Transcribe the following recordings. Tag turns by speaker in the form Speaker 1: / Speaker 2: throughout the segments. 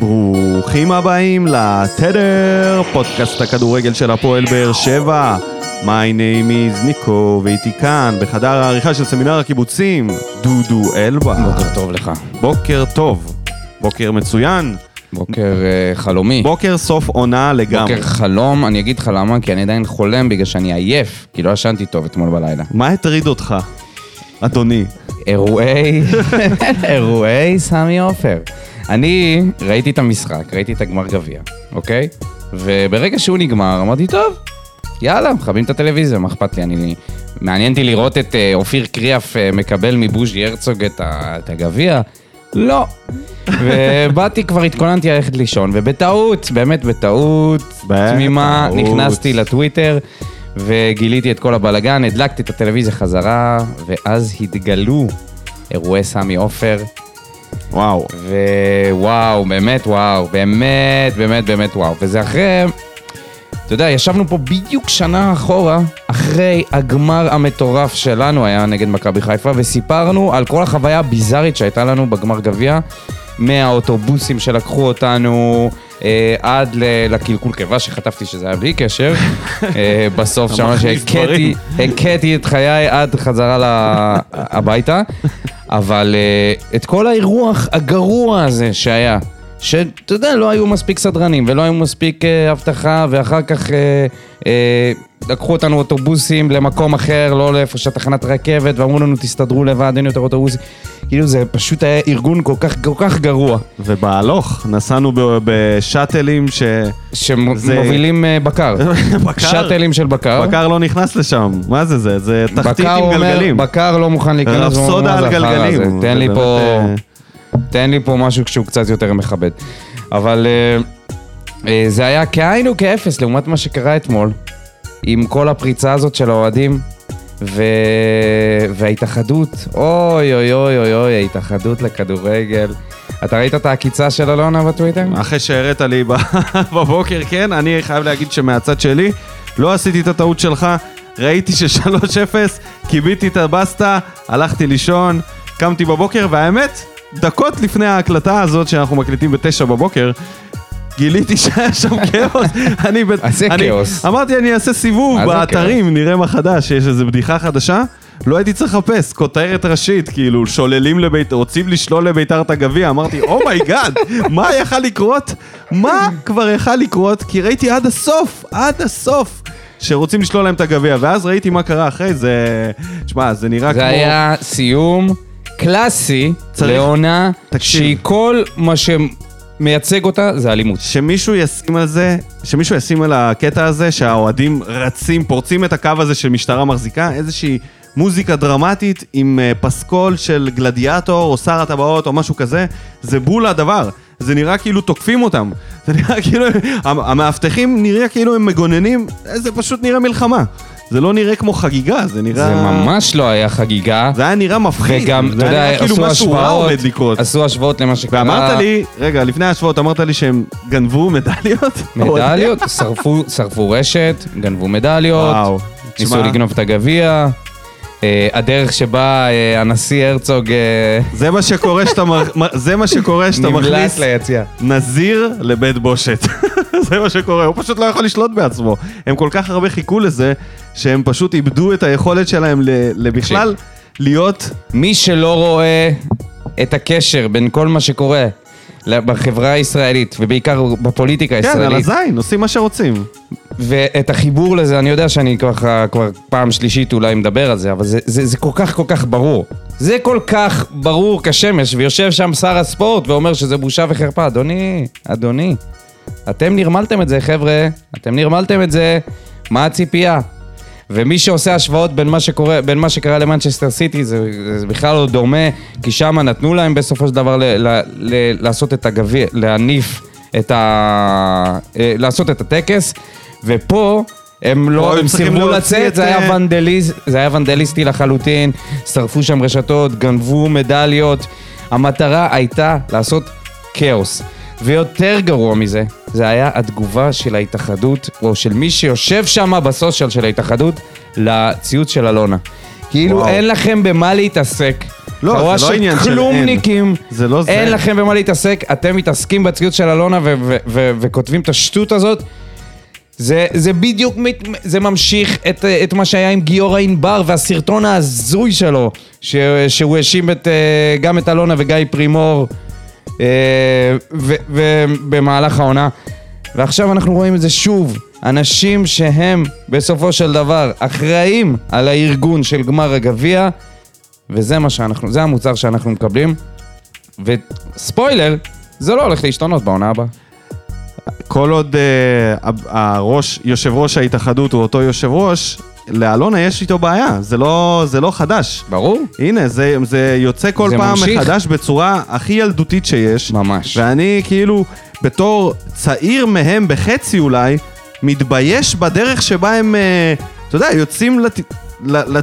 Speaker 1: ברוכים הבאים לתדר, פודקאסט הכדורגל של הפועל באר שבע. My name is ניקו, ואיתי כאן, בחדר העריכה של סמינר הקיבוצים, דודו אלבה.
Speaker 2: בוקר טוב לך.
Speaker 1: בוקר טוב. בוקר מצוין.
Speaker 2: בוקר אה, חלומי.
Speaker 1: בוקר סוף עונה לגמרי.
Speaker 2: בוקר חלום, אני אגיד לך למה, כי אני עדיין חולם בגלל שאני עייף, כי לא ישנתי טוב אתמול בלילה.
Speaker 1: מה הטריד אותך, אדוני?
Speaker 2: אירועי, אירועי סמי עופר. אני ראיתי את המשחק, ראיתי את הגמר גביע, אוקיי? וברגע שהוא נגמר, אמרתי, טוב, יאללה, מכבים את הטלוויזיה, מה אכפת לי? אני... מעניין אותי לראות את אה, אופיר קריאף אה, מקבל מבוז'י הרצוג את ה- את הגביע. לא. ובאתי, כבר התכוננתי ללכת לישון, ובטעות, באמת בטעות,
Speaker 1: בטעות.
Speaker 2: תמימה, נכנסתי לטוויטר, וגיליתי את כל הבלגן, הדלקתי את הטלוויזיה חזרה, ואז התגלו אירועי סמי עופר,
Speaker 1: וואו.
Speaker 2: ווואו, באמת וואו, באמת, באמת, באמת וואו. וזה אחרי, אתה יודע, ישבנו פה בדיוק שנה אחורה, אחרי הגמר המטורף שלנו היה נגד מכבי חיפה, וסיפרנו על כל החוויה הביזארית שהייתה לנו בגמר גביע, מהאוטובוסים שלקחו אותנו. אה, עד ל- לקלקול קיבה שחטפתי שזה היה בלי קשר, אה, בסוף
Speaker 1: אתה
Speaker 2: שם
Speaker 1: מכניס דברים.
Speaker 2: שהכיתי הכיתי את חיי עד חזרה ל- הביתה, אבל אה, את כל האירוח הגרוע הזה שהיה, שאתה יודע, לא היו מספיק סדרנים ולא היו מספיק אה, אבטחה, ואחר כך אה, אה, לקחו אותנו אוטובוסים למקום אחר, לא לאיפה שהתחנת רכבת, ואמרו לנו, תסתדרו לבד, אין יותר אוטובוסים. כאילו, זה פשוט היה ארגון כל כך, כל כך גרוע,
Speaker 1: ובהלוך, נסענו ב- בשאטלים ש...
Speaker 2: שמובילים אה, בקר.
Speaker 1: בקר.
Speaker 2: שאטלים של בקר.
Speaker 1: בקר לא נכנס לשם, מה זה זה? זה תחתית
Speaker 2: בקר
Speaker 1: עם
Speaker 2: אומר,
Speaker 1: גלגלים.
Speaker 2: בקר לא מוכן להיכנס, והוא אומר,
Speaker 1: רפסודה
Speaker 2: "מה זה
Speaker 1: על
Speaker 2: החרא
Speaker 1: גלגלים.
Speaker 2: הזה? תן
Speaker 1: זה
Speaker 2: לי
Speaker 1: באמת,
Speaker 2: פה,
Speaker 1: אה,
Speaker 2: תן לי פה משהו שהוא קצת יותר מכבד. אבל אה, אה, זה היה כאין וכאפס לעומת מה שקרה אתמול, עם כל הפריצה הזאת של האוהדים. ו... וההתאחדות, אוי אוי אוי אוי אוי, ההתאחדות לכדורגל. אתה ראית את העקיצה של אלונה בטוויטר?
Speaker 1: אחרי שהראית לי ב- בבוקר, כן, אני חייב להגיד שמהצד שלי, לא עשיתי את הטעות שלך, ראיתי ש-3-0, כיביתי את הבסטה, הלכתי לישון, קמתי בבוקר, והאמת, דקות לפני ההקלטה הזאת שאנחנו מקליטים בתשע בבוקר, גיליתי שהיה שם כאוס. אני... ב-
Speaker 2: אז זה
Speaker 1: אני-
Speaker 2: כאוס.
Speaker 1: אמרתי, אני אעשה סיבוב
Speaker 2: אז זה
Speaker 1: באתרים, נראה מה חדש, יש איזו בדיחה חדשה. לא הייתי צריך לחפש, כותרת ראשית, כאילו, שוללים לביתר, רוצים לשלול לביתר את הגביע. אמרתי, אומייגאד, מה יכל לקרות? מה כבר יכל לקרות? כי ראיתי עד הסוף, עד הסוף, שרוצים לשלול להם את הגביע. ואז ראיתי מה קרה אחרי, זה... תשמע, זה נראה כמו...
Speaker 2: זה היה סיום קלאסי
Speaker 1: צריך-
Speaker 2: לעונה
Speaker 1: תקשיב.
Speaker 2: שהיא כל מה שמייצג אותה זה אלימות.
Speaker 1: שמישהו ישים על זה, שמישהו ישים על הקטע הזה שהאוהדים רצים, פורצים את הקו הזה שמשטרה מחזיקה, איזושהי מוזיקה דרמטית עם אה, פסקול של גלדיאטור או שר הטבעות או משהו כזה, זה בול הדבר. זה נראה כאילו תוקפים אותם. זה נראה כאילו, המ- המאבטחים נראה כאילו הם מגוננים, אה, זה פשוט נראה מלחמה. זה לא נראה כמו חגיגה, זה נראה...
Speaker 2: זה ממש לא היה חגיגה.
Speaker 1: זה היה נראה מפחיד.
Speaker 2: וגם, אתה
Speaker 1: זה היה
Speaker 2: יודע,
Speaker 1: נראה כאילו
Speaker 2: עשו
Speaker 1: משהו רע
Speaker 2: השוואות,
Speaker 1: עומד לקרות.
Speaker 2: עשו השוואות למה שקרה.
Speaker 1: ואמרת לי, רגע, לפני ההשוואות אמרת לי שהם גנבו מדליות?
Speaker 2: מדליות, שרפו- שרפו רשת, גנבו
Speaker 1: וואו,
Speaker 2: מדליות, ניסו
Speaker 1: תשמע.
Speaker 2: לגנוב את הגביע. אה, הדרך שבה אה, הנשיא הרצוג אה,
Speaker 1: זה מה שקורה שאתה מר- מ- זה מה שקורה שאתה
Speaker 2: נמלט
Speaker 1: מכניס
Speaker 2: ליציאה.
Speaker 1: נזיר לבית בושת. זה מה שקורה, הוא פשוט לא יכול לשלוט בעצמו. הם כל כך הרבה חיכו לזה, שהם פשוט איבדו את היכולת שלהם ל- לבכלל להיות... כן,
Speaker 2: מי שלא רואה את הקשר בין כל מה שקורה ל- בחברה הישראלית, ובעיקר בפוליטיקה
Speaker 1: כן, על
Speaker 2: הישראלית,
Speaker 1: הזין, עושים מה שרוצים.
Speaker 2: ואת החיבור לזה, אני יודע שאני ככה כבר פעם שלישית אולי מדבר על זה, אבל זה, זה, זה כל כך כל כך ברור. זה כל כך ברור כשמש, ויושב שם שר הספורט ואומר שזה בושה וחרפה. אדוני, אדוני, אתם נרמלתם את זה, חבר'ה. אתם נרמלתם את זה. מה הציפייה? ומי שעושה השוואות בין מה, שקורה, בין מה שקרה למנצ'סטר סיטי, זה, זה בכלל לא דומה, כי שם נתנו להם בסופו של דבר ל, ל, ל, לעשות את הגביע, להניף את ה... אה, לעשות את הטקס, ופה הם
Speaker 1: פה
Speaker 2: לא,
Speaker 1: הם
Speaker 2: הם
Speaker 1: צריכים
Speaker 2: סירבו
Speaker 1: להוציא
Speaker 2: לצאת,
Speaker 1: את,
Speaker 2: זה
Speaker 1: אה,
Speaker 2: היה ונדליז, זה היה ונדליסטי לחלוטין, שרפו שם רשתות, גנבו מדליות. המטרה הייתה לעשות כאוס. ויותר גרוע מזה, זה היה התגובה של ההתאחדות, או של מי שיושב שם בסושיאל של ההתאחדות, לציוץ של אלונה. כאילו
Speaker 1: וואו.
Speaker 2: אין לכם במה להתעסק.
Speaker 1: לא, זה לא עניין של אין.
Speaker 2: כלומניקים,
Speaker 1: זה לא זה.
Speaker 2: אין לכם במה להתעסק, אתם מתעסקים בציוץ של אלונה ו- ו- ו- וכותבים את השטות הזאת. זה, זה בדיוק, מת- זה ממשיך את, את מה שהיה עם גיורא ענבר והסרטון ההזוי שלו, ש, שהוא האשים את, אה, גם את אלונה וגיא פרימור אה, ו- ו- במהלך העונה. ועכשיו אנחנו רואים את זה שוב, אנשים שהם בסופו של דבר אחראים על הארגון של גמר הגביע, וזה מה שאנחנו, זה המוצר שאנחנו מקבלים. וספוילר, זה לא הולך להשתנות בעונה הבאה.
Speaker 1: כל עוד אה, הראש, יושב ראש ההתאחדות הוא אותו יושב ראש, לאלונה יש איתו בעיה, זה לא, זה לא חדש.
Speaker 2: ברור.
Speaker 1: הנה, זה, זה יוצא כל
Speaker 2: זה
Speaker 1: פעם
Speaker 2: ממשיך.
Speaker 1: מחדש בצורה הכי ילדותית שיש.
Speaker 2: ממש.
Speaker 1: ואני כאילו, בתור צעיר מהם בחצי אולי, מתבייש בדרך שבה הם, אה, אתה יודע, יוצאים לת... ל... ל...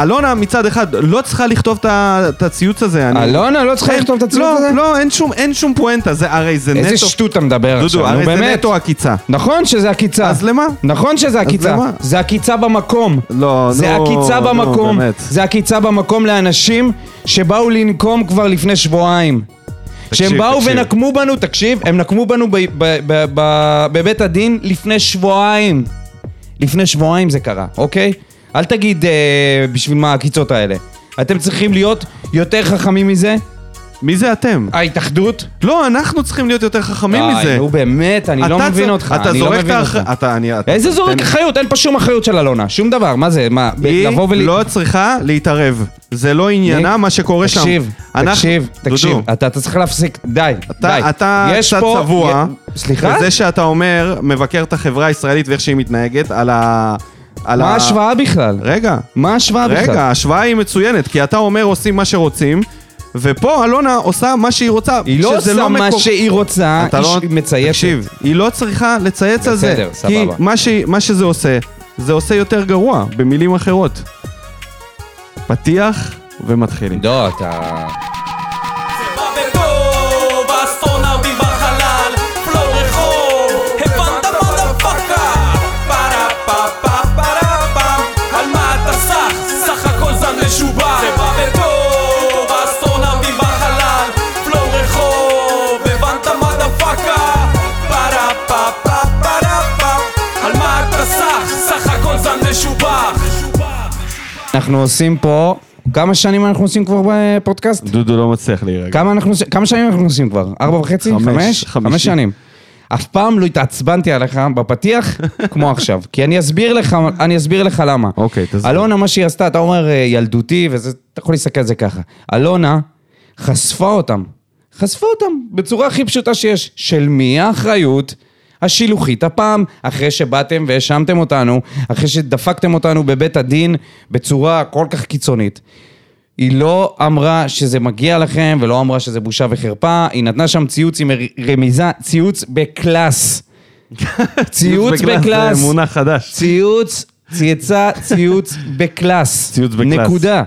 Speaker 1: אלונה מצד אחד לא צריכה לכתוב את ה- את הציוץ הזה. אני-
Speaker 2: אלונה לא צריכה
Speaker 1: אין-
Speaker 2: לכתוב את הציוץ
Speaker 1: לא,
Speaker 2: הזה?
Speaker 1: לא, אין שום, אין שום פואנטה, זה הרי זה
Speaker 2: איזה
Speaker 1: נטו...
Speaker 2: שטות אתה מדבר
Speaker 1: דודו,
Speaker 2: עכשיו, נו
Speaker 1: הרי זה
Speaker 2: באמת.
Speaker 1: נטו עקיצה.
Speaker 2: נכון שזה עקיצה.
Speaker 1: אז למה?
Speaker 2: נכון שזה עקיצה.
Speaker 1: למה?
Speaker 2: זה עקיצה במקום.
Speaker 1: לא,
Speaker 2: זה
Speaker 1: נו,
Speaker 2: עקיצה
Speaker 1: נו,
Speaker 2: במקום.
Speaker 1: באמת.
Speaker 2: זה עקיצה במקום לאנשים שבאו לנקום כבר לפני שבועיים.
Speaker 1: תקשיב,
Speaker 2: שהם באו
Speaker 1: תקשיב.
Speaker 2: ונקמו בנו, תקשיב, הם נקמו בנו ב- ב- ב- ב- בבית הדין לפני שבועיים. לפני שבועיים זה קרה, אוקיי? אל תגיד אה, בשביל מה העקיצות האלה. אתם צריכים להיות יותר חכמים מזה,
Speaker 1: מי זה אתם?
Speaker 2: ההתאחדות.
Speaker 1: לא, אנחנו צריכים להיות יותר חכמים
Speaker 2: די,
Speaker 1: מזה.
Speaker 2: אה, נו באמת, אני לא
Speaker 1: אתה
Speaker 2: מבין
Speaker 1: צ-
Speaker 2: אותך.
Speaker 1: אתה
Speaker 2: אני לא
Speaker 1: זורק את
Speaker 2: מבין
Speaker 1: האחריות.
Speaker 2: אותך. איזה זורק אחריות? אין פה שום אחריות של אלונה, שום דבר, מה זה, מה, ב-
Speaker 1: היא
Speaker 2: לבוא ול...
Speaker 1: לא צריכה להתערב. זה לא עניינה
Speaker 2: ניק,
Speaker 1: מה שקורה שם.
Speaker 2: תקשיב,
Speaker 1: אנחנו-
Speaker 2: תקשיב,
Speaker 1: דודו,
Speaker 2: תקשיב, אתה אתה צריך להפסיק, די, די.
Speaker 1: אתה, אתה
Speaker 2: יש
Speaker 1: קצת
Speaker 2: פה-
Speaker 1: צבוע,
Speaker 2: י- סליחה?
Speaker 1: בזה שאתה אומר, מבקר את החברה הישראלית ואיך שהיא מתנהגת, על ה... על
Speaker 2: מה
Speaker 1: ה-
Speaker 2: ההשוואה בכלל?
Speaker 1: רגע,
Speaker 2: מה ההשוואה בכלל?
Speaker 1: רגע, ההשוואה היא מצוינת, כי אתה אומר עושים מה שרוצים, ופה אלונה עושה מה שהיא רוצה.
Speaker 2: היא לא
Speaker 1: שזה
Speaker 2: עושה מה
Speaker 1: מקור-
Speaker 2: שהיא רוצה,
Speaker 1: אתה
Speaker 2: היא
Speaker 1: לא-
Speaker 2: ש- מצייצת.
Speaker 1: תקשיב, היא לא צריכה לצייץ על זה.
Speaker 2: בסדר, סבבה.
Speaker 1: כי מה, שהיא- מה שזה עושה, זה עושה יותר גרוע, במילים אחרות. פתיח ומתחילים.
Speaker 2: לא, אתה...
Speaker 3: בא בגובה, אסטרונאוטים בחלל, פלו רחוב, הבנת מודה פאקה. פרה פה פה פרה פם, על מה אתה סח? סך הכל זן משובח. זה בא בגובה, אסטרונאוטים בחלל, פלו רחוב, הבנת מודה פאקה. פרה פה פה פרה פם, על מה אתה סח? סך הכל זן משובח.
Speaker 2: אנחנו עושים פה... כמה שנים אנחנו עושים כבר בפודקאסט?
Speaker 1: דודו לא מצליח להירגע.
Speaker 2: כמה, אנחנו, כמה שנים אנחנו עושים כבר? ארבע וחצי?
Speaker 1: חמש,
Speaker 2: חמש?
Speaker 1: חמישי.
Speaker 2: חמש שנים. אף פעם לא התעצבנתי עליך בפתיח כמו עכשיו. כי אני אסביר לך, אני אסביר לך למה.
Speaker 1: אוקיי, תסביר.
Speaker 2: אלונה, מה שהיא עשתה, אתה אומר אה, ילדותי, וזה, אתה יכול להסתכל על זה ככה. אלונה חשפה אותם. חשפה אותם בצורה הכי פשוטה שיש. של מי האחריות? השילוחית הפעם, אחרי שבאתם והאשמתם אותנו, אחרי שדפקתם אותנו בבית הדין בצורה כל כך קיצונית. היא לא אמרה שזה מגיע לכם, ולא אמרה שזה בושה וחרפה, היא נתנה שם ציוץ עם רמיזה, ציוץ בקלאס. ציוץ בקלאס.
Speaker 1: זה מונח חדש.
Speaker 2: ציוץ, צייצה, ציוץ בקלאס.
Speaker 1: ציוץ בקלאס.
Speaker 2: נקודה.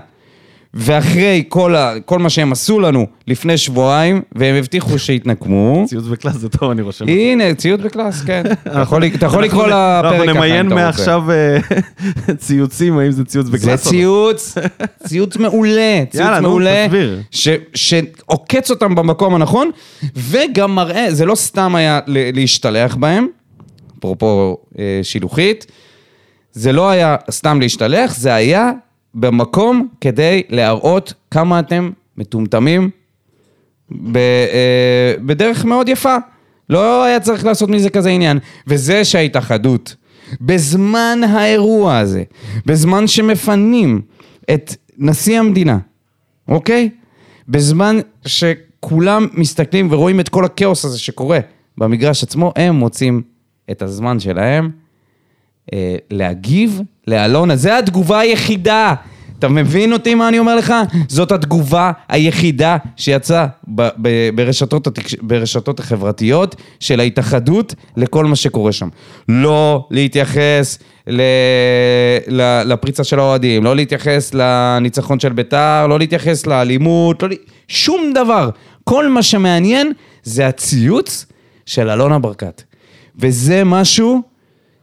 Speaker 2: ואחרי כל, ה, כל מה שהם עשו לנו לפני שבועיים, והם הבטיחו שיתנקמו,
Speaker 1: ציוץ בקלאס זה טוב, אני רושם.
Speaker 2: הנה, ציוץ בקלאס, כן. אתה יכול- אתה יכול לקרוא
Speaker 1: אנחנו-
Speaker 2: לפרק ככה, אם אתה
Speaker 1: אנחנו
Speaker 2: רוצה.
Speaker 1: נמיין מעכשיו אה, ציוצים, האם זה ציוץ בקלאס או
Speaker 2: זה
Speaker 1: לא.
Speaker 2: ציוץ, ציוץ מעולה, ציוץ
Speaker 1: יאללה, נו,
Speaker 2: מעולה,
Speaker 1: תסביר.
Speaker 2: ש- שעוקץ אותם במקום הנכון, וגם מראה, זה לא סתם היה ל- להשתלח בהם, אפרופו אה, שילוחית, זה לא היה סתם להשתלח, זה היה במקום כדי להראות כמה אתם מטומטמים ב, אה, בדרך מאוד יפה. לא היה צריך לעשות מזה כזה עניין. וזה שההתאחדות, בזמן האירוע הזה, בזמן שמפנים את נשיא המדינה, אוקיי? בזמן שכולם מסתכלים ורואים את כל הכאוס הזה שקורה במגרש עצמו, הם מוצאים את הזמן שלהם אה, להגיב לאלונה. זה התגובה היחידה. אתה מבין אותי מה אני אומר לך? זאת התגובה היחידה שיצאה ב- ב- ברשתות, התקש... ברשתות החברתיות של ההתאחדות לכל מה שקורה שם. לא להתייחס ל... ל... לפריצה של האוהדים, לא להתייחס לניצחון של ביתר, לא להתייחס לאלימות, לא... ל- שום דבר. כל מה שמעניין זה הציוץ של אלונה ברקת. וזה משהו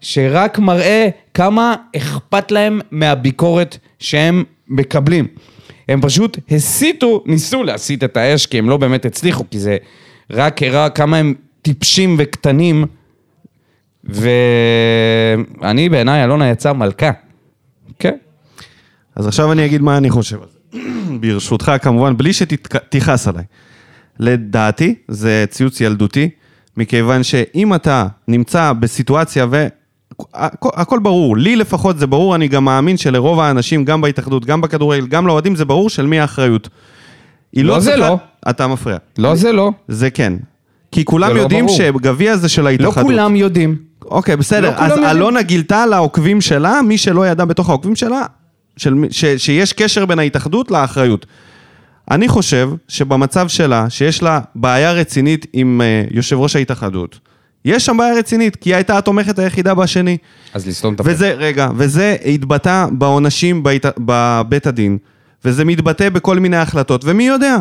Speaker 2: שרק מראה כמה אכפת להם מהביקורת שהם מקבלים. הם פשוט הסיתו, ניסו להסיט את האש, כי הם לא באמת הצליחו, כי זה רק הראה כמה הם טיפשים וקטנים. ואני בעיניי, אלונה יצאה מלכה. כן.
Speaker 1: אז עכשיו אני אגיד מה אני חושב על זה. ברשותך, כמובן, בלי שתכעס עליי. לדעתי, זה ציוץ ילדותי, מכיוון שאם אתה נמצא בסיטואציה ו... הכ- הכל ברור, לי לפחות זה ברור, אני גם מאמין שלרוב האנשים, גם בהתאחדות, גם בכדורגל, גם לאוהדים, זה ברור של מי האחריות. היא
Speaker 2: לא, זה
Speaker 1: צריכה-
Speaker 2: לא.
Speaker 1: אתה מפריע.
Speaker 2: לא, זה לא.
Speaker 1: זה כן. כי כולם
Speaker 2: זה לא
Speaker 1: יודעים
Speaker 2: ברור.
Speaker 1: שגביע זה של
Speaker 2: לא
Speaker 1: ההתאחדות.
Speaker 2: כולם יודעים.
Speaker 1: אוקיי, בסדר.
Speaker 2: לא כולם
Speaker 1: אז
Speaker 2: יודעים.
Speaker 1: אלונה גילתה לעוקבים שלה, מי שלא ידע בתוך העוקבים שלה, של, מי- ש, שיש קשר בין ההתאחדות לאחריות. אני חושב שבמצב שלה, שיש לה בעיה רצינית עם uh, יושב ראש ההתאחדות, יש שם בעיה רצינית, כי היא הייתה התומכת היחידה בשני.
Speaker 2: אז לסתום את הפה.
Speaker 1: וזה, רגע, וזה התבטא בעונשים בית, בבית הדין, וזה מתבטא בכל מיני החלטות, ומי יודע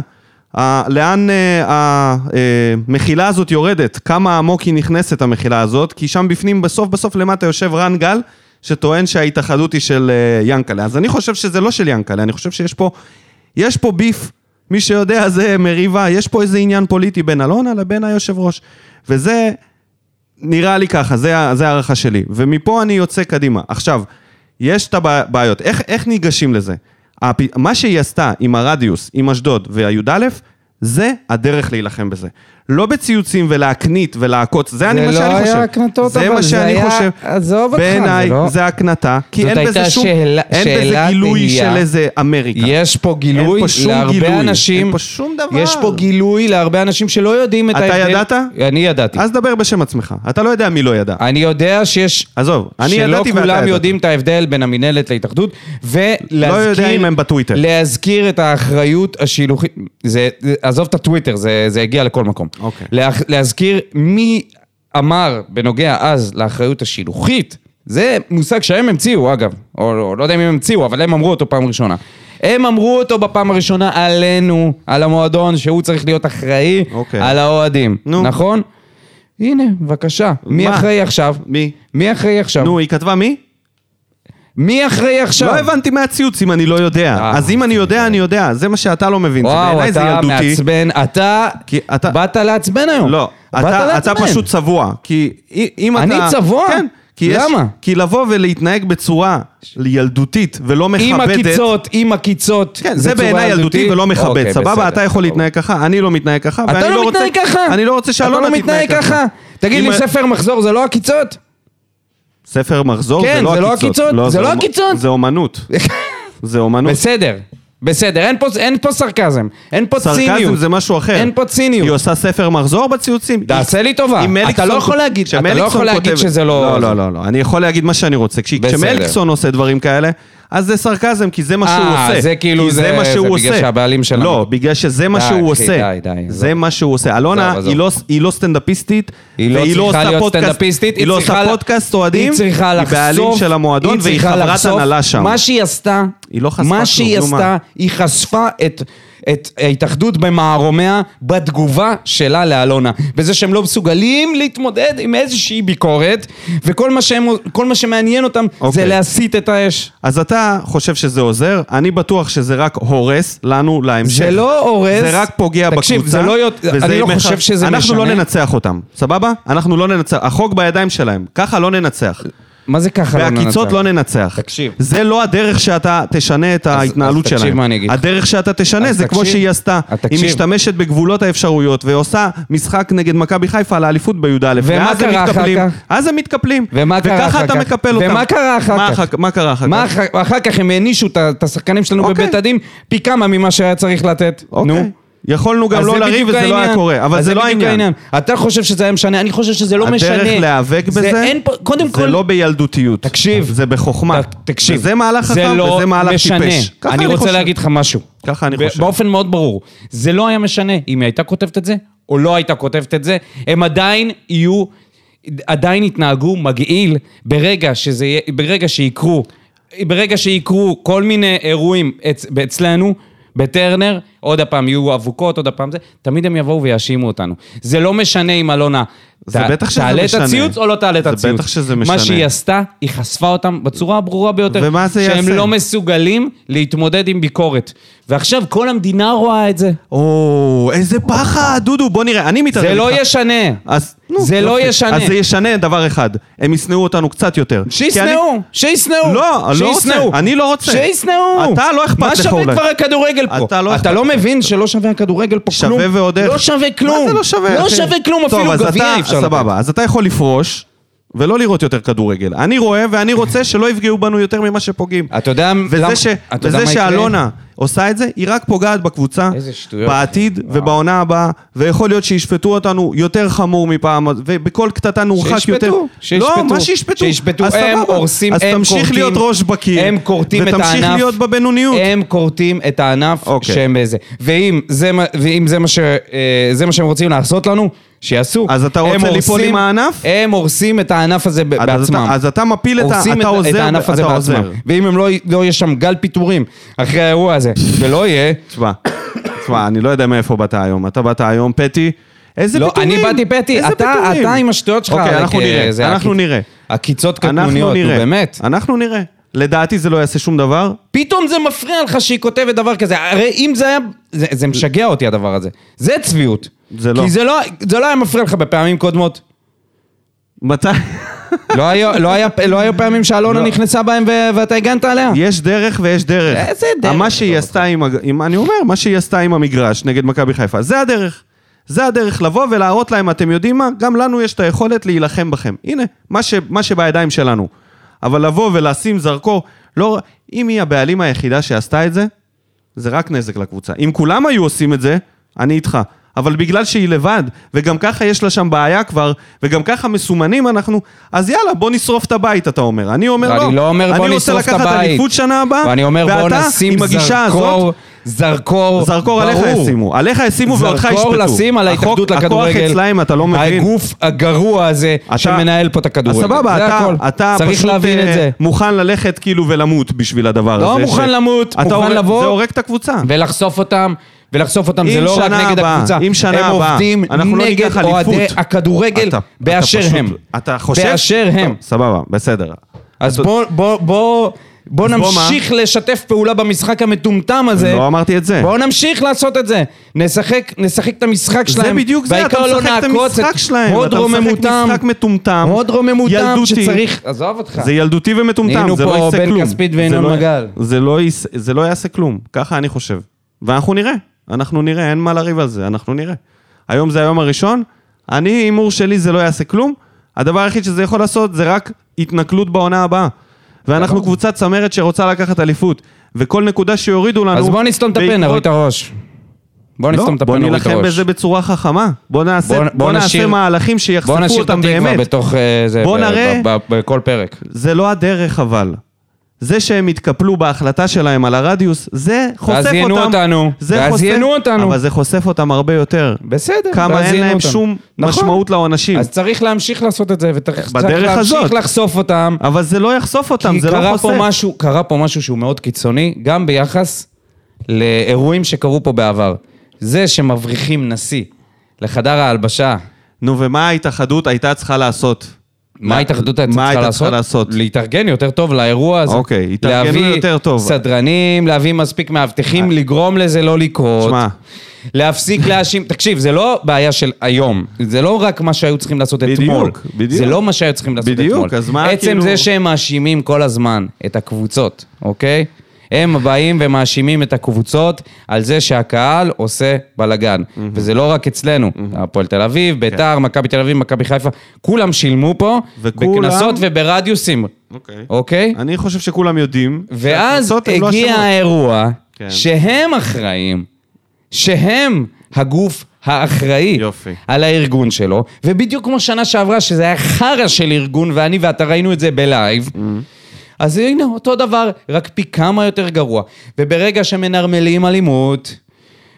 Speaker 1: אה, לאן אה, המחילה הזאת יורדת, כמה עמוק היא נכנסת המחילה הזאת, כי שם בפנים, בסוף בסוף למטה יושב רן גל, שטוען שההתאחדות היא של אה, ינקלה. אז אני חושב שזה לא של ינקלה, אני חושב שיש פה, יש פה ביף. מי שיודע זה מריבה, יש פה איזה עניין פוליטי בין אלונה לבין היושב ראש. וזה נראה לי ככה, זה, ה- זה הערכה שלי. ומפה אני יוצא קדימה. עכשיו, יש את הבעיות. איך, איך ניגשים לזה? הפ... מה שהיא עשתה עם הרדיוס, עם אשדוד והי"א, זה הדרך להילחם בזה. לא בציוצים ולהקנית ולעקוץ, זה, אני
Speaker 2: זה
Speaker 1: מה
Speaker 2: לא
Speaker 1: שאני
Speaker 2: היה
Speaker 1: חושב.
Speaker 2: הקנטות, אבל
Speaker 1: מה
Speaker 2: זה
Speaker 1: שאני
Speaker 2: היה-
Speaker 1: חושב.
Speaker 2: עזוב אותך,
Speaker 1: בעיניי
Speaker 2: זה לא-
Speaker 1: זה הקנטה, כי
Speaker 2: זאת
Speaker 1: אין בזה
Speaker 2: הייתה
Speaker 1: שום...
Speaker 2: שאלה-
Speaker 1: אין בזה
Speaker 2: שאלה
Speaker 1: גילוי
Speaker 2: תהייה.
Speaker 1: של איזה אמריקה.
Speaker 2: יש פה
Speaker 1: אין
Speaker 2: גילוי
Speaker 1: פה שום
Speaker 2: להרבה
Speaker 1: גילוי,
Speaker 2: אנשים.
Speaker 1: אין פה שום דבר.
Speaker 2: יש פה גילוי להרבה אנשים שלא יודעים את
Speaker 1: אתה
Speaker 2: ההבדל.
Speaker 1: ידעת?
Speaker 2: אני ידעתי.
Speaker 1: אז דבר בשם עצמך. אתה לא יודע מי לא ידע.
Speaker 2: אני יודע שיש...
Speaker 1: עזוב, אני
Speaker 2: שלא
Speaker 1: ידעתי ואתה
Speaker 2: כולם
Speaker 1: ידעת.
Speaker 2: יודעים את ההבדל בין המינהלת להתאחדות, ולהזכיר...
Speaker 1: לא יודע אם הם בטוויטר.
Speaker 2: להזכיר את האחריות השילוחית, זה, זה- עזוב את הטוויטר, זה, זה הגיע לכל מקום.
Speaker 1: אוקיי.
Speaker 2: לה, להזכיר מי אמר בנוגע אז לאחריות השילוחית, זה מושג שהם המציאו אגב, או, או לא יודע אם הם המציאו, אבל הם אמרו אותו פעם ראשונה. הם אמרו אותו בפעם הראשונה עלינו, על המועדון, שהוא צריך להיות אחראי
Speaker 1: אוקיי.
Speaker 2: על האוהדים,
Speaker 1: נו.
Speaker 2: נכון? הנה, בבקשה. מי
Speaker 1: מה?
Speaker 2: אחראי עכשיו?
Speaker 1: מי?
Speaker 2: מי אחראי עכשיו?
Speaker 1: נו, היא כתבה מי?
Speaker 2: מי אחראי עכשיו?
Speaker 1: לא הבנתי מהציוץ אם אני לא יודע.
Speaker 2: אה,
Speaker 1: אז אם אני יודע, אני יודע. זה מה שאתה לא מבין. זה
Speaker 2: וואו,
Speaker 1: בעיניי זה
Speaker 2: אתה
Speaker 1: ילדותי.
Speaker 2: מעצבן, אתה
Speaker 1: כי אתה-
Speaker 2: באת לעצבן היום.
Speaker 1: לא,
Speaker 2: באת
Speaker 1: אתה, אתה
Speaker 2: לעצבן.
Speaker 1: פשוט צבוע. כי אי- אם
Speaker 2: אני
Speaker 1: אתה...
Speaker 2: צבוע?
Speaker 1: כן. כי יש-
Speaker 2: למה?
Speaker 1: כי לבוא ולהתנהג בצורה ילדותית ולא מכבדת...
Speaker 2: עם עקיצות, עם עקיצות.
Speaker 1: כן, זה
Speaker 2: צורה
Speaker 1: בעיניי ילדותי ולא מכבד,
Speaker 2: אוקיי,
Speaker 1: סבבה?
Speaker 2: בסדר.
Speaker 1: אתה יכול להתנהג ככה, אני לא מתנהג ככה, ואני
Speaker 2: אתה לא
Speaker 1: רוצה-
Speaker 2: מתנהג ככה.
Speaker 1: אני לא רוצה
Speaker 2: אתה
Speaker 1: שאלונה
Speaker 2: לא
Speaker 1: תתנהג
Speaker 2: מתנהג ככה. תגיד
Speaker 1: אם
Speaker 2: לי,
Speaker 1: ה-
Speaker 2: ספר מחזור זה לא עקיצות?
Speaker 1: ספר מחזור
Speaker 2: כן,
Speaker 1: זה
Speaker 2: זה
Speaker 1: לא
Speaker 2: לא
Speaker 1: עקיצות.
Speaker 2: עקיצות, זה לא
Speaker 1: אומ-
Speaker 2: עקיצות.
Speaker 1: זה אומנות. זה אומנות.
Speaker 2: בסדר. בסדר, אין פה- אין פה סרקזם, אין פה ציניות.
Speaker 1: סרקזם זה משהו אחר.
Speaker 2: אין פה ציניות.
Speaker 1: היא עושה ספר מחזור בציוצים.
Speaker 2: תעשה לי טובה.
Speaker 1: אם
Speaker 2: אתה
Speaker 1: מליקסון
Speaker 2: לא
Speaker 1: כות-
Speaker 2: יכול להגיד- אתה לא
Speaker 1: כשמליקסון
Speaker 2: יכול להגיד
Speaker 1: כותב-
Speaker 2: שזה לא-
Speaker 1: לא, לא, לא, לא. אני יכול להגיד מה שאני רוצה. כש-
Speaker 2: בסדר.
Speaker 1: כשמליקסון עושה דברים כאלה, אז זה סרקזם, כי זה מה שהוא
Speaker 2: אה,
Speaker 1: עושה.
Speaker 2: זה כאילו
Speaker 1: כי
Speaker 2: זה-
Speaker 1: מה
Speaker 2: זה
Speaker 1: שהוא
Speaker 2: בגלל
Speaker 1: עושה.
Speaker 2: שהבעלים שלנו.
Speaker 1: לא, בגלל שזה מה
Speaker 2: די,
Speaker 1: שהוא
Speaker 2: אחי,
Speaker 1: עזה.
Speaker 2: די, די,
Speaker 1: זה
Speaker 2: עזוב.
Speaker 1: מה שהוא עושה. אלונה,
Speaker 2: עזוב.
Speaker 1: היא לא- היא לא סטנדאפיסטית.
Speaker 2: היא לא
Speaker 1: והיא
Speaker 2: צריכה
Speaker 1: עושה
Speaker 2: להיות
Speaker 1: פודקאסט-
Speaker 2: סטנדאפיסטית,
Speaker 1: היא לא עושה
Speaker 2: צריכה-
Speaker 1: פודקאסט אוהדים.
Speaker 2: היא צריכה לחשוף,
Speaker 1: היא בעלים של המועדון,
Speaker 2: היא
Speaker 1: והיא
Speaker 2: צריכה
Speaker 1: חברת
Speaker 2: לחשוף.
Speaker 1: הנהלה שם.
Speaker 2: מה שהיא עשתה,
Speaker 1: היא לא חשפה כלום,
Speaker 2: מה שהיא
Speaker 1: נו, מה?
Speaker 2: עשתה, היא חשפה את... את ההתאחדות במערומיה בתגובה שלה לאלונה. בזה שהם לא מסוגלים להתמודד עם איזושהי ביקורת, וכל מה, שהם, כל מה שמעניין אותם
Speaker 1: אוקיי.
Speaker 2: זה להסיט את האש.
Speaker 1: אז אתה חושב שזה עוזר, אני בטוח שזה רק הורס לנו להמשך.
Speaker 2: זה לא הורס.
Speaker 1: זה רק פוגע
Speaker 2: תקשיב,
Speaker 1: בקבוצה.
Speaker 2: זה לא יות-
Speaker 1: וזה
Speaker 2: אני לא
Speaker 1: מח-
Speaker 2: חושב שזה
Speaker 1: אנחנו
Speaker 2: משנה.
Speaker 1: לא ננצח אותם, סבבה? אנחנו לא ננצח, החוק בידיים שלהם, ככה לא ננצח.
Speaker 2: מה זה ככה? לא
Speaker 1: והקיצות
Speaker 2: ננצח?
Speaker 1: לא ננצח.
Speaker 2: תקשיב.
Speaker 1: זה לא הדרך שאתה תשנה את ההתנהלות
Speaker 2: אז תקשיב
Speaker 1: שלהם.
Speaker 2: מה אני אגיד לך.
Speaker 1: הדרך שאתה תשנה
Speaker 2: אז
Speaker 1: זה כמו
Speaker 2: תקשיב.
Speaker 1: שהיא עשתה.
Speaker 2: אז
Speaker 1: היא
Speaker 2: תקשיב.
Speaker 1: משתמשת בגבולות האפשרויות ועושה משחק נגד מכבי חיפה על האליפות בי"א.
Speaker 2: ומה
Speaker 1: ואז הם
Speaker 2: קרה אחר
Speaker 1: מתקפלים.
Speaker 2: כך?
Speaker 1: אז הם מתקפלים.
Speaker 2: ומה קרה
Speaker 1: וככה
Speaker 2: אחר
Speaker 1: אתה
Speaker 2: כך?
Speaker 1: מקפל אותם.
Speaker 2: ומה קרה אחר
Speaker 1: מה
Speaker 2: כך?
Speaker 1: מה קרה אחר
Speaker 2: מה
Speaker 1: כך?
Speaker 2: אחר, אחר כך הם הענישו את ה- את השחקנים שלנו
Speaker 1: אוקיי.
Speaker 2: בבית הדין פי כמה ממה שהיה צריך לתת.
Speaker 1: אוקיי.
Speaker 2: נו.
Speaker 1: יכולנו גם
Speaker 2: אז
Speaker 1: לא
Speaker 2: זה
Speaker 1: לריב
Speaker 2: בדיוק
Speaker 1: וזה לא
Speaker 2: העניין.
Speaker 1: היה קורה, אבל
Speaker 2: אז
Speaker 1: זה לא
Speaker 2: בדיוק
Speaker 1: העניין.
Speaker 2: אתה חושב שזה היה משנה, אני חושב שזה לא משנה.
Speaker 1: הדרך להיאבק
Speaker 2: זה
Speaker 1: בזה,
Speaker 2: אין פה, קודם כל...
Speaker 1: זה לא בילדותיות.
Speaker 2: תקשיב.
Speaker 1: זה בחוכמה.
Speaker 2: ת- תקשיב,
Speaker 1: וזה מהלך חכם
Speaker 2: לא
Speaker 1: וזה מהלך
Speaker 2: משנה.
Speaker 1: טיפש. ככה
Speaker 2: אני רוצה
Speaker 1: חושב.
Speaker 2: להגיד לך משהו.
Speaker 1: ככה אני
Speaker 2: ב-
Speaker 1: חושב.
Speaker 2: באופן מאוד ברור. זה לא היה משנה אם היא הייתה כותבת את זה, או לא הייתה כותבת את זה. הם עדיין יהיו, עדיין יתנהגו מגעיל ברגע שזה יהיה, ברגע שיקרו, ברגע שיקרו כל מיני אירועים אצ, אצלנו. בטרנר, עוד הפעם יהיו אבוקות, עוד הפעם זה, תמיד הם יבואו ויאשימו אותנו. זה לא משנה אם אלונה...
Speaker 1: זה
Speaker 2: ת-
Speaker 1: בטח שזה
Speaker 2: תעלה את
Speaker 1: משנה.
Speaker 2: הציוץ או לא תעלה את
Speaker 1: זה
Speaker 2: הציוץ.
Speaker 1: בטח שזה
Speaker 2: מה
Speaker 1: משנה.
Speaker 2: שהיא עשתה, היא חשפה אותם בצורה הברורה ביותר.
Speaker 1: ומה זה
Speaker 2: שהם
Speaker 1: יעשה?
Speaker 2: לא מסוגלים להתמודד עם ביקורת. ועכשיו כל המדינה רואה את זה.
Speaker 1: או, איזה פחד, דודו, בוא נראה, אני מתערב
Speaker 2: זה
Speaker 1: איתך.
Speaker 2: לא ישנה.
Speaker 1: אז, נו,
Speaker 2: זה לא
Speaker 1: יופי.
Speaker 2: ישנה.
Speaker 1: אז זה ישנה דבר אחד, הם ישנאו אותנו קצת יותר. כי אני-
Speaker 2: שישנאו, שישנאו.
Speaker 1: לא, אני לא רוצה,
Speaker 2: שישנאו.
Speaker 1: אני לא רוצה.
Speaker 2: שישנאו.
Speaker 1: אתה לא אכפת
Speaker 2: מה
Speaker 1: לך
Speaker 2: שווה
Speaker 1: אולי.
Speaker 2: כבר הכדורגל פה?
Speaker 1: אתה לא
Speaker 2: אתה
Speaker 1: אכפת
Speaker 2: לא מבין שלא שווה הכדורגל פה
Speaker 1: שווה
Speaker 2: כלום?
Speaker 1: ועוד איך.
Speaker 2: לא שווה כלום.
Speaker 1: מה זה לא שווה,
Speaker 2: לא
Speaker 1: אחי?
Speaker 2: שווה כלום,
Speaker 1: טוב,
Speaker 2: אפילו
Speaker 1: אז
Speaker 2: גביע
Speaker 1: אתה-
Speaker 2: אי אפשר לתת.
Speaker 1: סבבה, אז אתה יכול לפרוש. ולא לראות יותר כדורגל. אני רואה ואני רוצה שלא יפגעו בנו יותר ממה שפוגעים.
Speaker 2: אתה יודע... למה-
Speaker 1: וזה, ש...
Speaker 2: אתה יודע
Speaker 1: וזה
Speaker 2: מה יקרה?
Speaker 1: שאלונה עושה את זה, היא רק פוגעת בקבוצה,
Speaker 2: איזה שטויות.
Speaker 1: בעתיד ובעונה הבאה, ויכול להיות שישפטו אותנו יותר חמור מפעם, ובכל קטטה נורחק
Speaker 2: שישפטו,
Speaker 1: יותר.
Speaker 2: שישפטו.
Speaker 1: לא, מה שישפטו.
Speaker 2: שישפטו,
Speaker 1: אז
Speaker 2: הם
Speaker 1: סבבה.
Speaker 2: הורסים, הם
Speaker 1: אז תמשיך
Speaker 2: כורתים.
Speaker 1: להיות ראש בקיר.
Speaker 2: הם כורתים את
Speaker 1: ותמשיך
Speaker 2: הענף.
Speaker 1: להיות בבינוניות.
Speaker 2: הם כורתים את הענף
Speaker 1: אוקיי.
Speaker 2: שהם איזה. ואם זה מה- ואם זה מה ש- אה, זה מה שהם רוצים לעשות לנו, שיעשו.
Speaker 1: אז אתה רוצה
Speaker 2: הם
Speaker 1: ליפול
Speaker 2: הורסים-
Speaker 1: עם הענף?
Speaker 2: הם הורסים את הענף הזה ב-
Speaker 1: אז
Speaker 2: בעצמם.
Speaker 1: אתה, אז אתה מפיל את ה...
Speaker 2: הורסים את,
Speaker 1: אתה עוזר,
Speaker 2: את הענף הזה
Speaker 1: אתה
Speaker 2: בעצמם.
Speaker 1: עוזר.
Speaker 2: ואם הם לא, י- לא יהיה שם גל פיטורים אחרי האירוע הזה, ולא יהיה...
Speaker 1: תשמע, תשמע, אני לא יודע מאיפה באת היום. אתה באת היום, פטי. איזה
Speaker 2: לא,
Speaker 1: פיטורים?
Speaker 2: אני באתי פטי,
Speaker 1: איזה
Speaker 2: אתה,
Speaker 1: פיטורים?
Speaker 2: אתה עם השטויות שלך.
Speaker 1: אוקיי,
Speaker 2: רק,
Speaker 1: אנחנו
Speaker 2: אה,
Speaker 1: נראה,
Speaker 2: זה
Speaker 1: אנחנו
Speaker 2: הקיצ-
Speaker 1: נראה.
Speaker 2: הקיצות
Speaker 1: אנחנו
Speaker 2: קטנוניות, נו
Speaker 1: נראה.
Speaker 2: באמת.
Speaker 1: אנחנו נראה. לדעתי זה לא יעשה שום דבר.
Speaker 2: פתאום זה מפריע לך שהיא כותבת דבר כזה. הרי אם זה היה... זה, זה משגע אותי הדבר הזה. זה צביעות.
Speaker 1: זה לא.
Speaker 2: כי זה לא, זה לא היה מפריע לך בפעמים קודמות.
Speaker 1: מתי?
Speaker 2: לא, היה, לא, היה, לא היו פעמים שאלונה
Speaker 1: לא.
Speaker 2: נכנסה בהם ו- ואתה הגנת עליה.
Speaker 1: יש דרך ויש דרך.
Speaker 2: איזה דרך?
Speaker 1: מה שהיא עשתה עם, הג- עם... אני אומר, מה שהיא עשתה עם המגרש נגד מכבי חיפה, זה הדרך. זה הדרך לבוא ולהראות להם, אתם יודעים מה? גם לנו יש את היכולת להילחם בכם. הנה, מה, ש, מה שבידיים שלנו. אבל לבוא ולשים זרקור, לא... אם היא הבעלים היחידה שעשתה את זה, זה רק נזק לקבוצה. אם כולם היו עושים את זה, אני איתך. אבל בגלל שהיא לבד, וגם ככה יש לה שם בעיה כבר, וגם ככה מסומנים אנחנו, אז יאללה, בוא נשרוף את הבית, אתה אומר. אני אומר לא.
Speaker 2: אני לא אומר בוא נשרוף את הבית.
Speaker 1: אני רוצה לקחת אליפות שנה הבאה,
Speaker 2: ואני אומר בוא
Speaker 1: ואתה,
Speaker 2: נשים
Speaker 1: עם הגישה
Speaker 2: זרקור,
Speaker 1: הזאת,
Speaker 2: זרקור,
Speaker 1: זרקור עליך
Speaker 2: ברור.
Speaker 1: ישימו. עליך ישימו ואותך ישפטו.
Speaker 2: זרקור לשים על
Speaker 1: החוק-
Speaker 2: ההתאחדות לכדורגל.
Speaker 1: הכוח אצלהם, אתה לא מבין.
Speaker 2: הגוף הגרוע הזה
Speaker 1: אתה-
Speaker 2: שמנהל פה את הכדורגל.
Speaker 1: אז סבבה,
Speaker 2: זה
Speaker 1: אתה-
Speaker 2: הכל.
Speaker 1: אתה
Speaker 2: צריך
Speaker 1: פשוט
Speaker 2: להבין
Speaker 1: אה,
Speaker 2: את זה.
Speaker 1: מוכן ללכת כאילו ולמות בשביל הדבר הזה.
Speaker 2: לא
Speaker 1: ש-
Speaker 2: מוכן למות,
Speaker 1: אתה
Speaker 2: מוכן
Speaker 1: הורג-
Speaker 2: לבוא.
Speaker 1: זה הורג את הקבוצה.
Speaker 2: ולחשוף אותם. ולחשוף אותם
Speaker 1: אם
Speaker 2: זה לא רק
Speaker 1: שנה
Speaker 2: נגד
Speaker 1: הבאה,
Speaker 2: הקבוצה,
Speaker 1: אם שנה
Speaker 2: הם
Speaker 1: הבאה,
Speaker 2: עובדים
Speaker 1: אנחנו לא
Speaker 2: נגד
Speaker 1: ניקח
Speaker 2: אוהדי
Speaker 1: אליפות.
Speaker 2: הכדורגל
Speaker 1: אתה-
Speaker 2: באשר
Speaker 1: אתה פשוט-
Speaker 2: הם.
Speaker 1: אתה חושב?
Speaker 2: באשר הם.
Speaker 1: טוב, סבבה, בסדר.
Speaker 2: אז
Speaker 1: אתה-
Speaker 2: בוא, בוא, בוא, בוא
Speaker 1: אז בוא
Speaker 2: נמשיך לשתף פעולה במשחק המטומטם הזה.
Speaker 1: לא אמרתי את זה.
Speaker 2: בואו נמשיך לעשות את זה. נשחק, נשחק את המשחק שלהם.
Speaker 1: זה בדיוק זה, אתה
Speaker 2: והעיקר לא
Speaker 1: משחק את
Speaker 2: נעקוץ
Speaker 1: המשחק שלהם.
Speaker 2: הוד
Speaker 1: אתה משחק
Speaker 2: רוממותם.
Speaker 1: משחק מטומטם.
Speaker 2: הוד רוממותם
Speaker 1: ילדותי.
Speaker 2: שצריך... עזוב אותך.
Speaker 1: זה ילדותי ומטומטם,
Speaker 2: נהיינו
Speaker 1: זה לא
Speaker 2: פה
Speaker 1: יעשה כלום.
Speaker 2: בן כספית
Speaker 1: זה
Speaker 2: וינון
Speaker 1: לא-
Speaker 2: מגל.
Speaker 1: זה לא יעש- זה לא יעשה כלום, ככה אני חושב. ואנחנו נראה, אנחנו נראה, אין מה לריב על זה, אנחנו נראה. היום זה היום הראשון, אני, הימור שלי זה לא יעשה כלום, הדבר היחיד שזה יכול לעשות זה רק התנכלות בעונה הבאה.
Speaker 2: לא.
Speaker 1: ואנחנו קבוצת צמרת שרוצה לקחת אליפות, וכל נקודה שיורידו לנו...
Speaker 2: אז בואו נסתום את הפה,
Speaker 1: בעקבות-
Speaker 2: נוריד את הראש. בואו
Speaker 1: לא,
Speaker 2: נסתום את הפה,
Speaker 1: בוא
Speaker 2: נוריד את הראש.
Speaker 1: נילחם בזה בצורה חכמה. בוא נעשה,
Speaker 2: בוא-
Speaker 1: בוא,
Speaker 2: בוא
Speaker 1: נעשה
Speaker 2: נשאיר-
Speaker 1: מהלכים
Speaker 2: בואו
Speaker 1: שיחשפו
Speaker 2: נשאיר את
Speaker 1: אותם
Speaker 2: התקווה
Speaker 1: באמת.
Speaker 2: בתוך אה, זה,
Speaker 1: בוא
Speaker 2: ב-
Speaker 1: נראה.
Speaker 2: ב- ב- בכל פרק.
Speaker 1: זה לא הדרך אבל. זה שהם התקפלו בהחלטה שלהם על הרדיוס, זה חושף אותם.
Speaker 2: ואז יינו אותנו.
Speaker 1: זה
Speaker 2: ואז
Speaker 1: חושף-
Speaker 2: יינו אותנו.
Speaker 1: אבל זה חושף אותם הרבה יותר.
Speaker 2: בסדר, ואז
Speaker 1: כמה אין
Speaker 2: יינו
Speaker 1: להם
Speaker 2: אותנו.
Speaker 1: שום
Speaker 2: נכון.
Speaker 1: משמעות לעונשים.
Speaker 2: אז צריך להמשיך לעשות את זה, וצריך
Speaker 1: בדרך
Speaker 2: צריך להמשיך
Speaker 1: הזאת.
Speaker 2: לחשוף אותם.
Speaker 1: אבל זה לא יחשוף אותם,
Speaker 2: כי
Speaker 1: זה לא
Speaker 2: קרה פה
Speaker 1: חושף.
Speaker 2: משהו, קרה פה משהו שהוא מאוד קיצוני, גם ביחס לאירועים שקרו פה בעבר. זה שמבריחים נשיא לחדר ההלבשה,
Speaker 1: נו, ומה ההתאחדות הייתה צריכה לעשות?
Speaker 2: מה ההתאחדות הייתה
Speaker 1: מה
Speaker 2: צריכה
Speaker 1: הייתה
Speaker 2: לעשות?
Speaker 1: צריכה לעשות?
Speaker 2: להתארגן יותר טוב לאירוע הזה.
Speaker 1: אוקיי, התארגנו
Speaker 2: להביא
Speaker 1: יותר טוב. אה.
Speaker 2: סדרנים, להביא מספיק מאבטחים, לגרום לזה לא לקרות.
Speaker 1: שמע.
Speaker 2: להפסיק להאשים, תקשיב, זה לא בעיה של היום, זה לא רק מה שהיו צריכים לעשות
Speaker 1: בדיוק,
Speaker 2: אתמול.
Speaker 1: בדיוק.
Speaker 2: זה לא מה שהיו צריכים לעשות
Speaker 1: בדיוק,
Speaker 2: אתמול.
Speaker 1: אז מה
Speaker 2: עצם
Speaker 1: כאילו-
Speaker 2: זה שהם מאשימים כל הזמן את הקבוצות, אוקיי? הם באים ומאשימים את הקבוצות על זה שהקהל עושה בלאגן. וזה לא רק אצלנו, הפועל תל
Speaker 1: כן.
Speaker 2: אביב, ביתר, מכבי תל אביב, מכבי חיפה, כולם שילמו פה,
Speaker 1: וכולם-
Speaker 2: בקנסות וברדיוסים,
Speaker 1: אוקיי.
Speaker 2: אוקיי?
Speaker 1: אני חושב שכולם יודעים.
Speaker 2: ואז
Speaker 1: שהקבוצות הן לא
Speaker 2: הגיע
Speaker 1: אשמות.
Speaker 2: האירוע
Speaker 1: כן.
Speaker 2: שהם אחראים, שהם הגוף האחראי
Speaker 1: יופי.
Speaker 2: על הארגון שלו, ובדיוק כמו שנה שעברה, שזה היה חרא של ארגון, ואני ואתה ראינו את זה בלייב,
Speaker 1: Mm.
Speaker 2: אז הנה, אותו דבר, רק פי כמה יותר גרוע. וברגע שמנרמלים אלימות,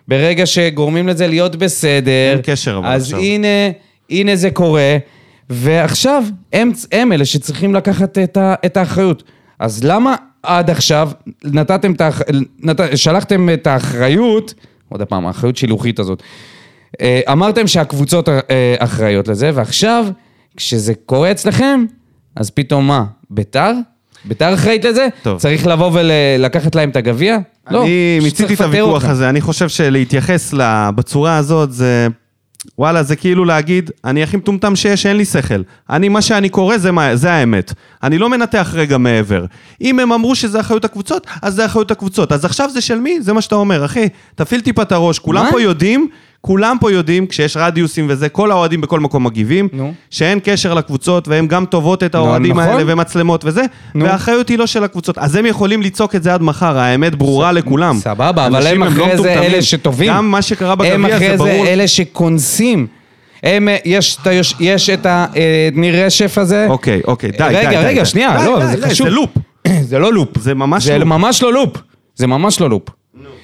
Speaker 2: ברגע שגורמים לזה להיות בסדר,
Speaker 1: אין קשר אבל
Speaker 2: אז
Speaker 1: עכשיו.
Speaker 2: הנה, הנה זה קורה, ועכשיו הם, הם אלה שצריכים לקחת את, ה, את האחריות. אז למה עד עכשיו נתתם את האח... נת... שלחתם את האחריות, עוד פעם, האחריות שילוחית הזאת. אה, אמרתם שהקבוצות אה, אחראיות לזה, ועכשיו, כשזה קורה אצלכם, אז פתאום מה, ביתר? ביתר אחראית לזה?
Speaker 1: טוב.
Speaker 2: צריך לבוא ולקחת להם את הגביע? לא,
Speaker 1: אני
Speaker 2: פשוט
Speaker 1: מיציתי
Speaker 2: צריך
Speaker 1: את
Speaker 2: לפטר
Speaker 1: הוויכוח
Speaker 2: אותם.
Speaker 1: הזה, אני חושב שלהתייחס ל- בצורה הזאת זה... וואלה, זה כאילו להגיד, אני הכי מטומטם שיש, אין לי שכל. אני, מה שאני קורא זה, מה, זה האמת. אני לא מנתח רגע מעבר. אם הם אמרו שזה אחריות הקבוצות, אז זה אחריות הקבוצות. אז עכשיו זה של מי? זה מה שאתה אומר, אחי. תפעיל טיפה את הראש. כולם
Speaker 2: מה?
Speaker 1: פה יודעים, כולם פה יודעים, כשיש רדיוסים וזה, כל האוהדים בכל מקום מגיבים,
Speaker 2: נו.
Speaker 1: שאין קשר לקבוצות, והן גם טובות את האוהדים
Speaker 2: נכון.
Speaker 1: האלה, ומצלמות וזה,
Speaker 2: נו.
Speaker 1: והאחריות היא לא של הקבוצות. אז הם יכולים לצעוק את זה עד מחר, האמת ברורה לכולם.
Speaker 2: סבבה, אבל
Speaker 1: אנשים
Speaker 2: הם אחרי
Speaker 1: לא
Speaker 2: זה
Speaker 1: מטומטמים.
Speaker 2: אלה שטובים.
Speaker 1: גם מה שקרה בגביע זה
Speaker 2: הם אחרי
Speaker 1: ברור.
Speaker 2: זה אלה שקונסים. הם, אה, יש, את היוש- יש את הניר רשף הזה.
Speaker 1: אוקיי, אוקיי, די, די,
Speaker 2: אה, רגע,
Speaker 1: די,
Speaker 2: רגע,
Speaker 1: די.
Speaker 2: שנייה,
Speaker 1: די,
Speaker 2: לא,
Speaker 1: די,
Speaker 2: זה
Speaker 1: די,
Speaker 2: חשוב.
Speaker 1: זה לופ.
Speaker 2: זה לא לופ.
Speaker 1: זה ממש
Speaker 2: זה
Speaker 1: לופ.
Speaker 2: ממש לא לופ. זה ממש לא לופ.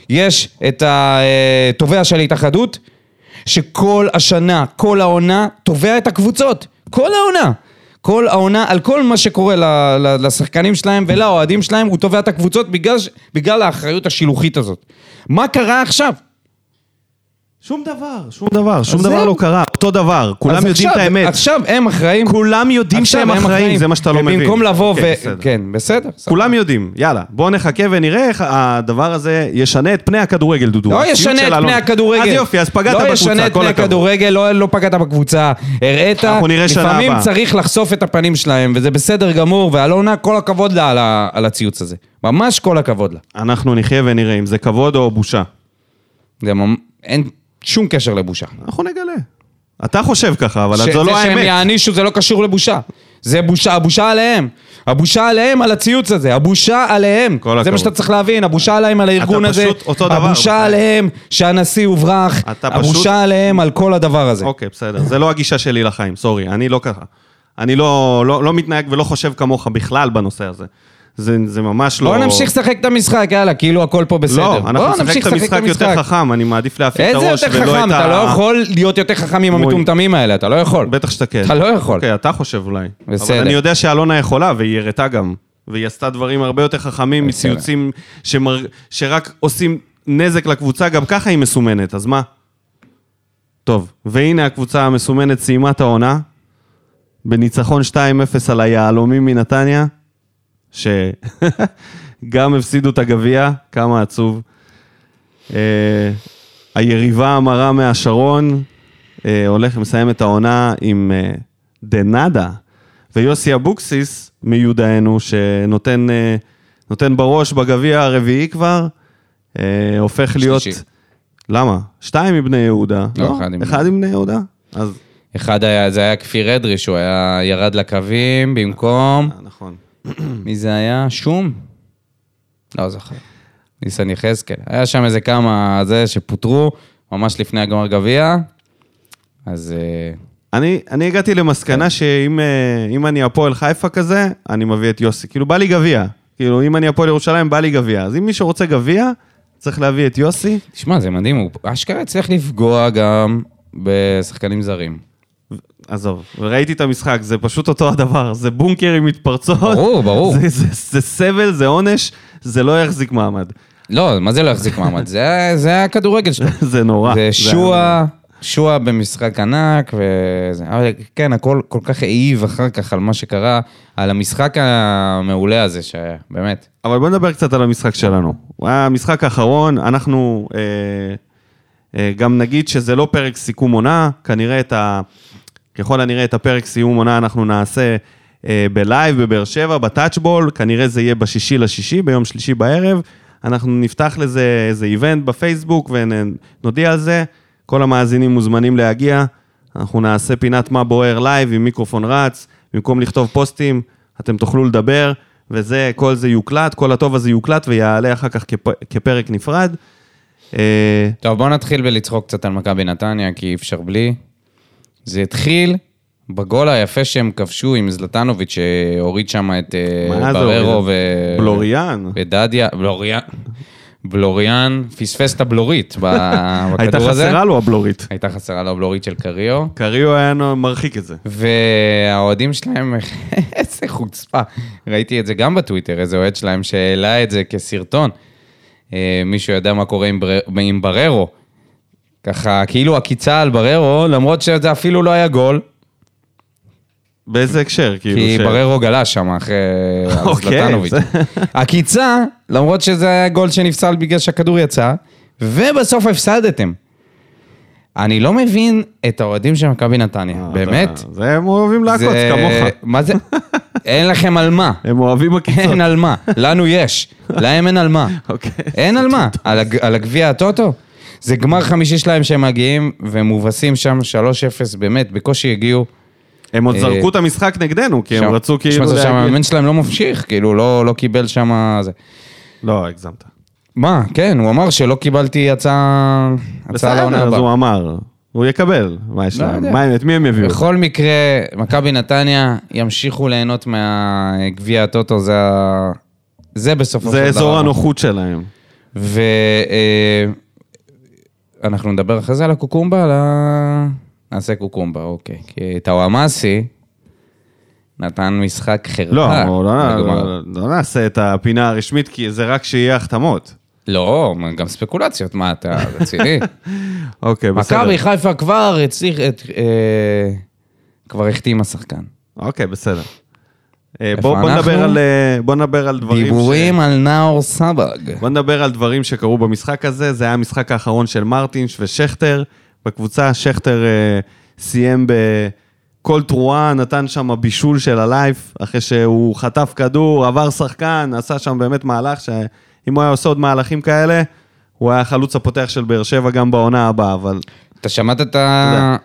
Speaker 2: יש את התובע של ההתאחדות, שכל השנה, כל העונה, תובע את הקבוצות. כל העונה. כל העונה, על כל מה שקורה ל- ל- לשחקנים שלהם ולאוהדים שלהם, הוא תובע את הקבוצות בגלל, ש- בגלל האחריות השילוחית הזאת. מה קרה עכשיו?
Speaker 1: שום דבר, שום דבר, שום
Speaker 2: אז
Speaker 1: דבר
Speaker 2: זהו.
Speaker 1: לא קרה, אותו דבר.
Speaker 2: אז
Speaker 1: כולם יודעים את
Speaker 2: עכשיו-
Speaker 1: האמת.
Speaker 2: עכשיו הם אחראים.
Speaker 1: כולם יודעים
Speaker 2: עכשיו
Speaker 1: שהם
Speaker 2: הם
Speaker 1: אחראים, זה מה שאתה לא מבין.
Speaker 2: ובמקום לבוא
Speaker 1: אוקיי, בסדר.
Speaker 2: ו... כן, בסדר. סבבה.
Speaker 1: כולם יודעים, יאללה, בואו נחכה ונראה איך הדבר הזה ישנה את פני הכדורגל, דודו.
Speaker 2: לא
Speaker 1: הציוץ
Speaker 2: ישנה
Speaker 1: של
Speaker 2: את
Speaker 1: אלון.
Speaker 2: פני הכדורגל.
Speaker 1: אז יופי, אז פגעת
Speaker 2: לא
Speaker 1: בקבוצה, כל
Speaker 2: ישנה את
Speaker 1: הכבוד.
Speaker 2: פני הכדורגל, לא- לא פגעת בקבוצה. הראית,
Speaker 1: אנחנו נראה שנה
Speaker 2: לפעמים
Speaker 1: הבאה.
Speaker 2: צריך לחשוף את הפנים שלהם, וזה בסדר גמור, ואלונה, כל הכבוד לה על ה- על הציוץ הזה. ממש כל הכבוד לה.
Speaker 1: אנחנו נחיה ונראה אם זה כבוד או בושה.
Speaker 2: זה ממ- אין שום קשר לבושה.
Speaker 1: אנחנו נגלה. אתה חושב ככה, אבל
Speaker 2: ש-
Speaker 1: זו לא
Speaker 2: זה שהם
Speaker 1: האמת.
Speaker 2: יענישו זה לא קשור לבושה. זה בושה, הבושה עליהם. הבושה עליהם על הציוץ הזה, הבושה עליהם.
Speaker 1: כל
Speaker 2: זה
Speaker 1: הכבוד.
Speaker 2: מה שאתה צריך להבין, הבושה עליהם על הארגון
Speaker 1: אתה
Speaker 2: הזה.
Speaker 1: פשוט אותו דבר,
Speaker 2: הבושה
Speaker 1: בחיים.
Speaker 2: עליהם שהנשיא הוברח.
Speaker 1: אתה פשוט-
Speaker 2: הבושה עליהם על כל הדבר הזה.
Speaker 1: אוקיי, בסדר. זה לא הגישה שלי לחיים, סורי, אני לא ככה. אני לא, לא, לא מתנהג ולא חושב כמוך בכלל בנושא הזה. זה, זה ממש לא...
Speaker 2: בואו נמשיך לשחק את המשחק, יאללה, כאילו הכל פה בסדר.
Speaker 1: לא,
Speaker 2: בואו
Speaker 1: אנחנו נשחק
Speaker 2: נמשיך
Speaker 1: את המשחק יותר חכם, אני מעדיף להפעיל את
Speaker 2: איזה
Speaker 1: הראש
Speaker 2: יותר
Speaker 1: ולא את ה...
Speaker 2: חכם? אתה לא יכול להיות יותר חכם עם
Speaker 1: מוי.
Speaker 2: המטומטמים האלה, אתה לא יכול.
Speaker 1: בטח שתקן.
Speaker 2: אתה לא יכול.
Speaker 1: אוקיי, אתה חושב אולי.
Speaker 2: בסדר.
Speaker 1: אבל אני יודע שאלונה יכולה, והיא הראתה גם. והיא עשתה דברים הרבה יותר חכמים
Speaker 2: בסדר.
Speaker 1: מציוצים שמר... שרק עושים נזק לקבוצה, גם ככה היא מסומנת, אז מה? טוב, והנה הקבוצה המסומנת סיימה את העונה, בניצחון 2-0 על היהלומים מנתניה, שגם הפסידו את הגביע, כמה עצוב. אה, היריבה המרה מהשרון אה, הולך ומסיים את העונה עם אה, דנדה, ויוסי אבוקסיס מיודענו, שנותן אה, נותן בראש בגביע הרביעי כבר, אה, הופך להיות...
Speaker 2: שלישי.
Speaker 1: למה? שתיים מבני יהודה.
Speaker 2: לא, אחד עם-
Speaker 1: אחד עם בני יהודה? אז...
Speaker 2: אחד היה, זה היה כפיר אדרי, שהוא היה, ירד לקווים במקום,
Speaker 1: אה, נכון.
Speaker 2: מי זה היה? שום? לא זוכר. ניסן יחזקאל. היה שם איזה כמה, זה, שפוטרו, ממש לפני הגמר גביע, אז... אה,
Speaker 1: אני, אני הגעתי
Speaker 2: כן.
Speaker 1: למסקנה שאם אה, אם אני הפועל חיפה כזה, אני מביא את יוסי. כאילו, בא לי גביע. כאילו, אם אני הפועל ירושלים, בא לי גביע. אז אם מישהו רוצה גביע, צריך להביא את יוסי.
Speaker 2: תשמע, זה מדהים, הוא אשכרה הצליח לפגוע גם בשחקנים זרים.
Speaker 1: עזוב, וראיתי את המשחק, זה פשוט אותו הדבר. זה בונקר עם מתפרצות.
Speaker 2: ברור, ברור.
Speaker 1: זה, זה, זה סבל, זה עונש, זה לא יחזיק מעמד.
Speaker 2: לא, מה זה לא יחזיק מעמד? זה, זה הכדורגל שלו.
Speaker 1: זה נורא.
Speaker 2: זה שועה, שועה במשחק ענק, וזה... אבל כן, הכל כל כך העיב אחר כך על מה שקרה, על המשחק המעולה הזה שהיה, באמת.
Speaker 1: אבל בוא נדבר קצת על המשחק שלנו. אה, המשחק האחרון, אנחנו אה, אה, גם נגיד שזה לא פרק סיכום עונה, כנראה את ה... ככל הנראה את הפרק סיום עונה אנחנו נעשה אה, בלייב בבאר שבע, בטאצ'בול, כנראה זה יהיה בשישי לשישי, ביום שלישי בערב. אנחנו נפתח לזה איזה איבנט בפייסבוק ונודיע על זה. כל המאזינים מוזמנים להגיע. אנחנו נעשה פינת מה בוער לייב עם מיקרופון רץ, במקום לכתוב פוסטים, אתם תוכלו לדבר, וזה, כל זה יוקלט, כל הטוב הזה יוקלט ויעלה אחר כך כפ, כפרק נפרד. אה,
Speaker 2: טוב, בואו נתחיל בלצחוק קצת על מכבי נתניה, כי אי אפשר בלי. זה התחיל בגול היפה שהם כבשו עם זלטנוביץ', שהוריד שם את אה,
Speaker 1: מה זה
Speaker 2: בררו
Speaker 1: הוריד?
Speaker 2: ו...
Speaker 1: בלוריאן.
Speaker 2: ודדיה, בלוריאן. בלוריאן פספס את הבלורית ב-
Speaker 1: הייתה
Speaker 2: אה, בכדור הזה.
Speaker 1: חסרה לו הבלורית.
Speaker 2: הייתה חסרה לו הבלורית של קריו.
Speaker 1: קריו היה נו- מרחיק את זה.
Speaker 2: והאוהדים שלהם, איזה חוצפה. ראיתי את זה גם בטוויטר, איזה אוהד שלהם שהעלה את זה כסרטון. אה, מישהו יודע מה קורה עם, בר... עם בררו. ככה, כאילו עקיצה על בררו, למרות שזה אפילו לא היה גול,
Speaker 1: באיזה הקשר, כאילו?
Speaker 2: כי
Speaker 1: ש-
Speaker 2: בררו גלש שם אחרי
Speaker 1: אוקיי,
Speaker 2: זלטנוביץ'.
Speaker 1: זה-
Speaker 2: עקיצה, למרות שזה היה גול שנפסל בגלל שהכדור יצא, ובסוף הפסדתם. אני לא מבין את האוהדים של מכבי נתניה,
Speaker 1: אה,
Speaker 2: באמת.
Speaker 1: אתה- זה הם אוהבים לעקוץ,
Speaker 2: זה-
Speaker 1: כמוך.
Speaker 2: מה זה? אין לכם על מה.
Speaker 1: הם אוהבים עקיצות.
Speaker 2: אין על מה. לנו יש. להם אין על מה.
Speaker 1: אוקיי.
Speaker 2: אין על מה. על הג- על הגביע הטוטו? זה גמר חמישי שלהם שהם מגיעים, והם מובסים שם 3-0, באמת, בקושי הגיעו.
Speaker 1: הם עוד
Speaker 2: אה,
Speaker 1: זרקו את המשחק נגדנו, כי
Speaker 2: שם-
Speaker 1: הם רצו כאילו
Speaker 2: תשמע, זה שם
Speaker 1: להגיד-
Speaker 2: המאמן שלהם לא ממשיך, כאילו, לא לא קיבל שם... זה.
Speaker 1: לא, הגזמת.
Speaker 2: מה, כן, הוא אמר שלא קיבלתי הצעה... הצעה לעונה
Speaker 1: בסדר, אז
Speaker 2: הבאה.
Speaker 1: הוא אמר. הוא יקבל. מה יש
Speaker 2: לא
Speaker 1: להם?
Speaker 2: יודע.
Speaker 1: מה הם- את מי הם יביאו?
Speaker 2: בכל מקרה, מכבי נתניה ימשיכו ליהנות מהגביע הטוטו, זה ה- זה בסופו של
Speaker 1: זה
Speaker 2: דבר.
Speaker 1: אזור הנוחות שלהם.
Speaker 2: ואנחנו נדבר אחרי זה על הקוקומבה, על ה... נעשה קוקומבה, אוקיי. כי טוואמאסי נתן משחק חרפה.
Speaker 1: לא, לא-
Speaker 2: אה, בגמר.
Speaker 1: לא- לא נעשה את הפינה הרשמית, כי זה רק שיהיה החתמות.
Speaker 2: לא, גם ספקולציות, מה אתה רציני?
Speaker 1: אוקיי, בסדר.
Speaker 2: מכבי חיפה כבר הצליח את... אה, כבר החתימה שחקן.
Speaker 1: אוקיי, בסדר. אה,
Speaker 2: איפה
Speaker 1: בוא, בוא,
Speaker 2: אנחנו?
Speaker 1: נדבר על, אה, בוא נדבר על דברים...
Speaker 2: דיבורים על נאור סבג.
Speaker 1: ש... בוא נדבר על דברים שקרו במשחק הזה. זה היה המשחק האחרון של מרטינש ושכטר. בקבוצה שכטר אה, סיים בכל תרועה, נתן שם בישול של הלייף, אחרי שהוא חטף כדור, עבר שחקן, עשה שם באמת מהלך שאם הוא היה עושה עוד מהלכים כאלה, הוא היה החלוץ הפותח של באר שבע גם בעונה הבאה, אבל...
Speaker 2: אתה שמעת את ה...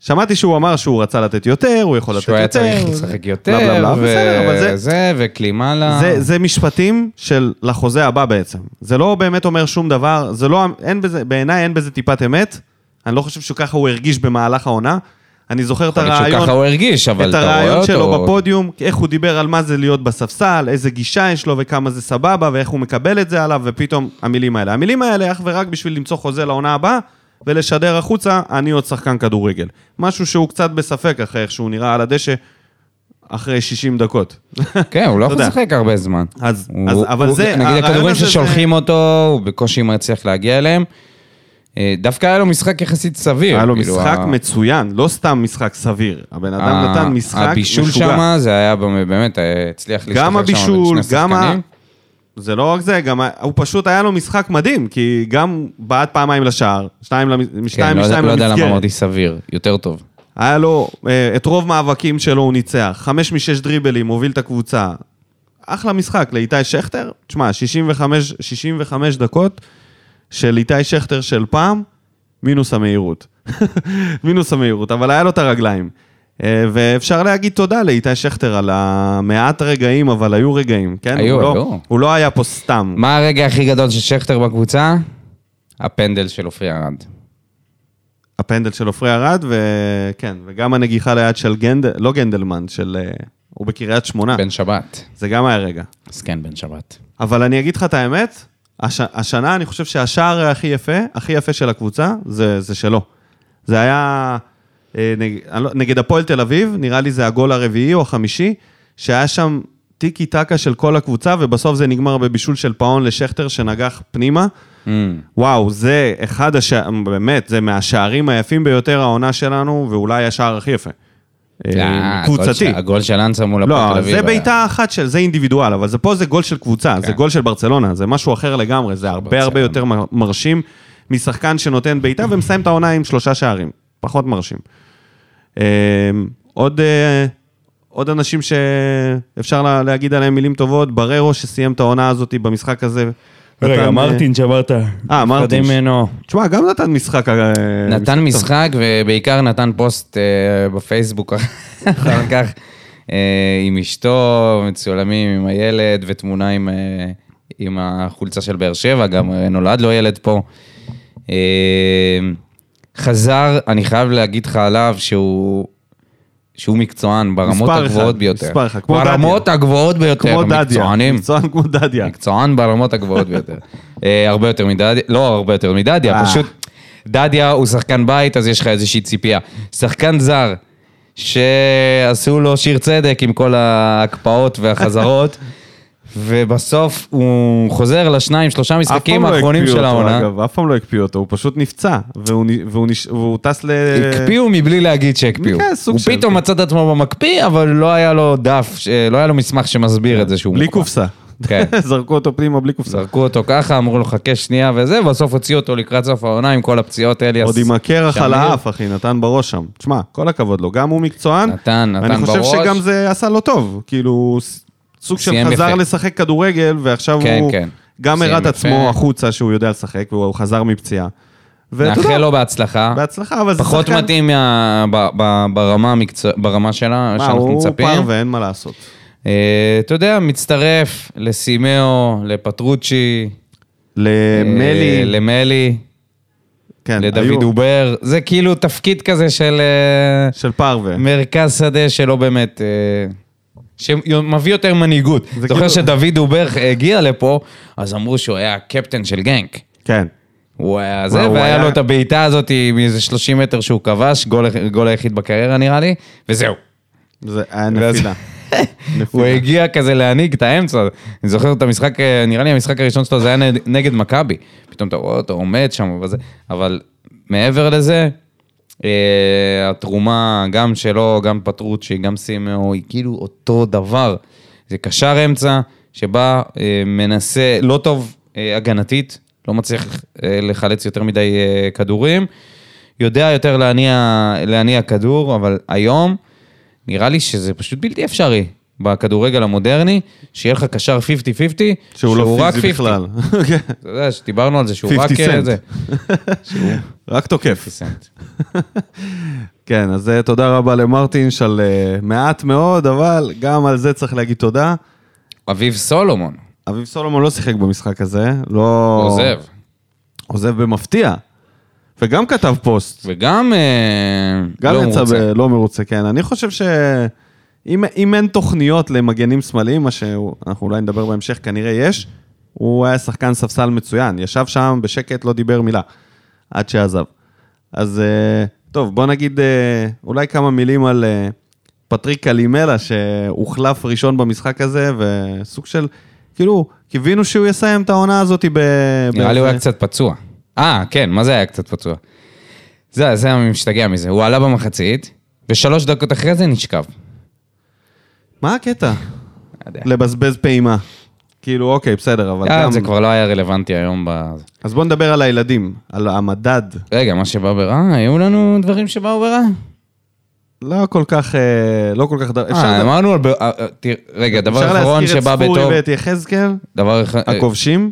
Speaker 1: שמעתי שהוא אמר שהוא רצה לתת יותר, הוא יכול לתת יותר.
Speaker 2: שהוא היה צריך
Speaker 1: זה-
Speaker 2: לשחק
Speaker 1: בלה, בלה,
Speaker 2: יותר,
Speaker 1: בלה, בסדר, אבל זה-
Speaker 2: וזה, וכלימה ל...
Speaker 1: זה, זה משפטים של לחוזה הבא בעצם. זה לא באמת אומר שום דבר, זה לא, אין בזה, בעיניי אין בזה טיפת אמת. אני לא חושב שככה הוא הרגיש במהלך העונה. אני זוכר את
Speaker 2: יכול להיות שהוא
Speaker 1: הרעיון,
Speaker 2: ככה הוא הרגיש, אבל
Speaker 1: את
Speaker 2: אתה רואה אותו.
Speaker 1: הרעיון שלו בפודיום, איך הוא דיבר על מה זה להיות בספסל, איזה גישה יש לו וכמה זה סבבה, ואיך הוא מקבל את זה עליו, ופתאום המילים האלה. המילים האלה אך ורק בשביל למצוא חוזה לעונה הבאה, ולשדר החוצה, אני עוד שחקן כדורגל. משהו שהוא קצת בספק אחרי איך שהוא נראה על הדשא, אחרי 60 דקות.
Speaker 2: כן, הוא לא
Speaker 1: אתה
Speaker 2: יכול
Speaker 1: יודע.
Speaker 2: לשחק הרבה זמן.
Speaker 1: אז-
Speaker 2: הוא-
Speaker 1: אז- אבל
Speaker 2: הוא-
Speaker 1: זה- הרעיון
Speaker 2: נגיד הכדורים
Speaker 1: הזה
Speaker 2: ששולחים אותו, הוא בקושי מצליח להגיע אליהם. אה, דווקא היה לו משחק יחסית סביר.
Speaker 1: היה לו
Speaker 2: כאילו,
Speaker 1: משחק
Speaker 2: ה-
Speaker 1: מצוין, לא סתם משחק סביר. הבן אדם
Speaker 2: ה-
Speaker 1: נתן משחק
Speaker 2: הבישול
Speaker 1: משוגע.
Speaker 2: שם, זה היה במ- באמת, אה, הצליח להשתחרר שם
Speaker 1: גם
Speaker 2: בין שני
Speaker 1: הבישול, גם ה...
Speaker 2: שחקנים. כן, לא
Speaker 1: זה לא רק זה, גם ה- הוא פשוט היה לו משחק מדהים, כי גם בעט פעמיים לשער, שניים למ-
Speaker 2: כן,
Speaker 1: שתיים
Speaker 2: לא יודע-
Speaker 1: משתיים
Speaker 2: לא יודע למה
Speaker 1: למסגרת.
Speaker 2: אמרתי סביר, יותר טוב.
Speaker 1: היה לו, אה, את רוב מאבקים שלו הוא ניצח, חמש משש דריבלים, הוביל את הקבוצה. אחלה משחק לאיתי שכטר, תשמע, 65, 65 דקות של איתי שכטר של פעם, מינוס המהירות. מינוס המהירות, אבל היה לו את הרגליים. אה, ואפשר להגיד תודה לאיתי שכטר על המעט רגעים, אבל היו רגעים, כן?
Speaker 2: היו,
Speaker 1: הוא לא,
Speaker 2: היו.
Speaker 1: הוא לא היה פה סתם.
Speaker 2: מה הרגע הכי גדול של שכטר בקבוצה? הפנדל של עופרי ארד.
Speaker 1: אה. הפנדל של עופרי ארד, וכן, וגם הנגיחה ליד של גנדל, לא גנדלמן, של... אה, הוא בקריית שמונה.
Speaker 2: בן שבת.
Speaker 1: זה גם היה רגע.
Speaker 2: מסכן בן שבת.
Speaker 1: אבל אני אגיד לך את האמת, הש, השנה אני חושב שהשער הכי יפה, הכי יפה של הקבוצה, זה, זה שלו. זה היה אה, נג, אני לא- נגד הפועל תל אביב, נראה לי זה הגול הרביעי או החמישי, שהיה שם טיקי טקה של כל הקבוצה, ובסוף זה נגמר בבישול של פאון לשכטר שנגח פנימה. וואו, זה אחד השערים, באמת, זה מהשערים היפים ביותר העונה שלנו, ואולי השער הכי יפה. אה,
Speaker 2: אה, הגול
Speaker 1: קבוצתי.
Speaker 2: של- הגול של אנסה מול הפועל תל
Speaker 1: לא,
Speaker 2: אביב. אה.
Speaker 1: זה
Speaker 2: היה.
Speaker 1: בעיטה אחת של, זה אינדיבידואל, אבל זה פה זה גול של קבוצה, זה גול של ברצלונה, זה משהו אחר לגמרי, זה הרבה הרבה
Speaker 2: ברצלונה.
Speaker 1: יותר מר- מרשים משחקן שנותן בעיטה ומסיים את העונה עם שלושה שערים, פחות מרשים. אמ, עוד, אה, עוד אנשים שאפשר לה- להגיד עליהם מילים טובות, בררו שסיים את העונה הזאת במשחק הזה. נתן,
Speaker 4: רגע,
Speaker 1: אה,
Speaker 4: מרטין שאמרת.
Speaker 1: אה,
Speaker 2: נפרדים
Speaker 1: מרטין.
Speaker 2: ממנו.
Speaker 1: תשמע, גם נתן משחק. אה,
Speaker 2: נתן
Speaker 1: טוב.
Speaker 2: משחק, ובעיקר נתן פוסט אה, בפייסבוק אחר כך, אה, עם אשתו, מצולמים עם הילד, ותמונה עם, אה, עם החולצה של באר שבע, גם אה, נולד לו ילד פה. אה, חזר, אני חייב להגיד לך עליו שהוא שהוא מקצוען ברמות
Speaker 1: מספר אחד,
Speaker 2: הגבוהות ביותר.
Speaker 1: מספר אחד, כמו דדיה.
Speaker 2: ברמות הגבוהות ביותר,
Speaker 1: כמו דדיה.
Speaker 2: מקצוענים.
Speaker 1: מקצוען כמו דדיה.
Speaker 2: כן. מקצוען ברמות הגבוהות ביותר. אה, הרבה יותר מדדיה, לא הרבה יותר מדדיה,
Speaker 1: אה.
Speaker 2: פשוט דדיה הוא שחקן בית, אז יש לך איזושהי ציפייה. שחקן זר, שעשו לו שיר צדק עם כל ההקפאות והחזרות, ובסוף הוא חוזר לשניים, שלושה
Speaker 1: אף פעם
Speaker 2: משחקים
Speaker 1: לא
Speaker 2: האחרונים
Speaker 1: הקפיאו
Speaker 2: של
Speaker 1: אותו,
Speaker 2: העונה.
Speaker 1: אגב, אף פעם לא הקפיאו אותו, הוא פשוט נפצע, והוא נ- והוא נש- והוא טס ל...
Speaker 2: אה, הקפיאו מבלי להגיד שהקפיאו.
Speaker 1: כן, סוג
Speaker 2: הוא
Speaker 1: של-
Speaker 2: פתאום מצא את עצמו במקפיא, אבל לא היה לו דף, ש- לא היה לו מסמך שמסביר את זה שהוא...
Speaker 1: בלי
Speaker 2: מוקפא.
Speaker 1: קופסה.
Speaker 2: כן.
Speaker 1: זרקו אותו פנימה בלי קופסה.
Speaker 2: זרקו אותו ככה, אמרו לו חכה שנייה וזה, בסוף הוציאו אותו לקראת סוף העונה עם כל הפציעות, אליאס.
Speaker 1: עוד עם הקרח
Speaker 2: שמיר.
Speaker 1: על האף, אחי, נתן בראש שם. תשמע, כל הכבוד לו, גם הוא מקצוען.
Speaker 2: נתן, נתן
Speaker 1: אני חושב
Speaker 2: בראש.
Speaker 1: שגם זה עשה לו טוב. כאילו, ס- סוג של
Speaker 2: סיים
Speaker 1: חזר
Speaker 2: יפה.
Speaker 1: לשחק כדורגל, ועכשיו
Speaker 2: כן,
Speaker 1: הוא
Speaker 2: כן.
Speaker 1: גם
Speaker 2: סיים
Speaker 1: הראה את
Speaker 2: יפה.
Speaker 1: עצמו החוצה שהוא יודע לשחק, והוא חזר מפציעה. ואתה יודע,
Speaker 2: נאחל לו בהצלחה.
Speaker 1: בהצלחה, אבל זה שחקן...
Speaker 2: פחות מתאים מה- ב- ב- ברמה המקצוע- ברמה שלה,
Speaker 1: מה,
Speaker 2: שאנחנו
Speaker 1: הוא
Speaker 2: מצפים.
Speaker 1: פער ואין מה לעשות.
Speaker 2: אה, אתה יודע, מצטרף לסימאו, לפטרוצ'י. אה,
Speaker 1: למלי,
Speaker 2: למלי,
Speaker 1: כן, היו-
Speaker 2: לדוד עובר. זה כאילו תפקיד כזה של... אה,
Speaker 1: של פרווה.
Speaker 2: מרכז שדה שלא באמת... אה, שמביא יותר מנהיגות.
Speaker 1: זה
Speaker 2: זוכר
Speaker 1: כאילו-
Speaker 2: שדוד עובר הגיע לפה, אז אמרו שהוא היה הקפטן של גנק.
Speaker 1: כן.
Speaker 2: הוא היה זה,
Speaker 1: הוא
Speaker 2: והיה
Speaker 1: היה-
Speaker 2: לו את הבעיטה הזאת מאיזה 30 מטר שהוא כבש, גול- גול היחיד בקריירה נראה לי, וזהו.
Speaker 1: זה היה נפילה.
Speaker 2: הוא
Speaker 1: נפילה.
Speaker 2: הגיע כזה להנהיג את האמצע. אני זוכר את המשחק, אה, נראה לי המשחק הראשון שלו זה היה נד- נגד מכבי. פתאום אתה רואה אותו עומד שם וזה, אבל מעבר לזה, אה, התרומה גם שלו, גם פטרוצ'י, גם סימאו, היא כאילו אותו דבר. זה קשר אמצע שבא, אה, מנסה, לא טוב אה, הגנתית, לא מצליח אה, לחלץ יותר מדי אה, כדורים. יודע יותר להניע, להניע כדור, אבל היום נראה לי שזה פשוט בלתי אפשרי בכדורגל המודרני, שיהיה לך קשר 50-50,
Speaker 1: שהוא לא
Speaker 2: רק
Speaker 1: פיזי
Speaker 2: 50.
Speaker 1: בכלל. כן.
Speaker 2: אתה יודע, שדיברנו על זה שהוא
Speaker 1: 50
Speaker 2: רק... אה,
Speaker 1: cent.
Speaker 2: זה.
Speaker 1: רק תוקף.
Speaker 2: 50 סנט.
Speaker 1: כן, אז אה, תודה רבה למרטינש על אה, מעט מאוד, אבל גם על זה צריך להגיד תודה.
Speaker 2: אביב סולומון,
Speaker 1: אביב סולומון לא שיחק במשחק הזה, לא...
Speaker 2: עוזב.
Speaker 1: עוזב במפתיע. וגם כתב פוסט.
Speaker 2: וגם אה,
Speaker 1: גם
Speaker 2: לא
Speaker 1: יצא
Speaker 2: מרוצה.
Speaker 1: ב- לא מרוצה, כן. אני חושב ש... אם, אם אין תוכניות למגנים שמאליים, מה שאנחנו אולי נדבר בהמשך, כנראה יש, הוא היה שחקן ספסל מצוין. ישב שם בשקט, לא דיבר מילה, עד שעזב. אז אה, טוב, בוא נגיד אה, אולי כמה מילים על אה, פטריק קלימלה, שהוחלף ראשון במשחק הזה, וסוג של, כאילו, קיווינו שהוא יסיים את העונה הזאת ב...
Speaker 2: נראה לי
Speaker 1: באיזה-
Speaker 2: הוא היה קצת פצוע. אה, כן, מה זה היה קצת פצוע? זה, זה היה משתגע מזה. הוא עלה במחצית, ושלוש דקות אחרי זה נשכב.
Speaker 1: מה הקטע?
Speaker 2: לא יודע.
Speaker 1: לבזבז פעימה. כאילו, אוקיי, בסדר, אבל
Speaker 2: אה,
Speaker 1: גם...
Speaker 2: זה כבר לא היה רלוונטי היום ב...
Speaker 1: אז בוא נדבר על הילדים, על המדד.
Speaker 2: רגע, מה שבא ברע? היו לנו דברים שבאו ברע?
Speaker 1: לא כל כך, אה, לא כל כך... דבר- אפשר
Speaker 2: אה,
Speaker 1: לדבר-
Speaker 2: אמרנו על... ב- אה, אה, תראה, רגע, דבר
Speaker 1: אפשר
Speaker 2: אחרון
Speaker 1: להזכיר את
Speaker 2: שבא
Speaker 1: ספורי
Speaker 2: בטוב,
Speaker 1: ואת יחזקאל,
Speaker 2: דבר אחד, אה,
Speaker 1: הכובשים.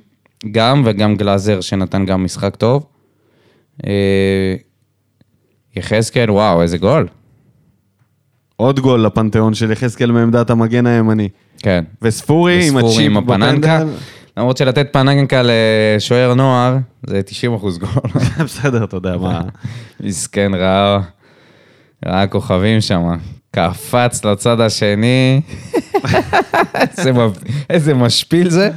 Speaker 2: גם וגם גלאזר שנתן גם משחק טוב. אה, יחזקאל, וואו, איזה גול.
Speaker 1: עוד גול לפנתיאון של יחזקאל מעמדת המגן הימני.
Speaker 2: כן.
Speaker 1: וספורי אה, עם
Speaker 2: וספורי
Speaker 1: הצ'יפ
Speaker 2: עם הפננקה.
Speaker 1: בפנדל.
Speaker 2: למרות שלתת פננקה לשוער נוער, זה 90 אחוז גול.
Speaker 1: בסדר, אתה יודע
Speaker 2: אה.
Speaker 1: מה.
Speaker 2: מסכן, ראה, ראה כוכבים שם. קפץ לצד השני. איזה מב- איזה משפיל זה.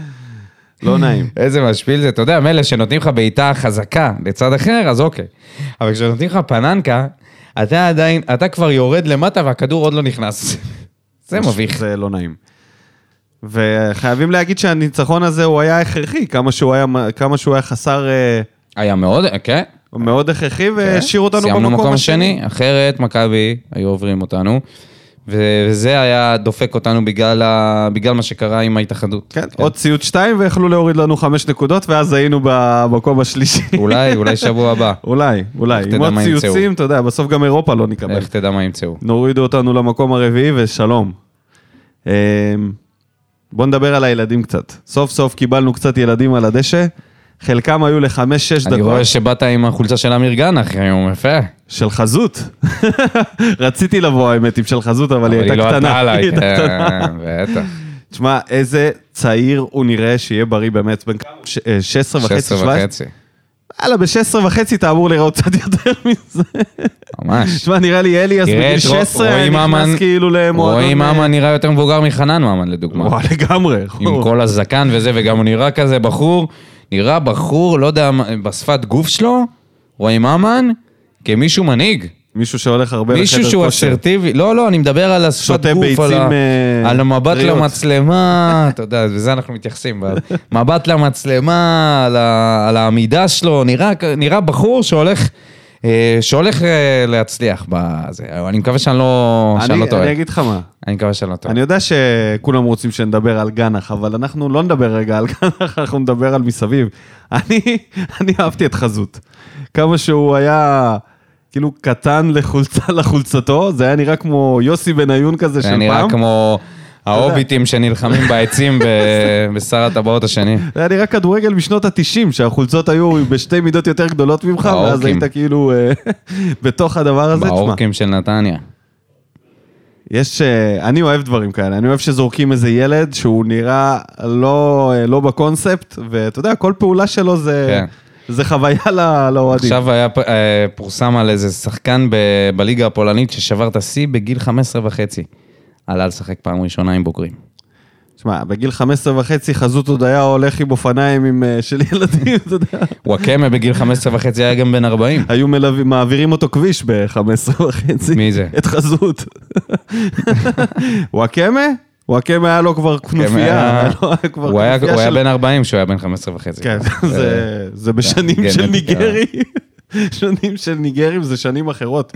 Speaker 1: לא נעים.
Speaker 2: איזה משפיל זה. אתה יודע, מילא שנותנים לך בעיטה חזקה לצד אחר, אז אוקיי. אבל כשנותנים לך פננקה, אתה עדיין, אתה כבר יורד למטה והכדור עוד לא נכנס. זה מביך.
Speaker 1: זה לא נעים. וחייבים להגיד שהניצחון הזה הוא היה הכרחי, כמה שהוא היה, כמה שהוא היה חסר, אה,
Speaker 2: היה מאוד, כן.
Speaker 1: מאוד הכרחי, והשאיר אה, אותנו במקום השני.
Speaker 2: סיימנו מקום שני, אחרת מכבי היו עוברים אותנו. ו- וזה היה דופק אותנו בגלל, ה... בגלל מה שקרה עם ההתאחדות.
Speaker 1: כן, עוד ציוד שתיים ויכלו להוריד לנו חמש נקודות, ואז היינו במקום השלישי.
Speaker 2: אולי, אולי שבוע הבא.
Speaker 1: אולי, אולי.
Speaker 2: איך
Speaker 1: עם
Speaker 2: תדע
Speaker 1: עוד
Speaker 2: מה ימצאו?
Speaker 1: ציוצים, אתה יודע, בסוף גם אירופה לא נקבל.
Speaker 2: איך תדע מה ימצאו.
Speaker 1: נורידו אותנו למקום הרביעי ושלום. אמ, בוא נדבר על הילדים קצת. סוף סוף קיבלנו קצת ילדים על הדשא. חלקם היו לחמש-שש
Speaker 2: אני
Speaker 1: דקות
Speaker 2: רואה שבאת עם החולצה של אמיר גן אחרי היום, יפה.
Speaker 1: של חזות. רציתי לבוא, האמת, עם של חזות, אבל היא
Speaker 2: אבל
Speaker 1: הייתה
Speaker 2: היא לא עלתה
Speaker 1: קטנה.
Speaker 2: עליי,
Speaker 1: היא הייתה קטנה.
Speaker 2: כן, בטח.
Speaker 1: תשמע, איזה צעיר הוא נראה שיהיה בריא באמת, בן כמה? הוא? ש- אה, 16 וחצי,
Speaker 2: 16
Speaker 1: 17?
Speaker 2: וחצי.
Speaker 1: יאללה, ב-16 וחצי אתה אמור להיראות קצת יותר מזה.
Speaker 2: ממש.
Speaker 1: תשמע, נראה לי אליאס
Speaker 2: תראה
Speaker 1: בגיל
Speaker 2: את רוא-
Speaker 1: 16
Speaker 2: רועי
Speaker 1: נכנס
Speaker 2: ממן-
Speaker 1: כאילו למועדון...
Speaker 2: רועי
Speaker 1: אה,
Speaker 2: ממן נראה יותר מבוגר מחנן ממן, לדוגמה.
Speaker 1: וואו, לגמרי. אוקיי.
Speaker 2: עם כל הזקן וזה, וגם הוא נראה כזה בחור, נראה בחור, לא יודע, מה, בשפת גוף שלו, רועי ממן, כמישהו מנהיג.
Speaker 1: מישהו שהולך הרבה
Speaker 2: מישהו
Speaker 1: לחדר
Speaker 2: שהוא
Speaker 1: כושר.
Speaker 2: אסרטיבי, לא, לא, אני מדבר על השפת
Speaker 1: שותה
Speaker 2: גוף, על, ה...
Speaker 1: ביצים, אה,
Speaker 2: על המבט
Speaker 1: טריות.
Speaker 2: למצלמה, אתה יודע, בזה אנחנו מתייחסים, אבל מבט למצלמה, על, ה... על העמידה שלו, נראה, כ- נראה בחור שהולך, אה, שהולך אה, להצליח בזה, אני מקווה שאני לא, שאני
Speaker 1: אני-
Speaker 2: לא טועה,
Speaker 1: אני
Speaker 2: אני,
Speaker 1: אגיד לך מה.
Speaker 2: מקווה שאני לא טועה.
Speaker 1: אני יודע שכולם רוצים שנדבר על גנח, אבל אנחנו לא נדבר רגע על גנח, אנחנו נדבר על מסביב. אני, אני אהבתי את חזות. כמה שהוא היה כאילו קטן לחולצה, לחולצתו, זה היה נראה כמו יוסי בניון כזה של
Speaker 2: זה נראה
Speaker 1: פעם.
Speaker 2: כמו ההוביטים שנלחמים בעצים ב- בשר הטבעות השני.
Speaker 1: זה היה נראה כדורגל משנות ה-90, שהחולצות היו בשתי מידות יותר גדולות ממך, ואז
Speaker 2: באורקים.
Speaker 1: היית כאילו אה, בתוך הדבר הזה. תשמע,
Speaker 2: באורקים של נתניה.
Speaker 1: יש... אה, אני אוהב דברים כאלה, אני אוהב שזורקים איזה ילד שהוא נראה לא, אה, לא בקונספט, ואתה יודע, כל פעולה שלו
Speaker 2: כן.
Speaker 1: זה, זה חוויה ל- לאוהדים.
Speaker 2: עכשיו היה פ- אה, פורסם על איזה שחקן ב- בליגה הפולנית ששבר את השיא בגיל 15 וחצי. עלה לשחק פעם ראשונה עם בוגרים.
Speaker 1: תשמע, בגיל 15 וחצי חזות עוד היה הולך עם אופניים עם, אה, של ילדים, אתה יודע.
Speaker 2: וואקמה בגיל 15 וחצי היה גם בן 40.
Speaker 1: היו מלווים- מעבירים אותו כביש ב-15 וחצי.
Speaker 2: מי זה?
Speaker 1: את חזות. וואקמה? וואקמה היה לו כבר כנופיה. היה לו כבר
Speaker 2: הוא היה-
Speaker 1: כנופיה
Speaker 2: הוא היה
Speaker 1: של-
Speaker 2: בן אה, 40 כשהוא היה בן 15 וחצי.
Speaker 1: כן, זה- זה בשנים
Speaker 2: גנטיקה.
Speaker 1: של ניגרי. שנים של ניגרים זה שנים אחרות.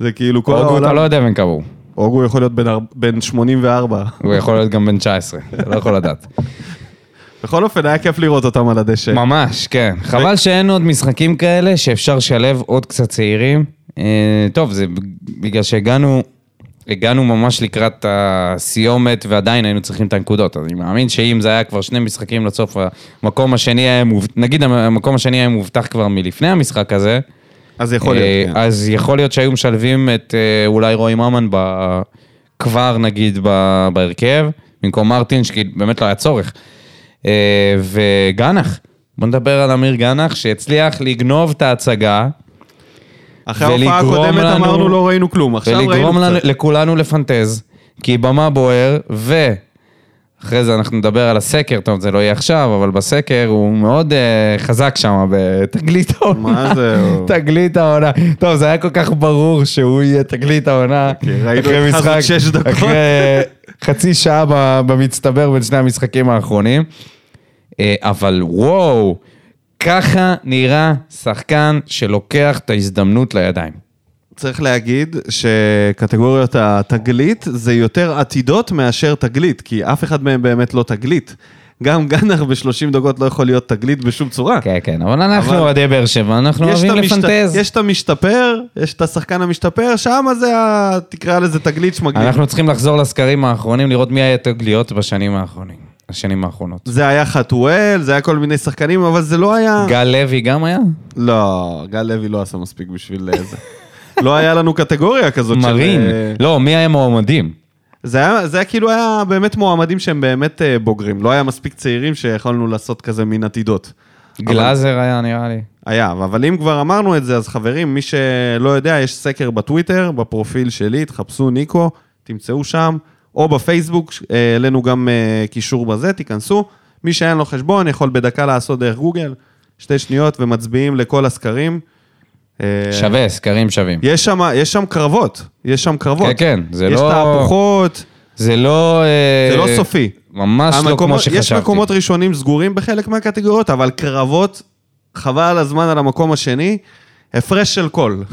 Speaker 1: זה כאילו כל
Speaker 2: אוגו אתה לא
Speaker 1: העולם.
Speaker 2: יודע בן כמה הוא.
Speaker 1: אוגו יכול להיות בן אר- בן 84.
Speaker 2: הוא יכול להיות גם בן 19, אתה לא יכול לדעת.
Speaker 1: בכל אופן, היה כיף לראות אותם על הדשא.
Speaker 2: ממש, כן. חבל שאין עוד משחקים כאלה שאפשר לשלב עוד קצת צעירים. אה, טוב, זה בגלל שהגענו, הגענו ממש לקראת הסיומת ועדיין היינו צריכים את הנקודות. אז אני מאמין שאם זה היה כבר שני משחקים לסוף, המקום השני היה מובטח, נגיד המקום השני היה מובטח כבר מלפני המשחק הזה,
Speaker 1: אז יכול
Speaker 2: אה,
Speaker 1: להיות. כן.
Speaker 2: אז יכול להיות שהיו משלבים את אה, אולי רועי ממן ב... כבר נגיד ב... בהרכב, במקום מרטינש, כי באמת לא היה צורך. אה, וגנח, בוא נדבר על אמיר גנח, שהצליח לגנוב את ההצגה
Speaker 1: אחרי ההופעה
Speaker 2: ולגרום
Speaker 1: הקודמת
Speaker 2: לנו-
Speaker 1: אמרנו לא ראינו כלום, עכשיו ראינו
Speaker 2: ולגרום לנו-
Speaker 1: קצת.
Speaker 2: לכולנו לפנטז, כי במה בוער, ו... אחרי זה אנחנו נדבר על הסקר, טוב, זה לא יהיה עכשיו, אבל בסקר הוא מאוד אה, חזק שם בתגלית העונה.
Speaker 1: מה זה, הוא-
Speaker 2: תגלית העונה. טוב, זה היה כל כך ברור שהוא יהיה תגלית העונה.
Speaker 1: אוקיי, ראינו
Speaker 2: אחרי
Speaker 1: את חזות
Speaker 2: משחק-
Speaker 1: שש דקות.
Speaker 2: אחרי חצי שעה ב- במצטבר בין שני המשחקים האחרונים. אה, אבל וואו, ככה נראה שחקן שלוקח את ההזדמנות לידיים.
Speaker 1: צריך להגיד שקטגוריות התגלית זה יותר עתידות מאשר תגלית, כי אף אחד מהם באמת לא תגלית. גם גנח ב-30 דקות לא יכול להיות תגלית בשום צורה.
Speaker 2: כן, כן, אבל אנחנו
Speaker 1: אבל-
Speaker 2: אוהדי באר שבע, אנחנו
Speaker 1: יש את
Speaker 2: אוהבים
Speaker 1: המשת-
Speaker 2: לפנטז.
Speaker 1: יש את המשתפר, יש את השחקן המשתפר, שם זה, ה- תקרא לזה תגלית שמגלית.
Speaker 2: אנחנו צריכים לחזור לסקרים האחרונים, לראות מי היה תגליות בשנים האחרונים, השנים האחרונות.
Speaker 1: זה היה חתואל, זה היה כל מיני שחקנים, אבל זה לא היה...
Speaker 2: גל לוי גם היה?
Speaker 1: לא, גל לוי לא עשה מספיק בשביל אה, זה. לא היה לנו קטגוריה כזאת של...
Speaker 2: מרין.
Speaker 1: אה,
Speaker 2: לא, מי היה מועמדים?
Speaker 1: זה היה, זה היה כאילו היה באמת מועמדים שהם באמת אה, בוגרים, לא היה מספיק צעירים שיכולנו לעשות כזה מין עתידות.
Speaker 2: גלאזר היה, נראה לי.
Speaker 1: היה, אבל אם כבר אמרנו את זה, אז חברים, מי שלא יודע, יש סקר בטוויטר, בפרופיל שלי, תחפשו ניקו, תמצאו שם, או בפייסבוק, אה, העלינו גם אה, קישור בזה, תיכנסו. מי שאין לו חשבון יכול בדקה לעשות דרך גוגל, שתי שניות, ומצביעים לכל הסקרים. אה,
Speaker 2: שווה, סקרים שווים.
Speaker 1: יש שם, יש שם קרבות, יש שם קרבות.
Speaker 2: כן, כן, זה
Speaker 1: יש
Speaker 2: לא-
Speaker 1: תהפוכות,
Speaker 2: זה לא... אה,
Speaker 1: זה לא סופי.
Speaker 2: ממש לא כמו
Speaker 1: המקומות- יש
Speaker 2: שחשבתי.
Speaker 1: מקומות ראשונים סגורים בחלק מהקטגוריות, אבל קרבות, חבל על הזמן על המקום השני, הפרש של קול.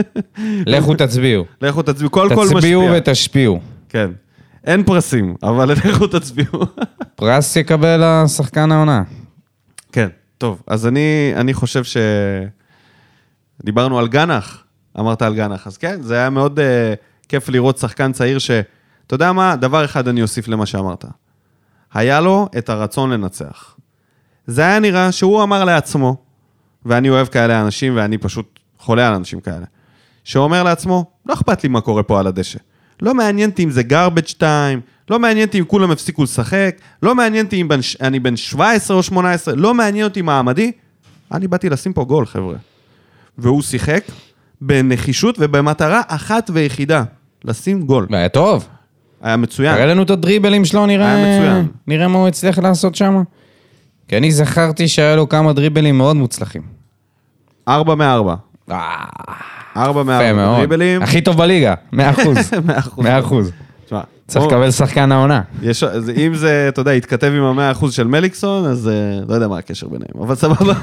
Speaker 2: לכו תצביעו.
Speaker 1: לכו תצביעו, כל קול משפיע.
Speaker 2: תצביעו ותשפיעו.
Speaker 1: כן. אין פרסים, אבל לכו תצביעו.
Speaker 2: פרס יקבל השחקן העונה.
Speaker 1: כן, טוב, אז אני, אני חושב ש... דיברנו על גנח, אמרת על גנח, אז כן, זה היה מאוד uh, כיף לראות שחקן צעיר ש... אתה יודע מה? דבר אחד אני אוסיף למה שאמרת. היה לו את הרצון לנצח. זה היה נראה שהוא אמר לעצמו, ואני אוהב כאלה אנשים, ואני פשוט חולה על אנשים כאלה, שאומר לעצמו, לא אכפת לי מה קורה פה על הדשא. לא מעניין אותי אם זה garbage time, לא מעניין אותי אם כולם הפסיקו לשחק, לא מעניין אותי אם בן, ש- אני בן 17 או 18, לא מעניין אותי מעמדי, אני באתי לשים פה גול, חבר'ה. והוא שיחק בנחישות ובמטרה אחת ויחידה, לשים גול.
Speaker 2: והיה אה, טוב.
Speaker 1: היה מצוין.
Speaker 2: תראה לנו את הדריבלים שלו,
Speaker 1: כן. היה
Speaker 2: נראה...
Speaker 1: מצוין.
Speaker 2: נראה מה הוא הצליח לעשות שם. כי אני זכרתי שהיה לו כמה דריבלים מאוד מוצלחים.
Speaker 1: ארבע מארבע.
Speaker 2: אה,
Speaker 1: ארבע
Speaker 2: יפה
Speaker 1: מארבע.
Speaker 2: מאוד.
Speaker 1: אה, דריבלים.
Speaker 2: הכי טוב בליגה, 100 אחוז.
Speaker 1: מאה אחוז.
Speaker 2: 100 אחוז.
Speaker 1: תשמע,
Speaker 2: צריך
Speaker 1: בוא,
Speaker 2: לקבל שחקן העונה.
Speaker 1: יש- אז אם זה, אתה יודע, יתכתב עם המאה אחוז של מליקסון, אז אה, לא יודע מה הקשר ביניהם, אבל סבבה.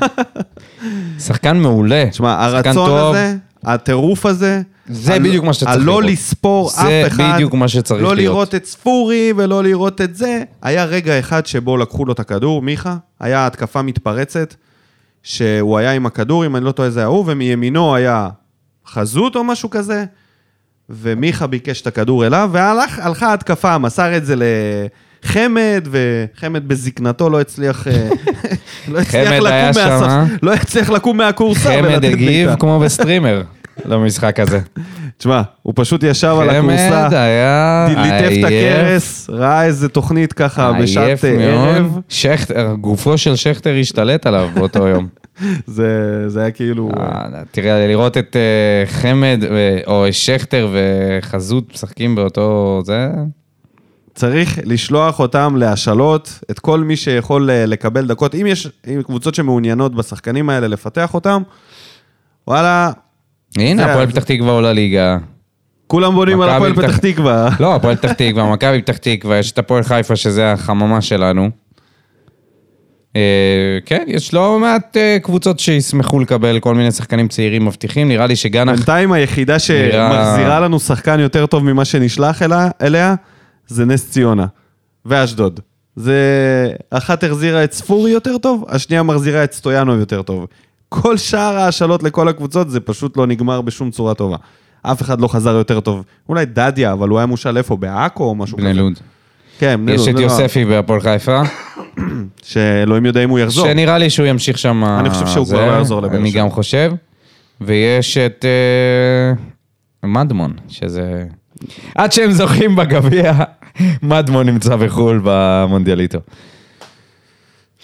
Speaker 2: שחקן מעולה.
Speaker 1: תשמע,
Speaker 2: שחקן
Speaker 1: הרצון
Speaker 2: טוב.
Speaker 1: הזה, הטירוף הזה,
Speaker 2: זה
Speaker 1: ה-
Speaker 2: בדיוק מה שצריך
Speaker 1: הלא
Speaker 2: לראות.
Speaker 1: לספור אף
Speaker 2: זה
Speaker 1: אחד,
Speaker 2: בדיוק מה שצריך
Speaker 1: לא
Speaker 2: להיות.
Speaker 1: לראות את ספורי ולא לראות את זה. היה רגע אחד שבו לקחו לו את הכדור, מיכה, היה התקפה מתפרצת, שהוא היה עם הכדור, אם אני לא טועה זה היה הוא, ומימינו היה חזות או משהו כזה, ומיכה ביקש את הכדור אליו, והלכה ההתקפה, מסר את זה ל... חמד, וחמד בזקנתו לא הצליח, אה, לא הצליח
Speaker 2: חמד היה
Speaker 1: לקום
Speaker 2: שם, אה?
Speaker 1: מהספ... לא הצליח לקום מהכורסה
Speaker 2: חמד
Speaker 1: ולתת
Speaker 2: הגיב
Speaker 1: בעיטה.
Speaker 2: כמו בסטרימר למשחק הזה.
Speaker 1: תשמע, הוא פשוט ישב על הכורסה,
Speaker 2: חמד היה
Speaker 1: ליטף את
Speaker 2: עייף,
Speaker 1: הכרס, ראה איזה תוכנית ככה בשעת
Speaker 2: עייף
Speaker 1: אה, ערב.
Speaker 2: מאוד. שכטר, גופו של שכטר השתלט עליו באותו יום.
Speaker 1: זה זה היה כאילו...
Speaker 2: אה, תראה, לראות את אה, חמד אה, או שכטר וחזות משחקים באותו... זה...
Speaker 1: צריך לשלוח אותם להשאלות, את כל מי שיכול אה, לקבל דקות. אם יש אם קבוצות שמעוניינות בשחקנים האלה לפתח אותם, וואלה,
Speaker 2: הנה,
Speaker 1: זה-
Speaker 2: הפועל
Speaker 1: זה-
Speaker 2: פתח תקווה עולה ליגה.
Speaker 1: כולם בונים על
Speaker 2: מכבי
Speaker 1: הפועל פתח
Speaker 2: פתח-
Speaker 1: תקווה.
Speaker 2: לא, הפועל פתח תקווה, מכבי פתח תקווה, יש את הפועל חיפה שזה החממה שלנו. אה, כן, יש לא מעט אה, קבוצות שישמחו לקבל כל מיני שחקנים צעירים מבטיחים, נראה לי שגנח...
Speaker 1: בינתיים היחידה שמחזירה לנו שחקן יותר טוב ממה שנשלח אלה- אליה, זה נס ציונה ואשדוד. זה... אחת החזירה את ספורי יותר טוב, השנייה מחזירה את סטויאנוב יותר טוב. כל שאר ההשאלות לכל הקבוצות, זה פשוט לא נגמר בשום צורה טובה. אף אחד לא חזר יותר טוב. אולי דדיה, אבל הוא היה מושל איפה? בעכו או משהו
Speaker 2: בני
Speaker 1: כזה?
Speaker 2: לוד.
Speaker 1: כן, בני לוד.
Speaker 2: יש את
Speaker 1: בני לוד.
Speaker 2: יוספי בהפועל חיפה,
Speaker 1: שאלוהים יודע אם הוא יחזור.
Speaker 2: שנראה לי שהוא ימשיך שם. אה,
Speaker 1: אני חושב שהוא
Speaker 2: זה,
Speaker 1: כבר לא יחזור לבאר
Speaker 2: אני
Speaker 1: שבע.
Speaker 2: גם חושב. ויש את אה, מדמון, שזה... עד שהם זוכים בגביע, מדמון נמצא בחו"ל במונדיאליטו.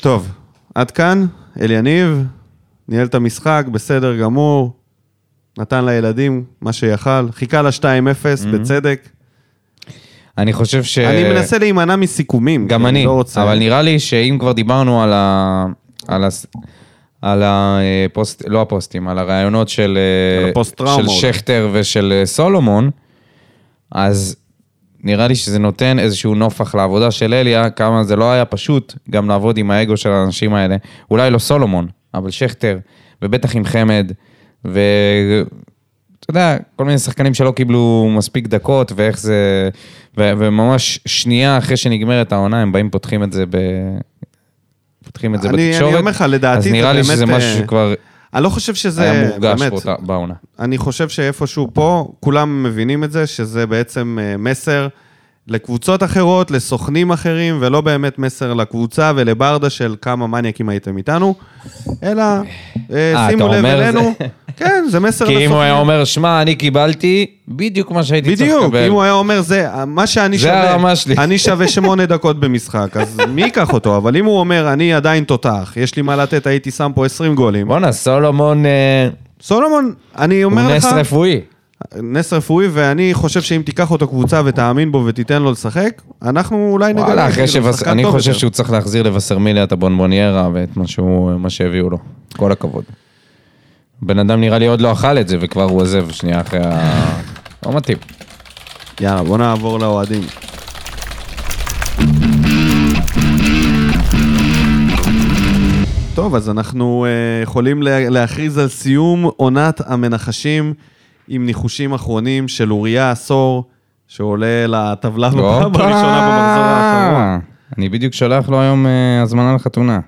Speaker 1: טוב, עד כאן, אליניב, ניהל את המשחק, בסדר גמור, נתן לילדים מה שיכל, חיכה ל-2-0,
Speaker 2: Mm-hmm.
Speaker 1: בצדק.
Speaker 2: אני חושב ש...
Speaker 1: אני מנסה להימנע מסיכומים,
Speaker 2: אה, גם
Speaker 1: כי
Speaker 2: אני,
Speaker 1: לא רוצה...
Speaker 2: אבל נראה לי שאם כבר דיברנו על ה... על ה... על הפוסט, לא הפוסטים, על הרעיונות של,
Speaker 1: על
Speaker 2: אה, של
Speaker 1: הפוסט-טראומות.
Speaker 2: שכטר ושל אה, סולומון, אז נראה לי שזה נותן איזשהו נופח לעבודה של אליה, כמה זה לא היה פשוט גם לעבוד עם האגו של האנשים האלה. אולי לא סולומון, אבל שכטר, ובטח עם חמד, ו... אתה יודע, כל מיני שחקנים שלא קיבלו מספיק דקות, ואיך זה... ו- וממש שנייה אחרי שנגמרת העונה, הם באים, פותחים את זה ב... פותחים את זה
Speaker 1: אני- אני
Speaker 2: בתקשורת.
Speaker 1: אומר לך, לדעתי
Speaker 2: אז
Speaker 1: זה
Speaker 2: נראה לי
Speaker 1: באמת,
Speaker 2: שזה משהו
Speaker 1: אה,
Speaker 2: שכבר
Speaker 1: אני לא חושב שזה...
Speaker 2: היה מורגש
Speaker 1: באמת,
Speaker 2: באותה- בעונה.
Speaker 1: אני חושב שאיפשהו פה, כולם מבינים את זה, שזה בעצם אה, מסר לקבוצות אחרות, לסוכנים אחרים, ולא באמת מסר לקבוצה ולברדה של כמה מניאקים הייתם איתנו, אלא אה,
Speaker 2: אתה
Speaker 1: שימו לב
Speaker 2: אומר
Speaker 1: אלינו.
Speaker 2: זה?
Speaker 1: כן, זה מסר
Speaker 2: כי
Speaker 1: לסוכנים.
Speaker 2: אם הוא היה אומר, שמע, אני קיבלתי בדיוק מה שהייתי צריך לקבל.
Speaker 1: בדיוק, אם הוא היה אומר, זה מה שאני
Speaker 2: זה
Speaker 1: שווה.
Speaker 2: הרמה שלי."
Speaker 1: אני שווה שמונה דקות במשחק, אז מי ייקח אותו? אבל אם הוא אומר, אני עדיין תותח, יש לי מה לתת, הייתי שם פה 20 גולים.
Speaker 2: בואנה, סולומון אה,
Speaker 1: סולומון, אני
Speaker 2: הוא
Speaker 1: אומר לך...
Speaker 2: נס רפואי.
Speaker 1: נס רפואי, ואני חושב שאם תיקח אותו קבוצה ותאמין בו ותיתן לו לשחק, אנחנו אולי נגלה.
Speaker 2: וואלה, אחרי
Speaker 1: כאילו,
Speaker 2: שבס...
Speaker 1: שחקן
Speaker 2: אני
Speaker 1: טוב
Speaker 2: חושב
Speaker 1: יותר.
Speaker 2: שהוא צריך להחזיר לווסרמיליה את הבונבוניירה ואת מה, שהוא, מה שהביאו לו. כל הכבוד. בן אדם נראה לי עוד לא אכל את זה, וכבר הוא עוזב שנייה אחרי ה... לא מתאים.
Speaker 1: יאללה, בוא נעבור לאוהדים. טוב, אז אנחנו אה, יכולים לה- להכריז על סיום עונת המנחשים עם ניחושים אחרונים של אוריה עשור, שעולה לטבלה בפעם
Speaker 2: הופה!
Speaker 1: הראשונה במחזור האחרון.
Speaker 2: לא? אה, אני בדיוק שולח לו היום אה, הזמנה לחתונה.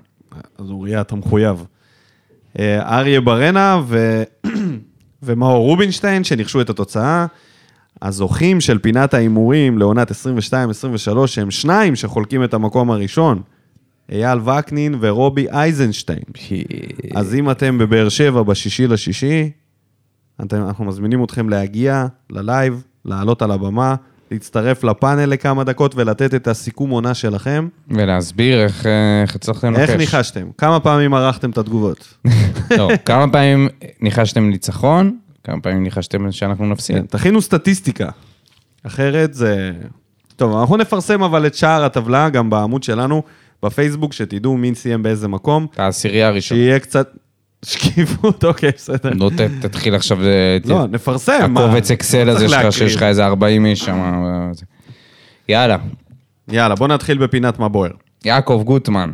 Speaker 1: אז אוריה, אתה מחויב. אה, אריה ברנה ו... ומאור רובינשטיין, שניחשו את התוצאה. הזוכים של פינת ההימורים לעונת 22-23, הם שניים שחולקים את המקום הראשון, אייל וקנין ורובי אייזנשטיין. אז אם אתם בבאר שבע בשישי לשישי, אתם, אנחנו מזמינים אתכם להגיע ללייב, לעלות על הבמה, להצטרף לפאנל לכמה דקות ולתת את הסיכום עונה שלכם.
Speaker 2: ולהסביר איך אה, איך הצלחתם לנחש.
Speaker 1: איך ניחשתם? כמה פעמים ערכתם את התגובות?
Speaker 2: לא, כמה פעמים ניחשתם ניצחון, כמה פעמים ניחשתם שאנחנו
Speaker 1: כן,
Speaker 2: נפסיד.
Speaker 1: תכינו סטטיסטיקה. אחרת זה... טוב, אנחנו נפרסם אבל את שאר הטבלה גם בעמוד שלנו, בפייסבוק, שתדעו מי סיים באיזה מקום.
Speaker 2: את העשירייה הראשונה.
Speaker 1: שיהיה קצת שקיפות, אוקיי, בסדר.
Speaker 2: נו, ת- תתחיל עכשיו... אה, ת-
Speaker 1: לא, נפרסם. מה?
Speaker 2: לא, הקובץ אקסל
Speaker 1: לא
Speaker 2: הזה
Speaker 1: צריך
Speaker 2: שלך,
Speaker 1: להקריא.
Speaker 2: שיש לך איזה 40 איש שם. אה, זה. יאללה,
Speaker 1: יאללה, בוא נתחיל בפינת מה בוער.
Speaker 2: יעקב גוטמן.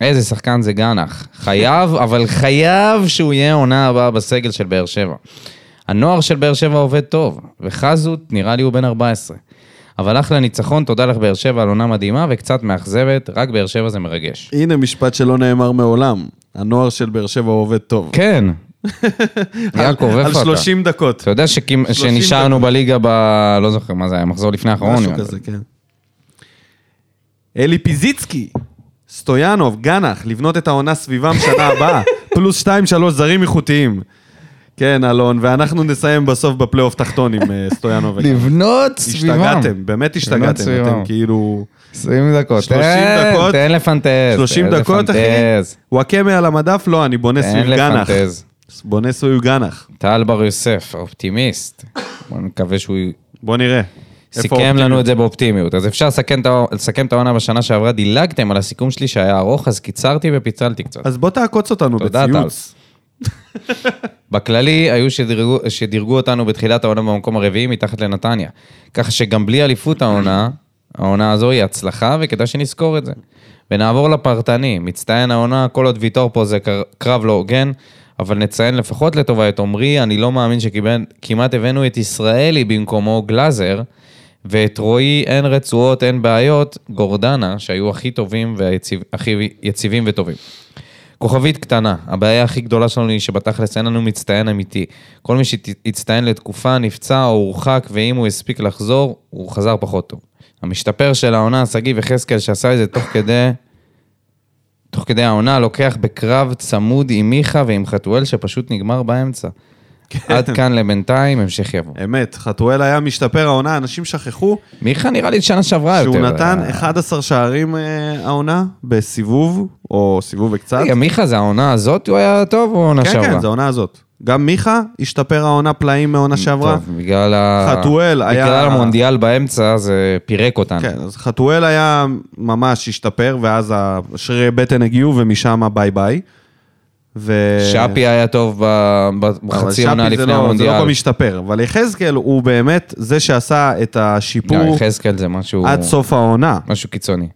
Speaker 2: איזה שחקן זה גנח. חייב, אבל חייב שהוא יהיה עונה הבאה בסגל של באר שבע. הנוער של באר שבע עובד טוב, וחזות נראה לי הוא בן 14. אבל אחלה ניצחון, תודה לך באר שבע על עונה מדהימה וקצת מאכזבת, רק באר שבע זה מרגש.
Speaker 1: הנה משפט שלא נאמר מעולם. הנוער של באר שבע עובד טוב.
Speaker 2: כן. יעקב,
Speaker 1: על-
Speaker 2: איפה אתה?
Speaker 1: על 30 דקות.
Speaker 2: אתה יודע
Speaker 1: 30
Speaker 2: שכמ- שנשארנו בליגה ב... לא זוכר מה זה היה, מחזור לפני האחרון.
Speaker 1: משהו
Speaker 2: אבל-
Speaker 1: כזה, כן. אלי פיזיצקי, סטויאנוב, גנח, לבנות את העונה סביבם שנה הבאה, פלוס שתיים, שלוש זרים איכותיים. כן, אלון, ואנחנו נסיים בסוף בפלייאוף תחתון עם אה, סטויאנוב. וגנח.
Speaker 2: לבנות סביבם.
Speaker 1: השתגעתם, באמת
Speaker 2: לבנות
Speaker 1: השתגעתם,
Speaker 2: סביבם.
Speaker 1: אתם כאילו...
Speaker 2: 20 דקות.
Speaker 1: 30
Speaker 2: תן,
Speaker 1: דקות.
Speaker 2: תן לפנטז.
Speaker 1: 30
Speaker 2: תן
Speaker 1: דקות, אחי.
Speaker 2: לפנטז.
Speaker 1: וואקמה על המדף? לא, אני בונה
Speaker 2: תן
Speaker 1: סביב גנח.
Speaker 2: לפנטז.
Speaker 1: בונה סביב גנח.
Speaker 2: טל בר יוסף, אופטימיסט. בוא נקווה שהוא
Speaker 1: בוא נראה. איפה
Speaker 2: סיכם
Speaker 1: האופטימיות?
Speaker 2: לנו את זה באופטימיות. אז אפשר לסכם את העו- לסכם את העונה בשנה שעברה, דילגתם על הסיכום שלי שהיה ארוך, אז קיצרתי ופיצלתי קצת.
Speaker 1: אז בוא תעקוץ אותנו
Speaker 2: תודה, טל.
Speaker 1: בציוץ.
Speaker 2: בכללי, היו שדירגו, שדירגו אותנו בתחילת העונה במקום הרביעי מתחת לנתניה. כך שגם בלי אליפות העונה, העונה הזו היא הצלחה, וכדאי שנזכור את זה. ונעבור לפרטני, מצטיין העונה, כל עוד ויטור פה זה קר- קרב לא הוגן, אבל נציין לפחות לטובה את עמרי, אני לא מאמין שכמעט הבאנו את ישראלי במקומו גלאזר, ואת רועי אין רצועות, אין בעיות, גורדנה, שהיו הכי טובים והכי יציבים וטובים. כוכבית קטנה, הבעיה הכי גדולה שלנו היא שבתכלס אין לנו מצטיין אמיתי. כל מי שהצטיין לתקופה נפצע או הורחק, ואם הוא הספיק לחזור, הוא חזר פחות טוב. המשתפר של העונה, שגיב יחזקאל, שעשה את זה תוך כדי... תוך כדי העונה, לוקח בקרב צמוד עם מיכה ועם חתואל, שפשוט נגמר באמצע.
Speaker 1: כן.
Speaker 2: עד כאן לבינתיים, המשך יבוא.
Speaker 1: אמת, חתואל היה משתפר העונה, אנשים שכחו
Speaker 2: מיכה נראה לי שנה שעברה יותר. אה,
Speaker 1: שהוא נתן 11 שערים אה, העונה בסיבוב, או סיבוב וקצת.
Speaker 2: רגע, מיכה זה העונה הזאת, הוא היה טוב או העונה
Speaker 1: כן,
Speaker 2: שעברה?
Speaker 1: כן, זו העונה הזאת. גם מיכה השתפר העונה פלאים מעונה שעברה.
Speaker 2: טוב, בגלל ה...
Speaker 1: חתואל היה-
Speaker 2: בגלל המונדיאל באמצע, זה פירק אותנו.
Speaker 1: כן, אז חתואל היה ממש השתפר, ואז השרירי בטן הגיעו, ומשם ביי ביי. ו...
Speaker 2: שפי היה טוב ב- ב-
Speaker 1: אבל
Speaker 2: בחצי
Speaker 1: שפי
Speaker 2: עונה
Speaker 1: זה
Speaker 2: לפני
Speaker 1: לא- זה לא
Speaker 2: המונדיאל.
Speaker 1: כל משתפר, אבל יחזקאל הוא באמת זה שעשה את
Speaker 2: לא,
Speaker 1: השיפור
Speaker 2: יחזקאל זה משהו...
Speaker 1: עד סוף העונה.
Speaker 2: משהו קיצוני.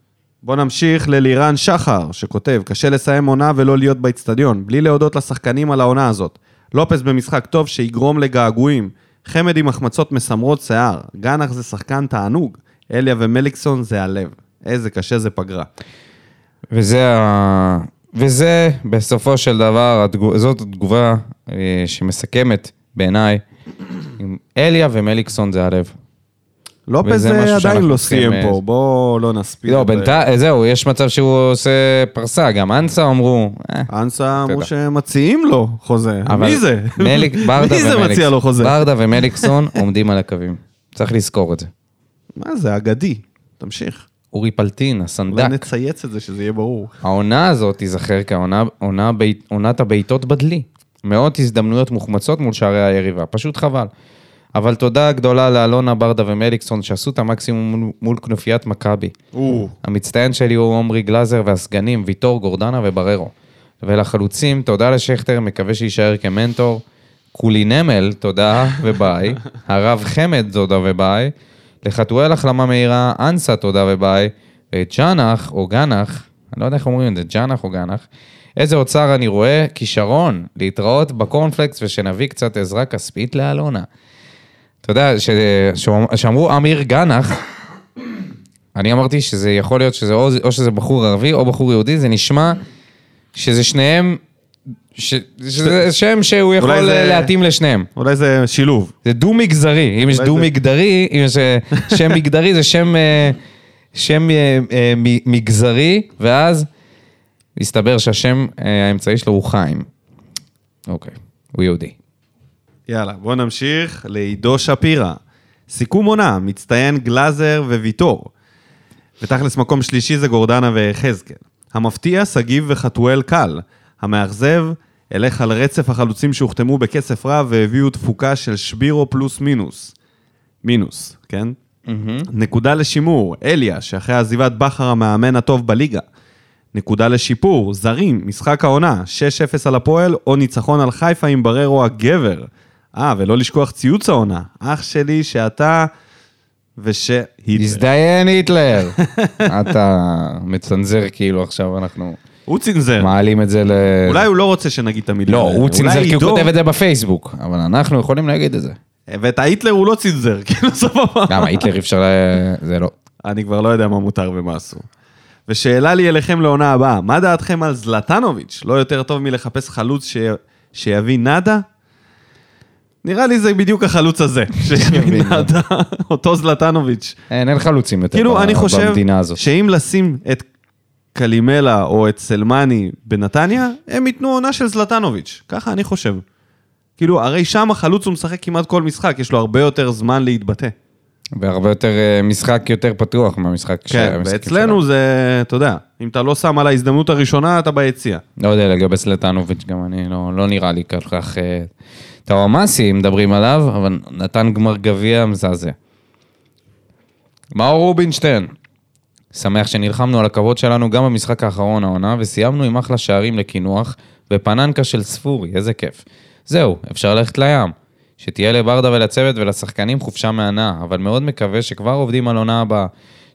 Speaker 1: בואו נמשיך ללירן שחר, שכותב, קשה לסיים עונה ולא להיות באיצטדיון, בלי להודות לשחקנים על העונה הזאת. לופס במשחק טוב שיגרום לגעגועים. חמד עם החמצות מסמרות שיער. גנח זה שחקן תענוג. אליה ומליקסון זה הלב. איזה קשה זה פגרה.
Speaker 2: וזה, ה... וזה בסופו של דבר, התגוב... זאת התגובה אה, שמסכמת בעיניי. עם אליה ומליקסון זה הלב.
Speaker 1: לופס
Speaker 2: וזה
Speaker 1: אה,
Speaker 2: משהו
Speaker 1: עדיין
Speaker 2: שאנחנו
Speaker 1: לא
Speaker 2: צריכים,
Speaker 1: סיים
Speaker 2: אה,
Speaker 1: פה, בואו לא נספיק.
Speaker 2: לא,
Speaker 1: את זה.
Speaker 2: בינתיים, זהו, יש מצב שהוא עושה פרסה, גם אנסה אמרו. אה,
Speaker 1: אנסה אמרו
Speaker 2: תדע.
Speaker 1: שמציעים לו חוזה.
Speaker 2: אבל
Speaker 1: מי זה?
Speaker 2: מליק, ברדה
Speaker 1: מי זה
Speaker 2: ומליקסון.
Speaker 1: מציע לו חוזה?
Speaker 2: ברדה ומליקסון עומדים על הקווים. צריך לזכור את זה.
Speaker 1: מה זה, אגדי. תמשיך.
Speaker 2: אורי פלטין,
Speaker 1: אולי
Speaker 2: הסנדק.
Speaker 1: נצייץ את זה, שזה יהיה ברור.
Speaker 2: העונה הזאת תיזכר כעונה עונה בית, עונת הבעיטות בדלי. מאות הזדמנויות מוחמצות מול שערי היריבה, פשוט חבל. אבל תודה גדולה לאלונה ברדה ומליקסון שעשו את המקסימום מול, מול כנופיית מכבי.
Speaker 1: או.
Speaker 2: המצטיין שלי הוא עמרי גלאזר והסגנים ויטור, גורדנה ובררו. ולחלוצים, תודה לשכטר, מקווה שיישאר כמנטור. קולי נמל, תודה וביי. הרב חמד, תודה וביי. לחתואל החלמה מהירה, אנסה, תודה וביי. אה, ג'אנח, או גנח, אני לא יודע איך אומרים את זה, ג'אנח או גנח. איזה אוצר אני רואה, כישרון, להתראות בקורנפלקס ושנביא קצת עזרה כספית לאלונה. אתה יודע, ש... שאומ- שאמרו אמיר גנח, אני אמרתי שזה יכול להיות שזה או, או שזה בחור ערבי או בחור יהודי, זה נשמע שזה שניהם, ש, שזה שם שהוא יכול
Speaker 1: זה-
Speaker 2: זה... להתאים לשניהם.
Speaker 1: אולי זה שילוב.
Speaker 2: זה דו-מגזרי, אם יש
Speaker 1: אולי זה-
Speaker 2: דו-מגדרי, אם יש אה, שם מגדרי, זה שם, אה, שם אה, אה, מ- מגזרי, ואז הסתבר שהשם אה, האמצעי שלו הוא חיים. אוקיי, הוא יהודי.
Speaker 1: יאללה, בואו נמשיך לעידו שפירא. סיכום עונה, מצטיין גלאזר וויטור. ותכלס מקום שלישי זה גורדנה ויחזקאל. המפתיע, שגיב וחתואל קל. המאכזב, אלך על רצף החלוצים שהוחתמו בכסף רב והביאו תפוקה של שבירו פלוס מינוס. מינוס, כן? נקודה לשימור, אליה, שאחרי עזיבת בכר המאמן הטוב בליגה. נקודה לשיפור, זרים, משחק העונה, 6-0 על הפועל, או ניצחון על חיפה עם בררו הגבר. אה, ולא לשכוח ציוץ העונה, אח שלי שאתה וש...
Speaker 2: הזדיין היטלר. אתה מצנזר כאילו עכשיו אנחנו
Speaker 1: הוא צנזר.
Speaker 2: מעלים את זה ל...
Speaker 1: כן. אולי הוא לא רוצה שנגיד את המילה.
Speaker 2: כן. לא,
Speaker 1: האלה.
Speaker 2: הוא
Speaker 1: אולי
Speaker 2: צנזר כי הוא
Speaker 1: עידו-
Speaker 2: כותב את זה בפייסבוק, אבל אנחנו יכולים להגיד את זה.
Speaker 1: ואת ההיטלר הוא לא צנזר, כאילו סבבה.
Speaker 2: למה, היטלר אי אפשר ל... זה לא.
Speaker 1: אני כבר לא יודע מה מותר ומה אסור. ושאלה לי אליכם לעונה הבאה, מה דעתכם על זלטנוביץ'? לא יותר טוב מלחפש חלוץ ש... שיביא נאדה? נראה לי זה בדיוק החלוץ הזה, שיביא נאדה, אותו זלטנוביץ'.
Speaker 2: אין, אין חלוצים יותר
Speaker 1: כאילו,
Speaker 2: ב-
Speaker 1: אני חושב
Speaker 2: במדינה הזאת.
Speaker 1: שאם לשים את קלימלה או את סלמני בנתניה, הם ייתנו עונה של זלטנוביץ'. ככה אני חושב. כאילו, הרי שם החלוץ הוא משחק כמעט כל משחק, יש לו הרבה יותר זמן
Speaker 2: כן,
Speaker 1: להתבטא.
Speaker 2: והרבה יותר אה, משחק יותר פתוח מהמשחק ש-
Speaker 1: כן,
Speaker 2: המשחקים
Speaker 1: ואצלנו
Speaker 2: שלנו.
Speaker 1: זה, אתה יודע, אם אתה לא שם על ההזדמנות הראשונה, אתה ביציע.
Speaker 2: לא יודע, לגבי סלטנוביץ' גם אני, לא, לא נראה לי כל כך... אה, טאומאסי מדברים עליו, אבל נתן גמר גביע מזעזע. מאור רובינשטיין, שמח שנלחמנו על הכבוד שלנו גם במשחק האחרון העונה, וסיימנו עם אחלה שערים לקינוח ופננקה של ספורי, איזה כיף. זהו, אפשר ללכת לים. שתהיה לברדה ולצוות ולשחקנים חופשה מהנאה, אבל מאוד מקווה שכבר עובדים על עונה הבאה,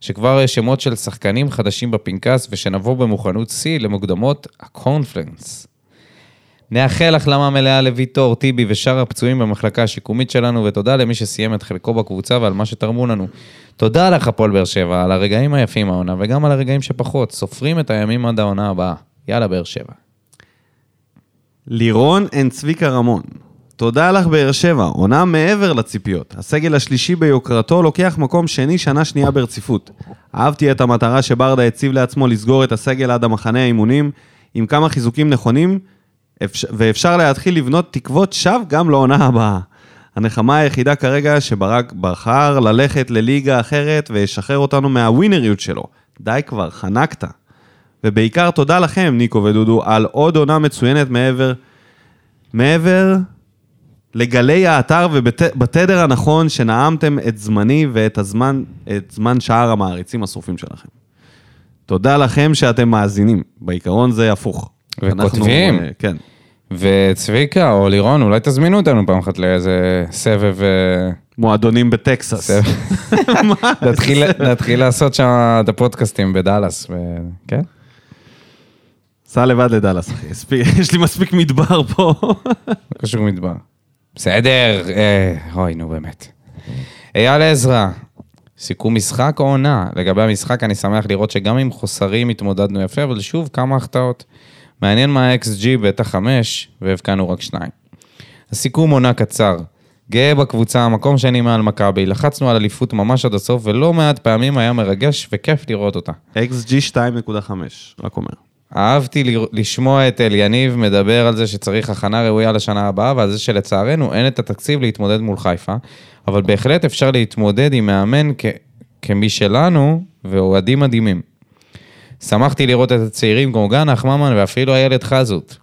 Speaker 2: שכבר יש שמות של שחקנים חדשים בפנקס, ושנבוא במוכנות שיא למוקדמות הקונפרנס. נאחל החלמה מלאה לוויטור, טיבי ושאר הפצועים במחלקה השיקומית שלנו, ותודה למי שסיים את חלקו בקבוצה ועל מה שתרמו לנו. תודה לך, הפועל באר שבע, על הרגעים היפים העונה, וגם על הרגעים שפחות. סופרים את הימים עד העונה הבאה. יאללה, באר שבע.
Speaker 1: לירון and צביקה רמון. תודה לך באר שבע, עונה מעבר לציפיות. הסגל השלישי ביוקרתו לוקח מקום שני שנה שנייה ברציפות. אהבתי את המטרה שברדה הציב לעצמו לסגור את הסגל עד המחנה האימונים, עם כמה חיזוקים נכונים, אפשר, ואפשר להתחיל לבנות תקוות שווא גם לעונה הבאה. הנחמה היחידה כרגע שברק בחר ללכת לליגה אחרת וישחרר אותנו מהווינריות שלו. די כבר, חנקת. ובעיקר תודה לכם, ניקו ודודו, על עוד עונה מצוינת מעבר, מעבר לגלי האתר ובתדר הנכון שנאמתם את זמני ואת הזמן, את זמן שאר המעריצים השרופים שלכם. תודה לכם שאתם מאזינים. בעיקרון זה הפוך. אנחנו,
Speaker 2: וכותבים.
Speaker 1: אה, כן.
Speaker 2: וצביקה או לירון, אולי תזמינו אותנו פעם אחת לאיזה סבב... אה,
Speaker 1: מועדונים בטקסס.
Speaker 2: סבב.
Speaker 1: מה?
Speaker 2: נתחיל- נתחיל לעשות שם את הפודקאסטים בדאלאס, ו- כן?
Speaker 1: סע לבד לדאלאס, אחי. הספיק- יש לי מספיק מדבר פה.
Speaker 2: לא קשור מדבר. בסדר, אה, אוי, נו באמת. אייל עזרא, סיכום משחק או עונה? לגבי המשחק, אני שמח לראות שגם עם חוסרים התמודדנו יפה, אבל שוב, כמה החטאות. מעניין מה ה-XG בטח 5, והבקענו רק שניים. הסיכום עונה קצר. גאה בקבוצה, מקום שני מעל מכבי, לחצנו על אליפות ממש עד הסוף, ולא מעט פעמים היה מרגש וכיף לראות אותה.
Speaker 1: XG 2.5, רק אומר.
Speaker 2: אהבתי ל- לשמוע את אל יניב מדבר על זה שצריך הכנה ראויה לשנה הבאה, ועל זה שלצערנו אין את התקציב להתמודד מול חיפה, אבל בהחלט אפשר להתמודד עם מאמן כ- כמי שלנו, ואוהדים מדהימים. שמחתי לראות את הצעירים כמו גן, נחממן ואפילו איילת חזות.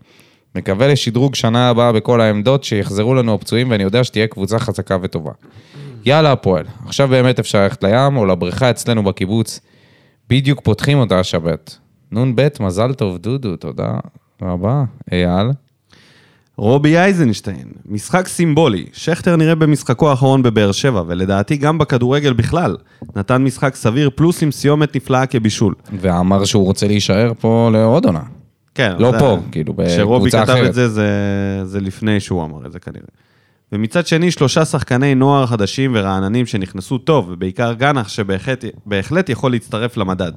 Speaker 2: מקווה לשדרוג שנה הבאה בכל העמדות, שיחזרו לנו הפצועים, ואני יודע שתהיה קבוצה חזקה וטובה. יאללה הפועל, עכשיו באמת אפשר ללכת לים או לבריכה אצלנו בקיבוץ. בדיוק פותחים אותה השבת. נ"ב, מזל טוב דודו, תודה רבה. אייל,
Speaker 1: רובי אייזנשטיין, משחק סימבולי. שכטר נראה במשחקו האחרון בבאר שבע, ולדעתי גם בכדורגל בכלל. נתן משחק סביר פלוס עם סיומת נפלאה כבישול.
Speaker 2: ואמר שהוא רוצה להישאר פה לעוד עונה.
Speaker 1: כן.
Speaker 2: לא
Speaker 1: זה-
Speaker 2: פה, כאילו, בקבוצה
Speaker 1: כשרובי כתב
Speaker 2: אחרת.
Speaker 1: את זה, זה, זה לפני שהוא אמר את זה כנראה. ומצד שני, שלושה שחקני נוער חדשים ורעננים שנכנסו טוב, ובעיקר גנח, שבהחלט בהחלט יכול להצטרף למדד.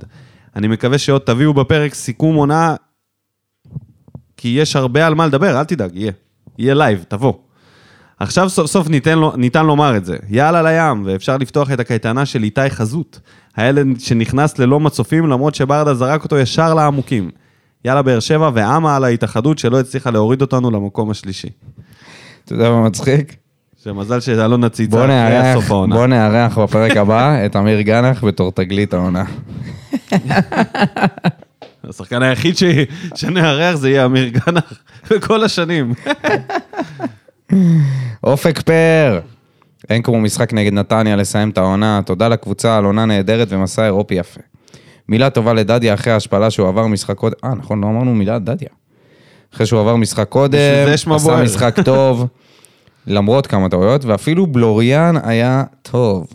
Speaker 1: אני מקווה שעוד תביאו בפרק סיכום עונה, כי יש הרבה על מה לדבר, אל תדאג, יהיה. יהיה לייב, תבוא. עכשיו סוף סוף ניתן, לו, ניתן לומר את זה. יאללה לים, ואפשר לפתוח את הקייטנה של איתי חזות. הילד שנכנס ללא מצופים, למרות שברדה זרק אותו ישר לעמוקים. יאללה באר שבע, ועמה על ההתאחדות שלא הצליחה להוריד אותנו למקום השלישי.
Speaker 2: אתה יודע מה מצחיק?
Speaker 1: שמזל שאלון הציצה
Speaker 2: בוא
Speaker 1: אחרי
Speaker 2: נארח,
Speaker 1: סוף העונה.
Speaker 2: בוא נארח בפרק הבא את אמיר גנח בתור תגלית העונה.
Speaker 1: השחקן היחיד ש... שנארח זה יהיה אמיר גנח בכל השנים.
Speaker 2: אופק פאר! אין כמו משחק נגד נתניה לסיים את העונה, תודה לקבוצה על עונה נהדרת ומסע אירופי יפה. מילה טובה לדדיה אחרי ההשפלה שהוא עבר משחק קודם, אה נכון, לא אמרנו מילה דדיה. אחרי שהוא עבר משחק קודם,
Speaker 1: בשביל זה שמה
Speaker 2: עשה
Speaker 1: בוער.
Speaker 2: משחק טוב, למרות כמה טעויות, ואפילו בלוריאן היה טוב.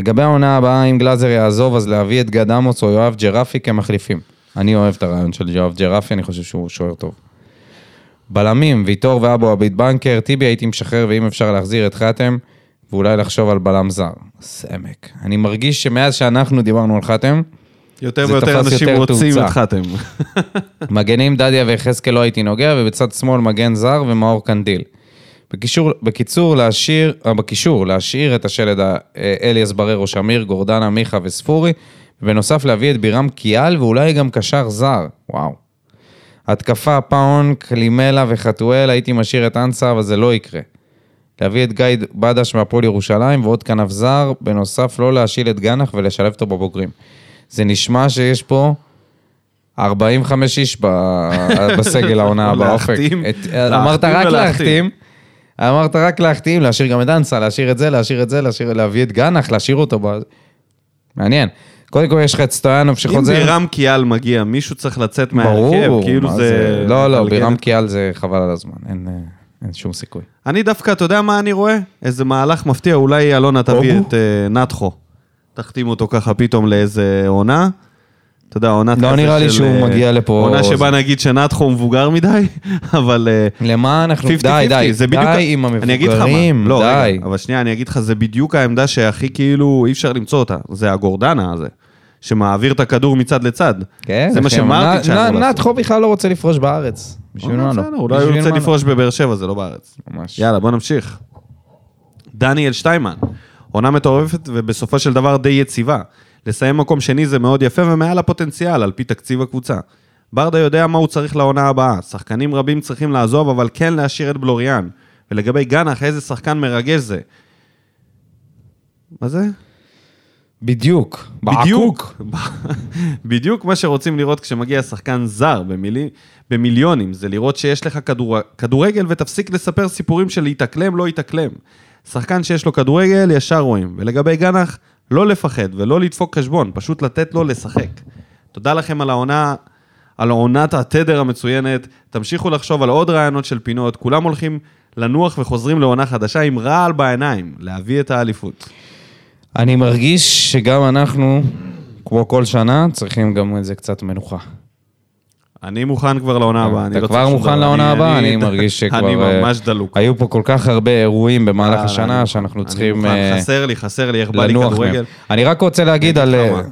Speaker 2: לגבי העונה הבאה, אם גלאזר יעזוב, אז להביא את גד עמוס או יואב ג'רפי כמחליפים. אני אוהב את הרעיון של יואב ג'רפי, אני חושב שהוא שוער טוב. בלמים, ויטור ואבו עביד בנקר, טיבי הייתי משחרר ואם אפשר להחזיר את חתם, ואולי לחשוב על בלם זר. סמק. אני מרגיש שמאז שאנחנו דיברנו על חתם,
Speaker 1: יותר
Speaker 2: זה
Speaker 1: ויותר
Speaker 2: תפס
Speaker 1: אנשים
Speaker 2: יותר
Speaker 1: רוצים
Speaker 2: תאוצה.
Speaker 1: את חתם.
Speaker 2: מגנים דדיה ויחזקאל לא הייתי נוגע, ובצד שמאל מגן זר ומאור קנדיל. בקישור, בקיצור, להשאיר, אה, בקישור, להשאיר את השלד ה- אה, אליאס בררו, שמיר, גורדנה, מיכה וספורי, ובנוסף להביא את בירם קיאל ואולי גם קשר זר. וואו. התקפה, פאון, קלימלה וחתואל, הייתי משאיר את אנסה, אבל זה לא יקרה. להביא את גיא בדש מהפועל ירושלים ועוד כנף זר, בנוסף לא להשיל את גנח ולשלב אותו בבוגרים. זה נשמע שיש פה 45 איש ב- בסגל העונה הבאה, אופק.
Speaker 1: להחתים,
Speaker 2: את-
Speaker 1: להחתים
Speaker 2: אמרת רק
Speaker 1: ולהחתים.
Speaker 2: להחתים. אמרת רק להחתים, להשאיר גם את אנסה, להשאיר את זה, להשאיר את זה, להשאיר, להביא את גנח, להשאיר אותו ב... מעניין. קודם כל יש לך את סטויאנוב
Speaker 1: אם
Speaker 2: שחוזר.
Speaker 1: בירם קיאל מגיע, מישהו צריך לצאת מההרכב,
Speaker 2: ברור,
Speaker 1: כאילו
Speaker 2: מה
Speaker 1: זה...
Speaker 2: לא, לא,
Speaker 1: מלגדת.
Speaker 2: בירם קיאל זה חבל על הזמן, אין, אה, אין שום סיכוי.
Speaker 1: אני דווקא, אתה יודע מה אני רואה? איזה מהלך מפתיע, אולי אלונה תביא
Speaker 2: אוגו?
Speaker 1: את אה, נתחו. תחתים אותו ככה פתאום לאיזה עונה. אתה יודע, עונת
Speaker 2: לא
Speaker 1: כזה
Speaker 2: נראה לי
Speaker 1: של,
Speaker 2: שהוא
Speaker 1: אה,
Speaker 2: מגיע לפה.
Speaker 1: עונה שבה נגיד שנתחו מבוגר מדי, אבל... אה,
Speaker 2: למה אנחנו...
Speaker 1: 50-50,
Speaker 2: די, די,
Speaker 1: זה בדיוק...
Speaker 2: די עם
Speaker 1: אני אגיד לך מה.
Speaker 2: המבוגרים,
Speaker 1: לא,
Speaker 2: די.
Speaker 1: רגע, אבל שנייה, אני אגיד לך, זה בדיוק העמדה שהכי כאילו אי אפשר למצוא אותה. זה הגורדנה הזה, שמעביר את הכדור מצד לצד.
Speaker 2: כן,
Speaker 1: זה מה
Speaker 2: אחי,
Speaker 1: שמרטיץ'
Speaker 2: אבל
Speaker 1: היה
Speaker 2: נ-
Speaker 1: אמור
Speaker 2: נ-
Speaker 1: לעשות.
Speaker 2: נתחו בכלל לא רוצה לפרוש בארץ. בשביל מה לא?
Speaker 1: אה, בסדר, אולי הוא
Speaker 2: בשביל
Speaker 1: ירצה
Speaker 2: מה לא?
Speaker 1: לפרוש בבאר שבע, זה לא בארץ.
Speaker 2: ממש.
Speaker 1: יאללה, בוא נמשיך. דניאל שטיימן, עונה מטורפת ובסופו של דבר די יציבה. לסיים מקום שני זה מאוד יפה ומעל הפוטנציאל, על פי תקציב הקבוצה. ברדה יודע מה הוא צריך לעונה הבאה. שחקנים רבים צריכים לעזוב, אבל כן להשאיר את בלוריאן. ולגבי גנח, איזה שחקן מרגש זה. מה זה?
Speaker 2: בדיוק. בעקוק.
Speaker 1: בדיוק, בדיוק מה שרוצים לראות כשמגיע שחקן זר במילי, במיליונים, זה לראות שיש לך כדור, כדורגל ותפסיק לספר סיפורים של להתאקלם, לא התאקלם. שחקן שיש לו כדורגל, ישר רואים. ולגבי גנח, לא לפחד ולא לדפוק חשבון, פשוט לתת לו לשחק. תודה לכם על העונה, על עונת התדר המצוינת. תמשיכו לחשוב על עוד רעיונות של פינות, כולם הולכים לנוח וחוזרים לעונה חדשה עם רעל בעיניים, להביא את האליפות.
Speaker 2: אני מרגיש שגם אנחנו, כמו כל שנה, צריכים גם איזה קצת מנוחה.
Speaker 1: אני מוכן כבר לעונה הבאה, אני
Speaker 2: אה, כן, אתה
Speaker 1: לא
Speaker 2: כבר
Speaker 1: צריך שום
Speaker 2: מוכן
Speaker 1: דבר.
Speaker 2: לעונה
Speaker 1: אני-
Speaker 2: הבאה? אני מרגיש שכבר...
Speaker 1: אני
Speaker 2: אה,
Speaker 1: ממש דלוק.
Speaker 2: היו פה כל כך הרבה אירועים במהלך
Speaker 1: אה,
Speaker 2: השנה,
Speaker 1: אני-
Speaker 2: שאנחנו
Speaker 1: אני
Speaker 2: צריכים
Speaker 1: מוכן,
Speaker 2: אה,
Speaker 1: חסר לי, חסר לי, איך בא לי
Speaker 2: לנוח
Speaker 1: כדורגל.
Speaker 2: מהם. אני רק רוצה להגיד על... אה,
Speaker 1: למה?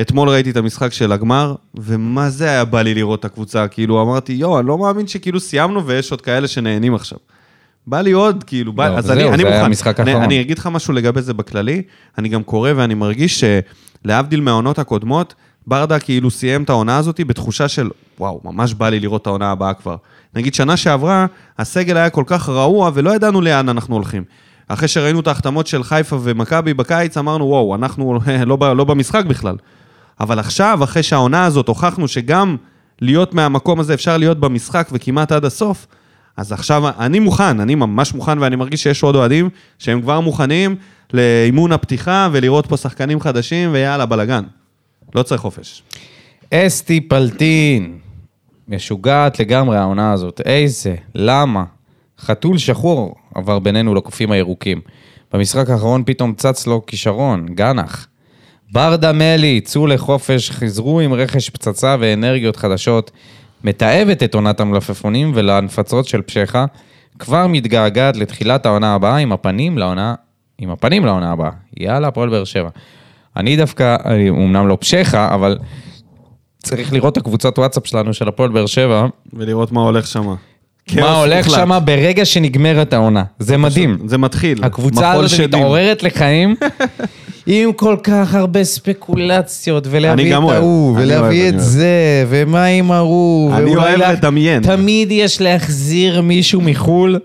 Speaker 1: אתמול ראיתי את המשחק של הגמר, ומה זה היה בא לי לראות את הקבוצה, כאילו אמרתי, יואו, אני לא מאמין שכאילו סיימנו ויש עוד כאלה שנהנים עכשיו. בא לי עוד, כאילו, בא...
Speaker 2: לא,
Speaker 1: אז
Speaker 2: זהו,
Speaker 1: אני, אני
Speaker 2: זה היה
Speaker 1: מוכן.
Speaker 2: המשחק
Speaker 1: אני,
Speaker 2: האחרון.
Speaker 1: אני אגיד לך משהו לגבי זה בכללי, אני גם קורא ואני מרגיש שלהבדיל מהעונות הקודמות, ברדה כאילו סיים את העונה הזאת בתחושה של, וואו, ממש בא לי לראות את העונה הבאה כבר. נגיד שנה שעברה, הסגל היה כל כך רעוע ולא ידענו לאן אנחנו הולכים. אחרי שראינו את ההחתמות של חיפה ומכבי בקיץ, אמרנו, וואו, אנחנו לא, ב- לא במשחק בכלל. אבל עכשיו, אחרי שהעונה הזאת, הוכחנו שגם להיות מהמקום הזה אפשר להיות במשחק וכמעט עד הסוף, אז עכשיו אני מוכן, אני ממש מוכן, ואני מרגיש שיש עוד אוהדים שהם כבר מוכנים לאימון הפתיחה ולראות פה שחקנים חדשים, ויאללה, בלאגן. לא צריך חופש.
Speaker 2: אסתי פלטין. משוגעת לגמרי העונה הזאת. איזה? למה? חתול שחור עבר בינינו לקופים הירוקים. במשחק האחרון פתאום צץ לו כישרון, גנח. ברדה מלי, צאו לחופש, חזרו עם רכש פצצה ואנרגיות חדשות. מתעבת את עונת המלפפונים ולהנפצות של פשחה. כבר מתגעגעת לתחילת העונה הבאה עם הפנים לעונה, עם הפנים לעונה הבאה. יאללה, הפועל באר שבע. אני דווקא, אני אומנם לא פשחה, אבל צריך לראות את הקבוצת וואטסאפ שלנו, של הפועל באר שבע,
Speaker 1: ולראות מה הולך שמה. כאוס
Speaker 2: מה הולך
Speaker 1: מוחלט.
Speaker 2: שם ברגע שנגמרת העונה. זה מדהים.
Speaker 1: זה מתחיל.
Speaker 2: הקבוצה
Speaker 1: מחול
Speaker 2: הזאת
Speaker 1: שדים.
Speaker 2: מתעוררת לחיים עם כל כך הרבה ספקולציות,
Speaker 1: אני
Speaker 2: ולהביא
Speaker 1: גם
Speaker 2: את
Speaker 1: אוהב.
Speaker 2: ההוא,
Speaker 1: אני
Speaker 2: ולהביא
Speaker 1: אוהב,
Speaker 2: את
Speaker 1: אני
Speaker 2: זה, ומה עם ההוא,
Speaker 1: אני
Speaker 2: ואולי
Speaker 1: אוהב
Speaker 2: לך-
Speaker 1: לדמיין.
Speaker 2: תמיד יש להחזיר מישהו מחו"ל.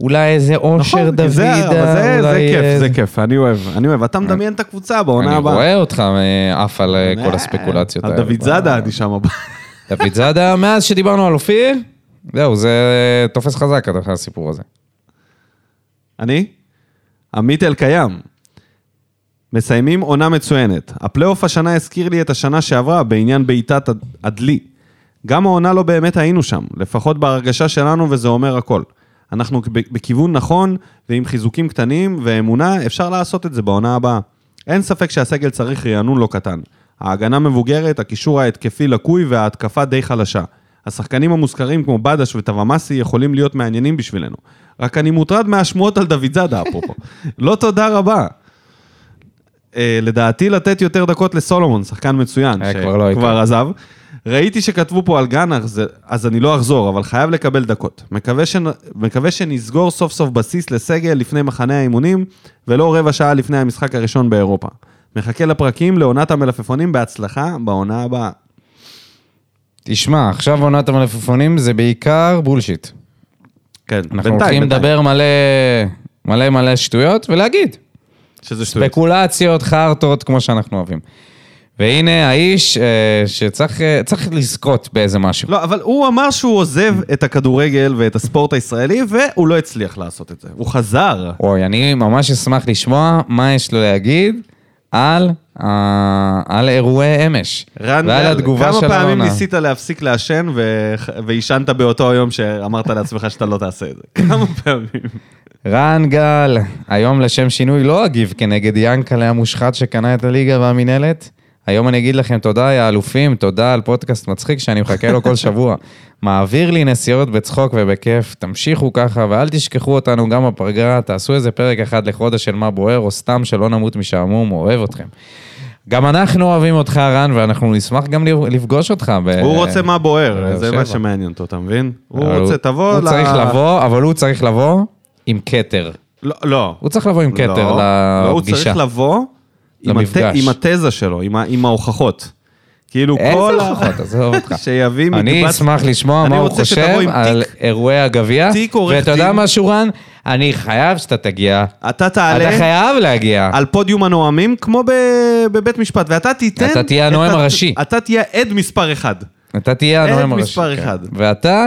Speaker 2: אולי איזה אושר
Speaker 1: נכון,
Speaker 2: דוידה,
Speaker 1: כי זה- אבל זה- זה
Speaker 2: אולי, אה,
Speaker 1: כיף, זה כיף, אני אוהב, אני אוהב. אתה מדמיין את הקבוצה בעונה
Speaker 2: אני
Speaker 1: הבאה.
Speaker 2: רואה אותך אה, עף על אה, כל
Speaker 1: אה,
Speaker 2: הספקולציות
Speaker 1: על
Speaker 2: האלה. אה,
Speaker 1: דוד זאדה אני שם הבא.
Speaker 2: דוד זאדה, מאז שדיברנו על אופיר, זהו, זה אה, תופס חזק הסיפור הזה.
Speaker 1: אני? עמית אלקיים. מסיימים עונה מצוינת. הפלייאוף השנה הזכיר לי את השנה שעברה בעניין בעיטת הד- הדלי. גם העונה לא באמת היינו שם, לפחות בהרגשה שלנו, וזה אומר הכל. אנחנו ב- בכיוון נכון, ועם חיזוקים קטנים ואמונה, אפשר לעשות את זה בעונה הבאה. אין ספק שהסגל צריך רענון לא קטן. ההגנה מבוגרת, הקישור ההתקפי לקוי וההתקפה די חלשה. השחקנים המוזכרים כמו בדש וטוואמאסי יכולים להיות מעניינים בשבילנו. רק אני מוטרד מהשמועות על דוד זאדה, אפרופו. לא תודה רבה. אה, לדעתי לתת יותר דקות לסולומון, שחקן מצוין,
Speaker 2: אה, כבר לא
Speaker 1: שכבר
Speaker 2: איתנו.
Speaker 1: עזב. ראיתי שכתבו פה על גאנר, זה- אז אני לא אחזור, אבל חייב לקבל דקות. מקווה, שנ... מקווה שנסגור סוף סוף בסיס לסגל לפני מחנה האימונים, ולא רבע שעה לפני המשחק הראשון באירופה. מחכה לפרקים לעונת המלפפונים בהצלחה בעונה הבאה.
Speaker 2: תשמע, עכשיו עונת המלפפונים זה בעיקר בולשיט.
Speaker 1: כן,
Speaker 2: אנחנו הולכים לדבר מלא מלא מלא שטויות ולהגיד,
Speaker 1: שזה שטויות.
Speaker 2: ספקולציות, חרטות, כמו שאנחנו אוהבים. והנה האיש אה, שצריך אה, צריך לזכות באיזה משהו.
Speaker 1: לא, אבל הוא אמר שהוא עוזב את הכדורגל ואת הספורט הישראלי, והוא לא הצליח לעשות את זה. הוא חזר.
Speaker 2: אוי, אני ממש אשמח לשמוע מה יש לו להגיד על, אה, על אירועי אמש.
Speaker 1: רן
Speaker 2: ועל
Speaker 1: מרל,
Speaker 2: התגובה של
Speaker 1: כמה פעמים
Speaker 2: העונה.
Speaker 1: ניסית להפסיק לעשן ו- ועישנת באותו היום שאמרת לעצמך שאתה לא תעשה את זה? כמה פעמים?
Speaker 2: רן גל, היום לשם שינוי לא אגיב כנגד ינקלה המושחת שקנה את הליגה והמינהלת. היום אני אגיד לכם תודה, יא אלופים, תודה על פודקאסט מצחיק שאני מחכה לו כל שבוע. מעביר לי נסיעות בצחוק ובכיף, תמשיכו ככה ואל תשכחו אותנו גם בפגרה, תעשו איזה פרק אחד לחודש של מה בוער, או סתם שלא נמות משעמום, אוהב אתכם. גם אנחנו אוהבים אותך, רן, ואנחנו נשמח גם לפגוש אותך. ב-
Speaker 1: הוא רוצה מה בוער,
Speaker 2: באר
Speaker 1: זה
Speaker 2: אה, שבע.
Speaker 1: מה שמעניין אותו, אתה מבין? הוא
Speaker 2: אבל
Speaker 1: רוצה, תבוא
Speaker 2: הוא צריך לבוא, אבל הוא צריך לבוא עם כתר.
Speaker 1: לא, לא.
Speaker 2: הוא צריך לבוא עם כתר
Speaker 1: לא,
Speaker 2: לפגישה.
Speaker 1: לא, הוא צריך לבוא עם הת-
Speaker 2: למפגש.
Speaker 1: עם התזה שלו, עם ה- עם ההוכחות. כאילו כל...
Speaker 2: איזה
Speaker 1: ה-
Speaker 2: הוכחות, עזוב אותך.
Speaker 1: שיביא
Speaker 2: אני
Speaker 1: מקבץ-
Speaker 2: אשמח לשמוע
Speaker 1: אני
Speaker 2: מה הוא
Speaker 1: רוצה שתבוא
Speaker 2: חושב
Speaker 1: עם
Speaker 2: על
Speaker 1: תיק.
Speaker 2: אירועי הגביע.
Speaker 1: תיק עורך
Speaker 2: ואתה יודע
Speaker 1: דין.
Speaker 2: משהו, רן? אני חייב שאתה תגיע.
Speaker 1: אתה
Speaker 2: אתה
Speaker 1: תעלה
Speaker 2: חייב להגיע.
Speaker 1: על פודיום הנואמים כמו ב- בבית משפט, ואתה תיתן...
Speaker 2: אתה תהיה
Speaker 1: את
Speaker 2: הנואם
Speaker 1: הת-
Speaker 2: הראשי.
Speaker 1: אתה תהיה עד מספר אחד.
Speaker 2: אתה תהיה
Speaker 1: עד
Speaker 2: הנואם הראשי.
Speaker 1: מספר
Speaker 2: כן.
Speaker 1: אחד.
Speaker 2: ואתה,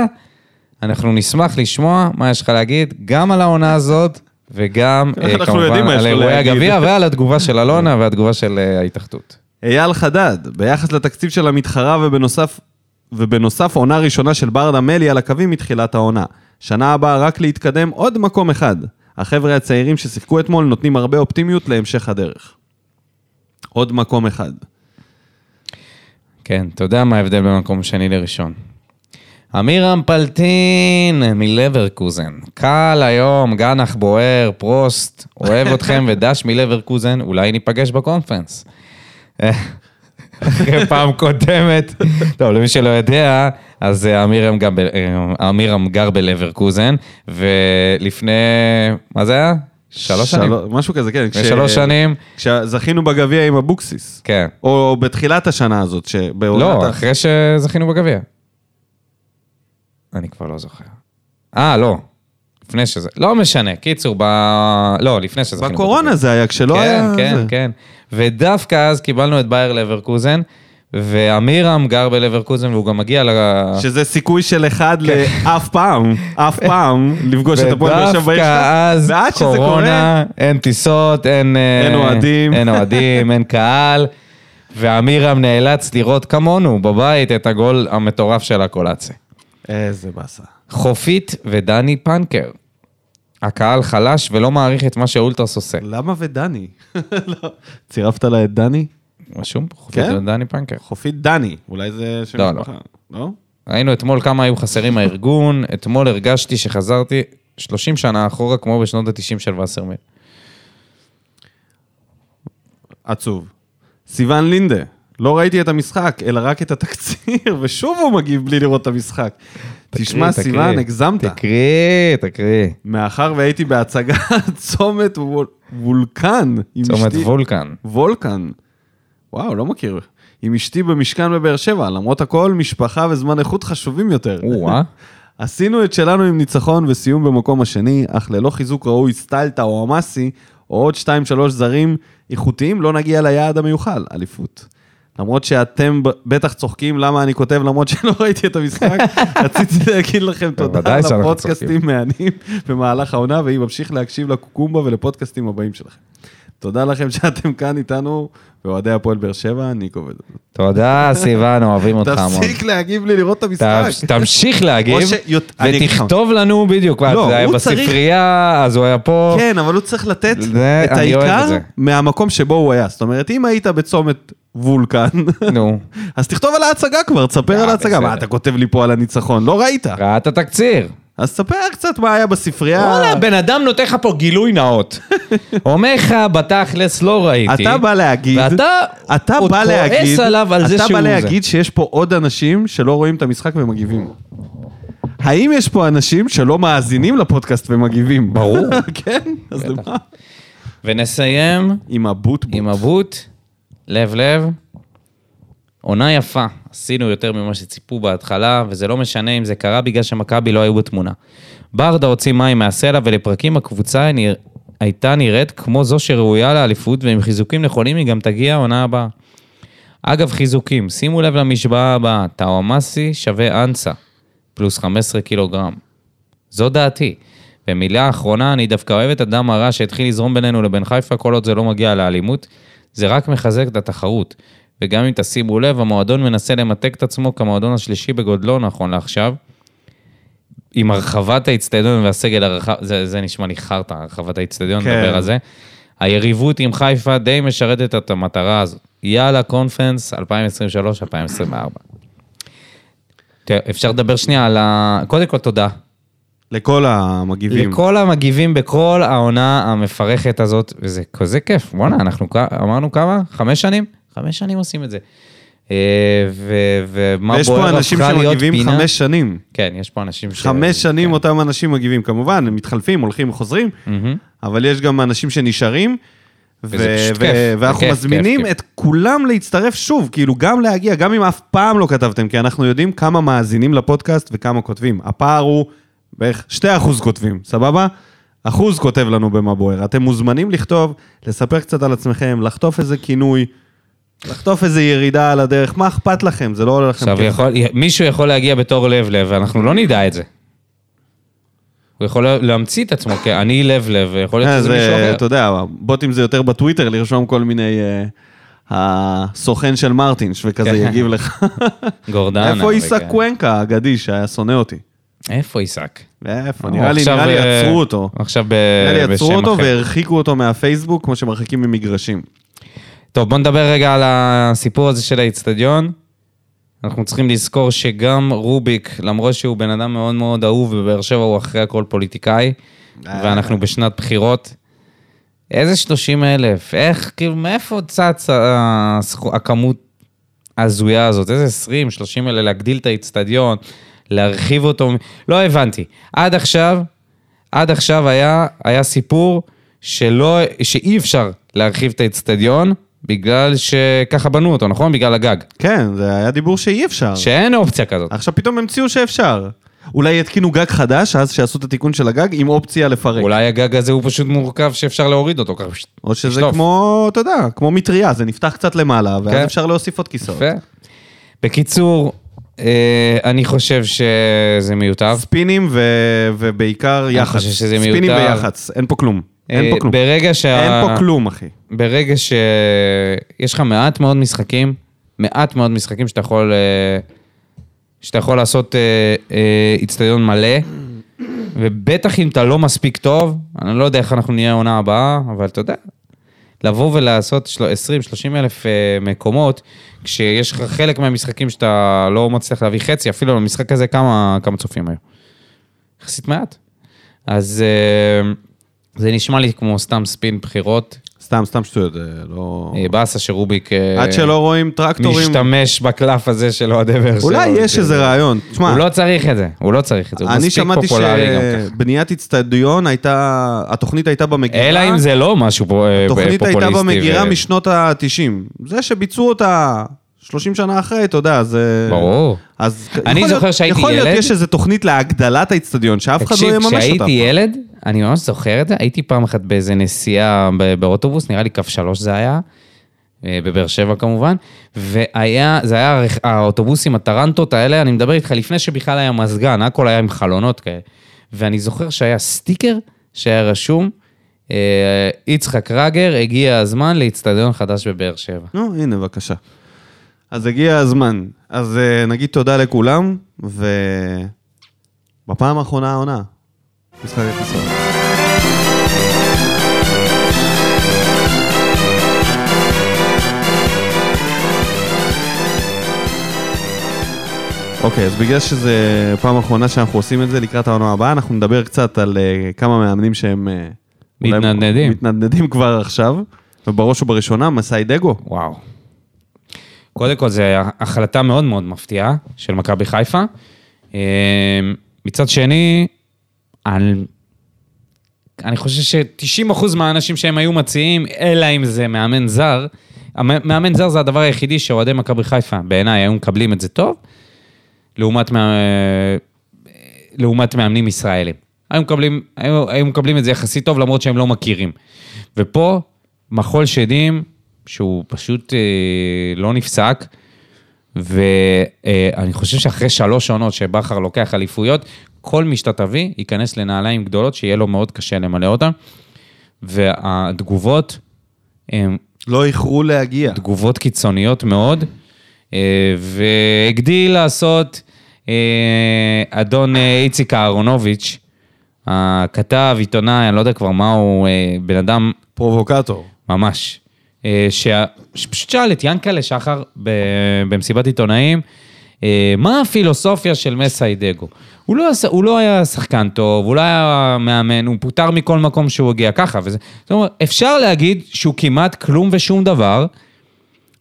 Speaker 2: אנחנו נשמח לשמוע מה יש לך להגיד, גם על העונה הזאת, וגם אה,
Speaker 1: אנחנו יודעים
Speaker 2: כמובן
Speaker 1: מה יש
Speaker 2: על
Speaker 1: לו
Speaker 2: אירועי
Speaker 1: להגיד.
Speaker 2: הגביע, ועל התגובה של אלונה והתגובה של אה, ההתאחדות.
Speaker 1: אייל חדד, ביחס לתקציב של המתחרה ובנוסף, ובנוסף עונה ראשונה של ברדה מלי על הקווים מתחילת העונה. שנה הבאה רק להתקדם עוד מקום אחד. החבר'ה הצעירים ששיחקו אתמול נותנים הרבה אופטימיות להמשך הדרך. עוד מקום אחד.
Speaker 2: כן, אתה יודע מה ההבדל בין מקום שני לראשון. אמירם פלטין מלברקוזן. קל היום, גנח בוער, פרוסט, אוהב אתכם ודש מלברקוזן, אולי ניפגש בקונפרנס. אחרי פעם קודמת. טוב, למי שלא יודע, אז אה, אמירם גם ב- אה, אמירם גר בלברקוזן, ולפני, מה זה היה? שלוש שנים.
Speaker 1: שלו- משהו כזה, כן.
Speaker 2: לפני שלוש שנים,
Speaker 1: כשזכינו בגביע עם אבוקסיס.
Speaker 2: כן.
Speaker 1: או בתחילת השנה הזאת, שבעונת...
Speaker 2: לא,
Speaker 1: ה-
Speaker 2: אחרי שזכינו בגביע. אני כבר לא זוכר. אה, לא. לפני שזה, לא משנה, קיצור, ב... לא, לפני שזכינו
Speaker 1: בקורונה זה היה, כשלא היה...
Speaker 2: כן, כן,
Speaker 1: זה.
Speaker 2: כן. ודווקא אז קיבלנו את בייר לברקוזן, ואמירם גר בלברקוזן והוא גם מגיע ל...
Speaker 1: שזה סיכוי של אחד
Speaker 2: כן.
Speaker 1: לאף פעם, אף פעם, לפגוש את הפועל באר שבע בעיר שלך.
Speaker 2: ודווקא אז
Speaker 1: ועד שזה קורה,
Speaker 2: קורונה, אין טיסות, אין... אה,
Speaker 1: אין אוהדים.
Speaker 2: אין אוהדים, אין קהל. ואמירם נאלץ לראות כמונו בבית את הגול המטורף של הקולאצה.
Speaker 1: איזה באסה.
Speaker 2: חופית ודני פנקר. הקהל חלש ולא מעריך את מה שאולטרס עושה.
Speaker 1: למה ודני? לא. צירפת לה את דני?
Speaker 2: רשום פה? חופית
Speaker 1: כן?
Speaker 2: ודני פנקר.
Speaker 1: חופית דני, אולי זה שם
Speaker 2: לא,
Speaker 1: משפחה. לא.
Speaker 2: ראינו אתמול כמה היו חסרים הארגון, אתמול הרגשתי שחזרתי 30 שנה אחורה כמו בשנות ה-90 של וסרמן.
Speaker 1: עצוב. סיון לינדה, לא ראיתי את המשחק, אלא רק את התקציר, ושוב הוא מגיב בלי לראות את המשחק. תשמע,
Speaker 2: תקריא,
Speaker 1: סיון,
Speaker 2: תקריא.
Speaker 1: הגזמת.
Speaker 2: תקריא, תקריא.
Speaker 1: מאחר והייתי בהצגה צומת וול- וולקן. עם
Speaker 2: צומת
Speaker 1: אשתי-
Speaker 2: וולקן.
Speaker 1: וולקן. וואו, לא מכיר.
Speaker 2: אה?
Speaker 1: עם אשתי במשכן בבאר שבע, למרות הכל, משפחה וזמן איכות חשובים יותר.
Speaker 2: או-אה.
Speaker 1: עשינו את שלנו עם ניצחון וסיום במקום השני, אך ללא חיזוק ראוי סטלטה או אמאסי, או עוד 2-3 זרים איכותיים, לא נגיע ליעד המיוחל, אליפות. למרות שאתם ב- בטח צוחקים למה אני כותב, למרות שלא ראיתי את המשחק, רציתי להגיד לכם תודה
Speaker 2: בוודאי
Speaker 1: על
Speaker 2: שאנחנו
Speaker 1: הפודקאסטים מהנים במהלך העונה, והיא ממשיך להקשיב לקוקומבה ולפודקאסטים הבאים שלכם. תודה לכם שאתם כאן איתנו, ואוהדי הפועל באר שבע, ניקו ודודו.
Speaker 2: תודה, סיוון, אוהבים אותך המון.
Speaker 1: תפסיק להגיב לי לראות את המשחק.
Speaker 2: ת- תמשיך להגיב,
Speaker 1: או שיות- אני אגיד לך.
Speaker 2: ותכתוב לנו בדיוק, מה,
Speaker 1: לא,
Speaker 2: זה היה
Speaker 1: הוא צריך-
Speaker 2: בספרייה, אז הוא היה פה.
Speaker 1: כן, אבל הוא צריך לתת
Speaker 2: זה-
Speaker 1: את
Speaker 2: אני אוהב את
Speaker 1: העיקר
Speaker 2: זה.
Speaker 1: מהמקום שבו הוא היה. זאת אומרת, אם היית בצומת וולקן,
Speaker 2: נו,
Speaker 1: אז תכתוב על ההצגה כבר, תספר
Speaker 2: אה,
Speaker 1: על ההצגה.
Speaker 2: בסדר.
Speaker 1: מה, אתה כותב לי פה על הניצחון? לא ראית.
Speaker 2: ראה את התקציר.
Speaker 1: אז תספר קצת מה היה בספרייה.
Speaker 2: וואלה, בן אדם נותן לך פה גילוי נאות. אומר לך, בתכלס לא ראיתי.
Speaker 1: אתה בא להגיד,
Speaker 2: ואתה
Speaker 1: אתה
Speaker 2: עוד
Speaker 1: בא
Speaker 2: כועס
Speaker 1: להגיד,
Speaker 2: עליו על זה
Speaker 1: אתה
Speaker 2: שהוא
Speaker 1: בא
Speaker 2: זה.
Speaker 1: להגיד שיש פה עוד אנשים שלא רואים את המשחק ומגיבים. האם יש פה אנשים שלא מאזינים לפודקאסט ומגיבים?
Speaker 2: ברור.
Speaker 1: כן? אז למה?
Speaker 2: ונסיים
Speaker 1: עם הבוטבוט.
Speaker 2: עם הבוט, לב לב. עונה יפה, עשינו יותר ממה שציפו בהתחלה, וזה לא משנה אם זה קרה בגלל שמכבי לא היו בתמונה. ברדה הוציא מים מהסלע, ולפרקים הקבוצה נרא- הייתה נראית כמו זו שראויה לאליפות, ועם חיזוקים נכונים היא גם תגיע העונה הבאה. אגב, חיזוקים, שימו לב למשוואה הבאה, טאומאסי שווה אנסה, פלוס 15 קילוגרם. זו דעתי. במילה האחרונה, אני דווקא אוהב את הדם הרע שהתחיל לזרום בינינו לבין חיפה, כל עוד זה לא מגיע לאלימות. זה רק מחזק את התחרות. וגם אם תשימו לב, המועדון מנסה למתק את עצמו כמועדון השלישי בגודלו נכון לעכשיו. עם הרחבת האיצטדיון והסגל הרחב, זה, זה נשמע לי חרטא, הרחבת האיצטדיון,
Speaker 1: כן.
Speaker 2: כן. נדבר על זה. היריבות עם חיפה די משרתת את המטרה הזאת. יאללה, קונפרנס 2023-2024. אפשר לדבר שנייה על ה... קודם כל, תודה.
Speaker 1: לכל המגיבים.
Speaker 2: לכל המגיבים בכל העונה המפרכת הזאת, וזה כזה כיף. וואלה, אנחנו כ- אמרנו כמה? חמש שנים? חמש שנים עושים את זה. אה, ו- ומה
Speaker 1: ויש
Speaker 2: בוער
Speaker 1: פה אנשים
Speaker 2: הפכה להיות
Speaker 1: שמגיבים
Speaker 2: פינה.
Speaker 1: חמש שנים.
Speaker 2: כן, יש פה אנשים ש...
Speaker 1: חמש שנים
Speaker 2: כן.
Speaker 1: אותם אנשים מגיבים. כמובן, הם מתחלפים, הולכים, חוזרים,
Speaker 2: מהמם.
Speaker 1: אבל יש גם אנשים שנשארים. ו-
Speaker 2: וזה פשוט
Speaker 1: ו-
Speaker 2: כיף. זה
Speaker 1: ואנחנו
Speaker 2: כיף,
Speaker 1: מזמינים
Speaker 2: כיף, כיף.
Speaker 1: את כולם להצטרף שוב, כאילו גם להגיע, גם אם אף פעם לא כתבתם, כי אנחנו יודעים כמה מאזינים לפודקאסט וכמה כותבים. הפער הוא בערך 2% כותבים, סבבה? אחוז כותב לנו במה בוער. אתם מוזמנים לכתוב, לספר קצת על עצמכם, לחטוף איזה כינוי, לחטוף איזה ירידה על הדרך, מה אכפת לכם? זה לא עולה לכם
Speaker 2: עכשיו, יכול- מישהו יכול להגיע בתור לב-לב, ואנחנו לא נדע את זה. הוא יכול להמציא את עצמו, כי אני לב-לב, ויכול להיות
Speaker 1: אה,
Speaker 2: שזה מישהו
Speaker 1: זה,
Speaker 2: אחר.
Speaker 1: אתה יודע, בוטים זה יותר בטוויטר, לרשום כל מיני... אה, הסוכן של מרטינש, וכזה
Speaker 2: כן.
Speaker 1: יגיב לך.
Speaker 2: גורדנה.
Speaker 1: איפה עיסא
Speaker 2: וכן.
Speaker 1: קוונקה האגדי שהיה שונא אותי?
Speaker 2: איפה עיסק?
Speaker 1: איפה?
Speaker 2: הוא
Speaker 1: נראה לי,
Speaker 2: עכשיו,
Speaker 1: נראה לי
Speaker 2: אה,
Speaker 1: עצרו אותו.
Speaker 2: עכשיו ב-
Speaker 1: נראה לי עצרו
Speaker 2: בשם
Speaker 1: אותו
Speaker 2: אחר.
Speaker 1: והרחיקו אותו מהפייסבוק, כמו שמרחיקים ממגרשים.
Speaker 2: טוב, בוא נדבר רגע על הסיפור הזה של האיצטדיון. אנחנו צריכים לזכור שגם רוביק, למרות שהוא בן אדם מאוד מאוד אהוב בבאר שבע, הוא אחרי הכל פוליטיקאי, ואנחנו
Speaker 1: אה,
Speaker 2: בשנת בחירות. איזה 30 אלף? איך, כאילו, מאיפה צץ ה- הסכו- הכמות ההזויה הזאת? איזה 20, 30 אלה, להגדיל את האיצטדיון, להרחיב אותו? לא הבנתי. עד עכשיו, עד עכשיו היה, היה סיפור שלא, שאי אפשר להרחיב את האיצטדיון, בגלל שככה בנו אותו, נכון? בגלל הגג.
Speaker 1: כן, זה היה דיבור שאי אפשר.
Speaker 2: שאין אופציה כזאת.
Speaker 1: עכשיו פתאום המציאו שאפשר. אולי יתקינו גג חדש, אז שיעשו את התיקון של הגג, עם אופציה לפרק.
Speaker 2: אולי הגג הזה הוא פשוט מורכב שאפשר להוריד אותו ככה. פשוט.
Speaker 1: או שזה
Speaker 2: לשלוף.
Speaker 1: כמו, אתה יודע, כמו מטריה, זה נפתח קצת למעלה, ואז
Speaker 2: כן.
Speaker 1: אפשר להוסיף עוד כיסאות.
Speaker 2: יפה. בקיצור, אה, אני חושב שזה מיותר.
Speaker 1: ספינים ו... ובעיקר יח"צ.
Speaker 2: חושב שזה
Speaker 1: ספינים
Speaker 2: מיותר.
Speaker 1: ויח"צ, אין פה כלום. אין פה
Speaker 2: אה,
Speaker 1: כלום.
Speaker 2: ברגע שה...
Speaker 1: אין פה כלום, אחי.
Speaker 2: ברגע שיש לך מעט מאוד משחקים, מעט מאוד משחקים שאתה יכול, אה, שאתה יכול לעשות אה, אה, איצטדיון מלא, ובטח אם אתה לא מספיק טוב, אני לא יודע איך אנחנו נהיה העונה הבאה, אבל אתה יודע, לבוא ולעשות 20-30 אלף אה, מקומות, כשיש לך חלק מהמשחקים שאתה לא מצליח להביא חצי, אפילו במשחק הזה כמה, כמה צופים היו. יחסית מעט. אז אה, זה נשמע לי כמו סתם ספין בחירות.
Speaker 1: סתם, סתם שטויות, אה, לא...
Speaker 2: אה, באסה שרוביק אה,
Speaker 1: עד שלא רואים טרקטורים,
Speaker 2: משתמש בקלף הזה של אוהדי באר שבע.
Speaker 1: אולי יש
Speaker 2: כאילו.
Speaker 1: איזה רעיון. תשמע,
Speaker 2: הוא לא צריך את זה, הוא לא צריך את זה, הוא
Speaker 1: אני
Speaker 2: מספיק
Speaker 1: שמעתי
Speaker 2: פופולרי גם כן. ככה.
Speaker 1: שבניית איצטדיון הייתה, התוכנית הייתה במגירה.
Speaker 2: אלא אם זה לא משהו פופוליסטי.
Speaker 1: התוכנית הייתה
Speaker 2: ו-
Speaker 1: במגירה משנות ה-90. זה שביצעו אותה 30 שנה אחרי, אתה יודע, זה...
Speaker 2: ברור.
Speaker 1: אז
Speaker 2: אני
Speaker 1: יכול
Speaker 2: זוכר
Speaker 1: להיות,
Speaker 2: שהייתי
Speaker 1: יכול
Speaker 2: ילד-
Speaker 1: להיות יש איזו תוכנית להגדלת האצטדיון, שאף אחד לא
Speaker 2: תקשיב,
Speaker 1: יממש אותה.
Speaker 2: כשהייתי ילד, אני ממש זוכר את זה, הייתי פעם אחת באיזה נסיעה ב- באוטובוס, נראה לי קו שלוש זה היה, אה, בבאר שבע כמובן, והיה, זה היה הרכ- האוטובוסים, הטרנטות האלה, אני מדבר איתך לפני שבכלל היה מזגן, הכל היה עם חלונות כאלה. ואני זוכר שהיה סטיקר שהיה רשום, אה, יצחק רגר, הגיע הזמן לאיצטדיון חדש בבאר שבע.
Speaker 1: נו, הנה, בבקשה. אז הגיע הזמן. אז אה, נגיד תודה לכולם, ובפעם האחרונה העונה. משחק הכיסאות. אוקיי, אז בגלל שזו פעם אחרונה שאנחנו עושים את זה לקראת העונה הבאה, אנחנו נדבר קצת על אה, כמה מאמנים שהם... אה, אולי-
Speaker 2: מתנדנדים.
Speaker 1: מתנדנדים כבר עכשיו, ובראש ובראשונה, מסאי דגו.
Speaker 2: וואו. קודם כל, זו החלטה מאוד מאוד מפתיעה של מכבי חיפה. אה, מצד שני, אני, אני חושב ש-90% מהאנשים שהם היו מציעים, אלא אם זה מאמן זר, המ- מאמן זר זה הדבר היחידי שאוהדי מכבי חיפה, בעיניי, היו מקבלים את זה טוב, לעומת, מה... לעומת מאמנים ישראלים. היו מקבלים, היו, היו מקבלים את זה יחסית טוב, למרות שהם לא מכירים. ופה, מחול שדים, שהוא פשוט אה, לא נפסק, ואני חושב שאחרי שלוש עונות שבכר לוקח אליפויות, כל מי שאתה תביא ייכנס לנעליים גדולות, שיהיה לו מאוד קשה למלא אותן. והתגובות הן
Speaker 1: לא איחרו להגיע.
Speaker 2: תגובות קיצוניות מאוד, אה, והגדיל לעשות אה, אדון אה, איציק אהרונוביץ', הכתב, עיתונאי, אני לא יודע כבר מה הוא, אה, בן אדם
Speaker 1: פרובוקטור.
Speaker 2: ממש. אה, שה- שפשוט שאל את ינקלה שחר ב- במסיבת עיתונאים, אה, מה הפילוסופיה של מסאי דגו? הוא לא, עשה- הוא לא היה שחקן טוב, הוא לא היה מאמן, הוא פוטר מכל מקום שהוא הגיע ככה. וזה, זאת אומרת, אפשר להגיד שהוא כמעט כלום ושום דבר,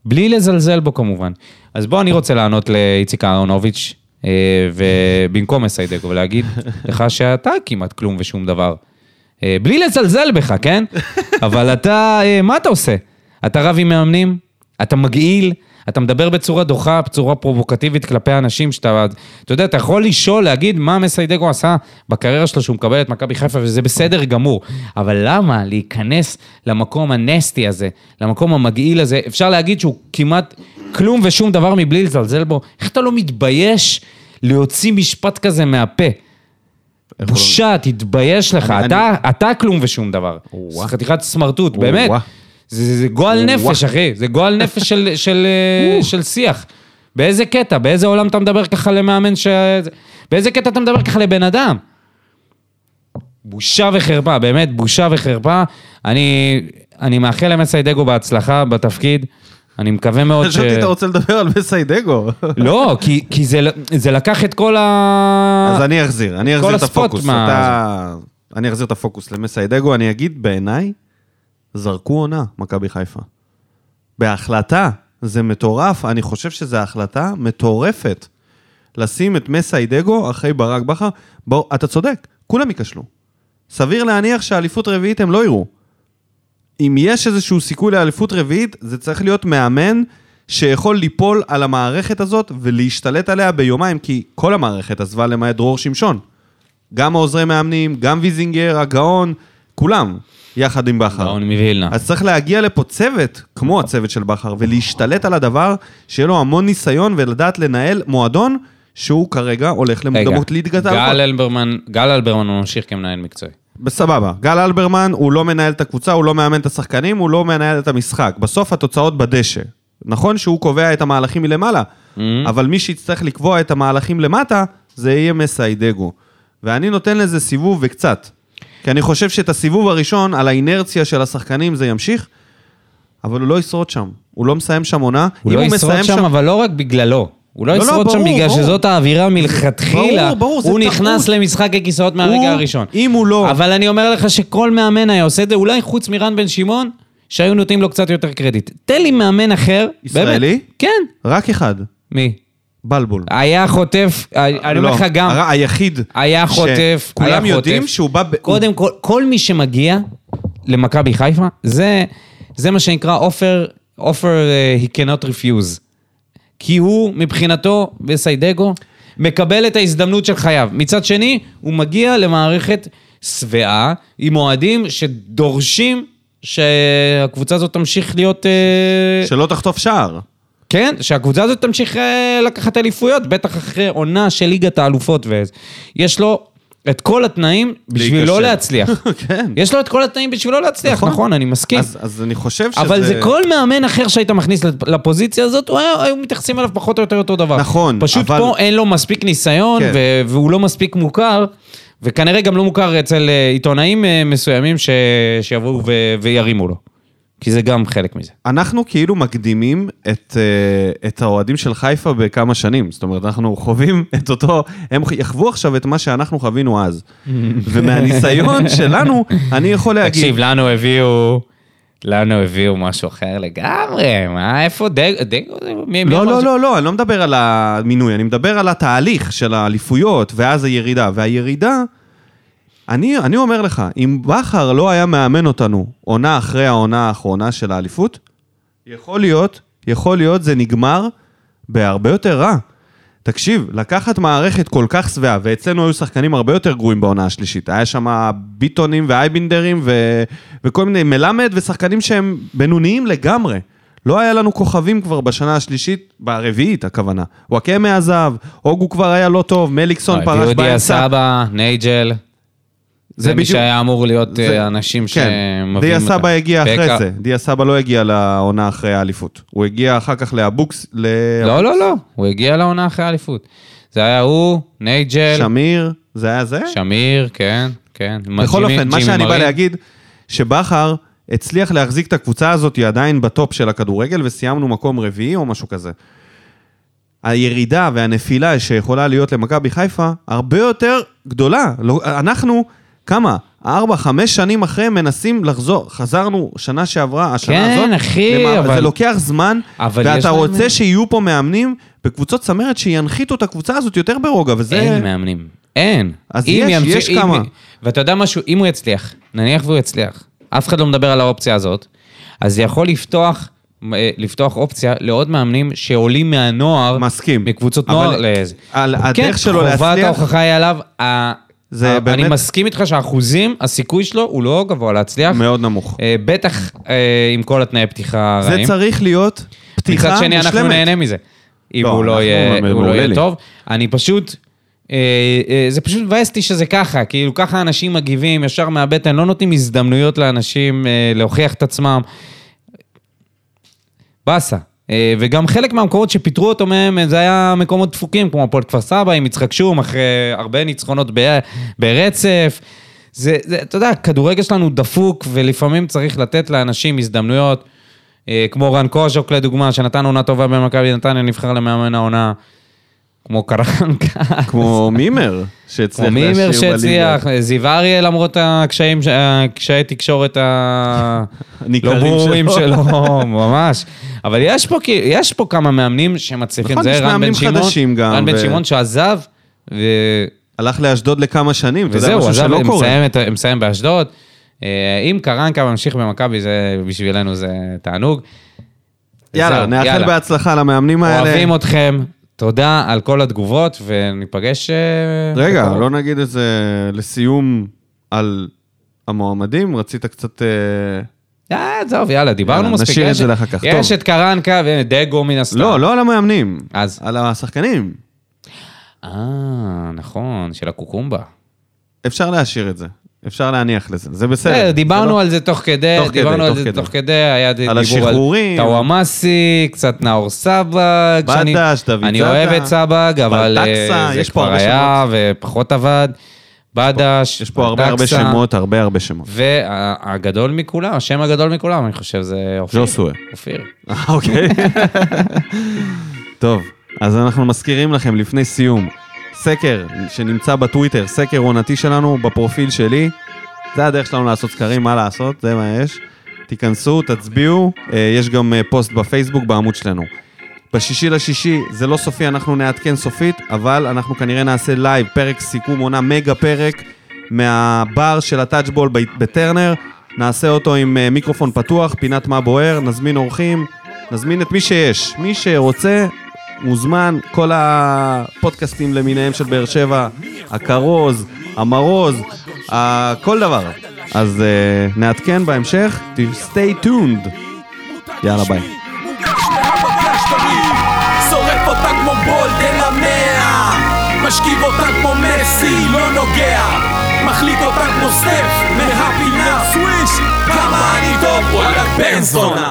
Speaker 2: בלי לזלזל בו כמובן. אז בוא, אני רוצה לענות לאיציק אהרונוביץ', אה, ובמקום מסיידגו, ולהגיד לך שאתה כמעט כלום ושום דבר. אה, בלי לזלזל בך, כן? אבל אתה, אה, מה אתה עושה? אתה רב עם מאמנים, אתה מגעיל, אתה מדבר בצורה דוחה, בצורה פרובוקטיבית כלפי אנשים שאתה... אתה יודע, אתה יכול לשאול, להגיד מה מסיידגו עשה בקריירה שלו שהוא מקבל את מכבי חיפה, וזה בסדר גמור. אבל למה להיכנס למקום הנסטי הזה, למקום המגעיל הזה? אפשר להגיד שהוא כמעט כלום ושום דבר מבלי לזלזל בו. איך אתה לא מתבייש להוציא משפט כזה מהפה? בושה, תתבייש לך.
Speaker 1: לא? אני-
Speaker 2: אתה, אתה כלום ושום דבר.
Speaker 1: או-אה.
Speaker 2: זה חתיכת סמרטוט,
Speaker 1: או-אה.
Speaker 2: באמת. זה, זה, זה גועל
Speaker 1: או-אה.
Speaker 2: נפש, אחי. זה גועל נפש של, של, אה, של שיח. באיזה קטע? באיזה עולם אתה מדבר ככה למאמן ש... באיזה קטע אתה מדבר ככה לבן אדם? בושה וחרפה, באמת, בושה וחרפה. אני, אני מאחל למסי דגו בהצלחה בתפקיד. אני מקווה מאוד ש...
Speaker 1: חשבתי שאתה לא, רוצה לדבר על מסאי דגו.
Speaker 2: לא, כי, כי זה, זה לקח את כל ה...
Speaker 1: אז אני אחזיר, אני אחזיר את
Speaker 2: הספוט
Speaker 1: הפוקוס.
Speaker 2: מה-
Speaker 1: אתה- אני אחזיר את הפוקוס למסאי דגו, אני אגיד, בעיניי, זרקו עונה, מכבי חיפה. בהחלטה, זה מטורף, אני חושב שזו החלטה מטורפת. לשים את מסאי דגו אחרי ברק בכר, בוא, אתה צודק, כולם ייכשלו. סביר להניח שאליפות רביעית הם לא יראו. אם יש איזשהו סיכוי לאליפות רביעית, זה צריך להיות מאמן שיכול ליפול על המערכת הזאת ולהשתלט עליה ביומיים, כי כל המערכת עזבה למעט דרור שמשון. גם העוזרי מאמנים, גם ויזינגר, הגאון, כולם, יחד עם בכר.
Speaker 2: גאון מווילנה.
Speaker 1: אז צריך להגיע לפה צוות, כמו הצוות של בכר, ולהשתלט על הדבר, שיהיה לו המון ניסיון ולדעת לנהל מועדון שהוא כרגע הולך למוקדמות ליגת
Speaker 2: גל
Speaker 1: האלופות.
Speaker 2: אלברמן, גל אלברמן ממשיך כמנהל מקצועי.
Speaker 1: בסבבה. גל אלברמן, הוא לא מנהל את הקבוצה, הוא לא מאמן את השחקנים, הוא לא מנהל את המשחק. בסוף התוצאות בדשא. נכון שהוא קובע את המהלכים מלמעלה,
Speaker 2: Mm-hmm.
Speaker 1: אבל מי שיצטרך לקבוע את המהלכים למטה, זה יהיה מסיידגו. ואני נותן לזה סיבוב וקצת. כי אני חושב שאת הסיבוב הראשון, על האינרציה של השחקנים, זה ימשיך, אבל הוא לא ישרוד שם. הוא לא מסיים שם עונה.
Speaker 2: הוא
Speaker 1: אם
Speaker 2: לא ישרוד
Speaker 1: מסיים
Speaker 2: שם, אבל לא רק בגללו. הוא לא
Speaker 1: לא, לא,
Speaker 2: ישרוד שם
Speaker 1: ברור,
Speaker 2: בגלל
Speaker 1: ברור.
Speaker 2: שזאת האווירה מלכתחילה.
Speaker 1: ברור, ברור, זה
Speaker 2: הוא
Speaker 1: טעות.
Speaker 2: נכנס למשחק הכיסאות
Speaker 1: הוא-
Speaker 2: מהרגע הראשון.
Speaker 1: אם הוא לא...
Speaker 2: אבל אני אומר לך שכל מאמן היה עושה את זה, אולי חוץ מרן בן שמעון, שהיו נותנים לו קצת יותר קרדיט. תן לי מאמן אחר.
Speaker 1: ישראלי?
Speaker 2: באמת. כן.
Speaker 1: רק אחד,
Speaker 2: מי?
Speaker 1: בלבול.
Speaker 2: היה חוטף, אני אומר
Speaker 1: לא,
Speaker 2: לך גם,
Speaker 1: הר- היחיד.
Speaker 2: היה
Speaker 1: ש-
Speaker 2: חוטף, היה
Speaker 1: כולם
Speaker 2: חוטף.
Speaker 1: יודעים שהוא בא... ב-
Speaker 2: קודם כל, כל מי שמגיע למכבי חיפה, זה, זה מה שנקרא offer, offer uh, he cannot refuse. כי הוא, מבחינתו, וסיידגו, מקבל את ההזדמנות של חייו. מצד שני, הוא מגיע למערכת שבעה עם אוהדים שדורשים שהקבוצה הזאת תמשיך להיות... אה,
Speaker 1: שלא תחטוף שער.
Speaker 2: כן, שהקבוצה הזאת תמשיך אה, לקחת אליפויות, בטח אחרי עונה של ליגת האלופות. ויש לו את כל התנאים בשביל
Speaker 1: להיכשל.
Speaker 2: לא להצליח.
Speaker 1: כן.
Speaker 2: יש לו את כל התנאים בשביל לא להצליח,
Speaker 1: נכון.
Speaker 2: נכון, אני מסכים.
Speaker 1: אז, אז אני חושב שזה...
Speaker 2: אבל זה כל מאמן אחר שהיית מכניס לפ- לפוזיציה הזאת, הוא היה- היו מתייחסים אליו פחות או יותר אותו דבר.
Speaker 1: נכון,
Speaker 2: פשוט
Speaker 1: אבל-
Speaker 2: פה אין לו מספיק ניסיון,
Speaker 1: כן.
Speaker 2: ו- והוא לא מספיק מוכר, וכנראה גם לא מוכר אצל אה, עיתונאים אה, מסוימים ש- שיבואו ו- וירימו לו. כי זה גם חלק מזה.
Speaker 1: אנחנו כאילו מקדימים את, אה, את האוהדים של חיפה בכמה שנים. זאת אומרת, אנחנו חווים את אותו, הם יחוו עכשיו את מה שאנחנו חווינו אז. ומהניסיון שלנו, אני יכול להגיד...
Speaker 2: תקשיב, לנו הביאו... לנו הביאו משהו אחר לגמרי, מה, איפה דגו? דגו זה... מי- מי
Speaker 1: לא,
Speaker 2: אמר
Speaker 1: לא,
Speaker 2: ש-
Speaker 1: לא, לא, אני לא מדבר על המינוי, אני מדבר על התהליך של האליפויות, ואז הירידה. והירידה, אני, אני אומר לך, אם בכר לא היה מאמן אותנו עונה אחרי העונה האחרונה של האליפות, יכול להיות, יכול להיות, זה נגמר בהרבה יותר רע. תקשיב, לקחת מערכת כל כך שבעה, ואצלנו היו שחקנים הרבה יותר גרועים בעונה השלישית. היה שם ביטונים ואייבינדרים ו... וכל מיני מלמד ושחקנים שהם בינוניים לגמרי. לא היה לנו כוכבים כבר בשנה השלישית, ברביעית הכוונה. וואקמה עזב, אוגו כבר היה לא טוב, מליקסון
Speaker 2: הביאו
Speaker 1: פרש
Speaker 2: דיה
Speaker 1: באמצע.
Speaker 2: סבא, נייג'ל. זה מי
Speaker 1: בדיוק-
Speaker 2: שהיה אמור להיות
Speaker 1: זה-
Speaker 2: אה, אנשים שמביאים אותם.
Speaker 1: דיה סבא הגיע
Speaker 2: בקע-
Speaker 1: אחרי זה. דיה סבא לא הגיע לעונה אחרי האליפות. הוא הגיע אחר כך לאבוקס, ל...
Speaker 2: לא, לא, לא, הוא הגיע לעונה אחרי האליפות. זה היה הוא, נייג'ל,
Speaker 1: שמיר, זה היה זה?
Speaker 2: שמיר, כן, כן.
Speaker 1: בכל
Speaker 2: ג'ימי-
Speaker 1: אופן, מה
Speaker 2: ג'ימי
Speaker 1: שאני בא
Speaker 2: מרין.
Speaker 1: להגיד, שבכר הצליח להחזיק את הקבוצה הזאת היא עדיין בטופ של הכדורגל, וסיימנו מקום רביעי או משהו כזה. הירידה והנפילה שיכולה להיות למכבי חיפה, הרבה יותר גדולה. לא- אנחנו, כמה? ארבע, חמש שנים אחרי מנסים לחזור. חזרנו שנה שעברה, השנה
Speaker 2: כן,
Speaker 1: הזאת.
Speaker 2: אחי, אבל-
Speaker 1: זה לוקח זמן,
Speaker 2: אבל יש
Speaker 1: ואתה
Speaker 2: להם-
Speaker 1: רוצה שיהיו פה מאמנים בקבוצות צמרת שינחיתו את הקבוצה הזאת יותר ברוגע, וזה...
Speaker 2: אין מאמנים. אין.
Speaker 1: אז
Speaker 2: אם
Speaker 1: יש,
Speaker 2: ימציא-
Speaker 1: יש
Speaker 2: אם-
Speaker 1: כמה.
Speaker 2: ואתה יודע משהו, אם הוא יצליח, נניח והוא יצליח, אף אחד לא מדבר על האופציה הזאת, אז זה יכול לפתוח... אה, לפתוח אופציה לעוד מאמנים שעולים מהנוער,
Speaker 1: מסכים.
Speaker 2: מקבוצות
Speaker 1: אבל
Speaker 2: נוער, לאיזה.
Speaker 1: על הדרך שלו
Speaker 2: כן, חובת
Speaker 1: להצליח-
Speaker 2: ההוכחה היא עליו. ה-
Speaker 1: זה
Speaker 2: ה- אני
Speaker 1: באמת-
Speaker 2: מסכים איתך שהאחוזים, הסיכוי שלו הוא לא גבוה להצליח.
Speaker 1: מאוד נמוך.
Speaker 2: אה, בטח אה, עם כל התנאי פתיחה
Speaker 1: זה
Speaker 2: הרעים.
Speaker 1: צריך להיות פתיחה מושלמת.
Speaker 2: מצד שני, אנחנו נהנה מזה. אם
Speaker 1: לא,
Speaker 2: הוא לא
Speaker 1: אנחנו-
Speaker 2: יהיה הוא לא
Speaker 1: מעולה
Speaker 2: יהיה
Speaker 1: לי.
Speaker 2: טוב. אני פשוט... אה, אה, זה פשוט מבאס אותי שזה ככה, כאילו ככה אנשים מגיבים ישר מהבטן, לא נותנים הזדמנויות לאנשים אה, להוכיח את עצמם. באסה. אה, וגם חלק מהמקומות שפיטרו אותו מהם, אה, זה היה מקומות דפוקים, כמו הפועל כפר סבא, עם יצחק שום, אחרי הרבה ניצחונות ב- ברצף. זה, זה, אתה יודע, הכדורגל שלנו דפוק, ולפעמים צריך לתת לאנשים הזדמנויות, אה, כמו רן קוז'וק לדוגמה, שנתן עונה טובה במכבי נתניה, נבחר למאמן העונה, כמו קרנקה.
Speaker 1: כמו מימר, שהצליח
Speaker 2: כמו
Speaker 1: להשאיר בליגה.
Speaker 2: מימר שהצליח, זיו אריה למרות הקשיים, ש- הקשיי תקשורת ה...
Speaker 1: הניכרים
Speaker 2: לא ברורים
Speaker 1: שלו.
Speaker 2: שלו, ממש. אבל יש פה, כי- יש פה כמה מאמנים שמצליחים,
Speaker 1: נכון, יש
Speaker 2: זה רן בן
Speaker 1: מאמנים חדשים
Speaker 2: שמעון,
Speaker 1: גם,
Speaker 2: רן בן
Speaker 1: ו-
Speaker 2: שמעון שעזב, ו...
Speaker 1: הלך לאשדוד לכמה שנים, אתה יודע,
Speaker 2: וזהו,
Speaker 1: משהו
Speaker 2: עזב,
Speaker 1: שלא
Speaker 2: הם
Speaker 1: קורה.
Speaker 2: מסיים את ה- הם מסיים באשדוד. אה, אם קרנקה ממשיך במכבי, זה בשבילנו זה תענוג.
Speaker 1: יאללה,
Speaker 2: זהו,
Speaker 1: נאחל
Speaker 2: יאללה.
Speaker 1: בהצלחה למאמנים האלה.
Speaker 2: אוהבים אתכם, תודה על כל התגובות, וניפגש... אה,
Speaker 1: רגע,
Speaker 2: בקרוב.
Speaker 1: לא נגיד את זה לסיום על המועמדים, רצית קצת... אה,
Speaker 2: אה, עזוב, יאללה, דיברנו
Speaker 1: יאללה,
Speaker 2: מספיק.
Speaker 1: נשאיר את
Speaker 2: יש-
Speaker 1: זה לאחר כך,
Speaker 2: יש
Speaker 1: טוב.
Speaker 2: את קרנקה ודגו מן הסתם.
Speaker 1: לא, לא על המאמנים.
Speaker 2: אז.
Speaker 1: על השחקנים.
Speaker 2: אה, נכון, של הקוקומבה.
Speaker 1: אפשר להשאיר את זה. אפשר להניח לזה, זה
Speaker 2: בסדר,
Speaker 1: בסדר. זה
Speaker 2: דיברנו
Speaker 1: לא-
Speaker 2: על זה תוך כדי,
Speaker 1: תוך כדי,
Speaker 2: דיברנו על
Speaker 1: תוך
Speaker 2: זה
Speaker 1: כדי.
Speaker 2: תוך כדי, היה דיבור על...
Speaker 1: השחרורים.
Speaker 2: טוואמאסי, קצת נאור סבג. שאני-
Speaker 1: בדש, דוד
Speaker 2: אני
Speaker 1: זאדה,
Speaker 2: אוהב את סבג, אבל
Speaker 1: בלטקסה,
Speaker 2: אה, זה
Speaker 1: יש פה
Speaker 2: כבר
Speaker 1: הרבה
Speaker 2: היה ופחות עבד. בדש,
Speaker 1: יש פה הרבה הרבה
Speaker 2: בלטקסה,
Speaker 1: שמות, הרבה הרבה שמות.
Speaker 2: והגדול מכולם, השם הגדול מכולם, אני חושב, זה אופיר.
Speaker 1: ז'וסווה.
Speaker 2: אופיר.
Speaker 1: אה, אוקיי. טוב, אז אנחנו מזכירים לכם לפני סיום, סקר שנמצא בטוויטר, סקר עונתי שלנו, בפרופיל שלי. זה הדרך שלנו לעשות סקרים, מה לעשות, זה מה יש. תיכנסו, תצביעו, אה, יש גם אה, פוסט בפייסבוק בעמוד שלנו. בשישי לשישי, זה לא סופי, אנחנו נעדכן סופית, אבל אנחנו כנראה נעשה לייב, פרק סיכום עונה, מגה פרק, מהבר של הטאצ'בול ב- בטרנר. נעשה אותו עם אה, מיקרופון פתוח, פינת מה בוער, נזמין אורחים, נזמין את מי שיש. מי שרוצה, מוזמן, כל הפודקאסטים למיניהם של באר שבע, הכרוז, המרוז, ה- כל דבר. אז אה, נעדכן בהמשך, ת- stay tuned. יאללה, ביי.
Speaker 3: מוגש מהפגש תמיד שורף אותה כמו בולד אל המאה משכיב אותה כמו מסי, לא נוגע מחליט אותה כמו סטף מהפינה סוויש כמה אני טוב, וואלה בן זונה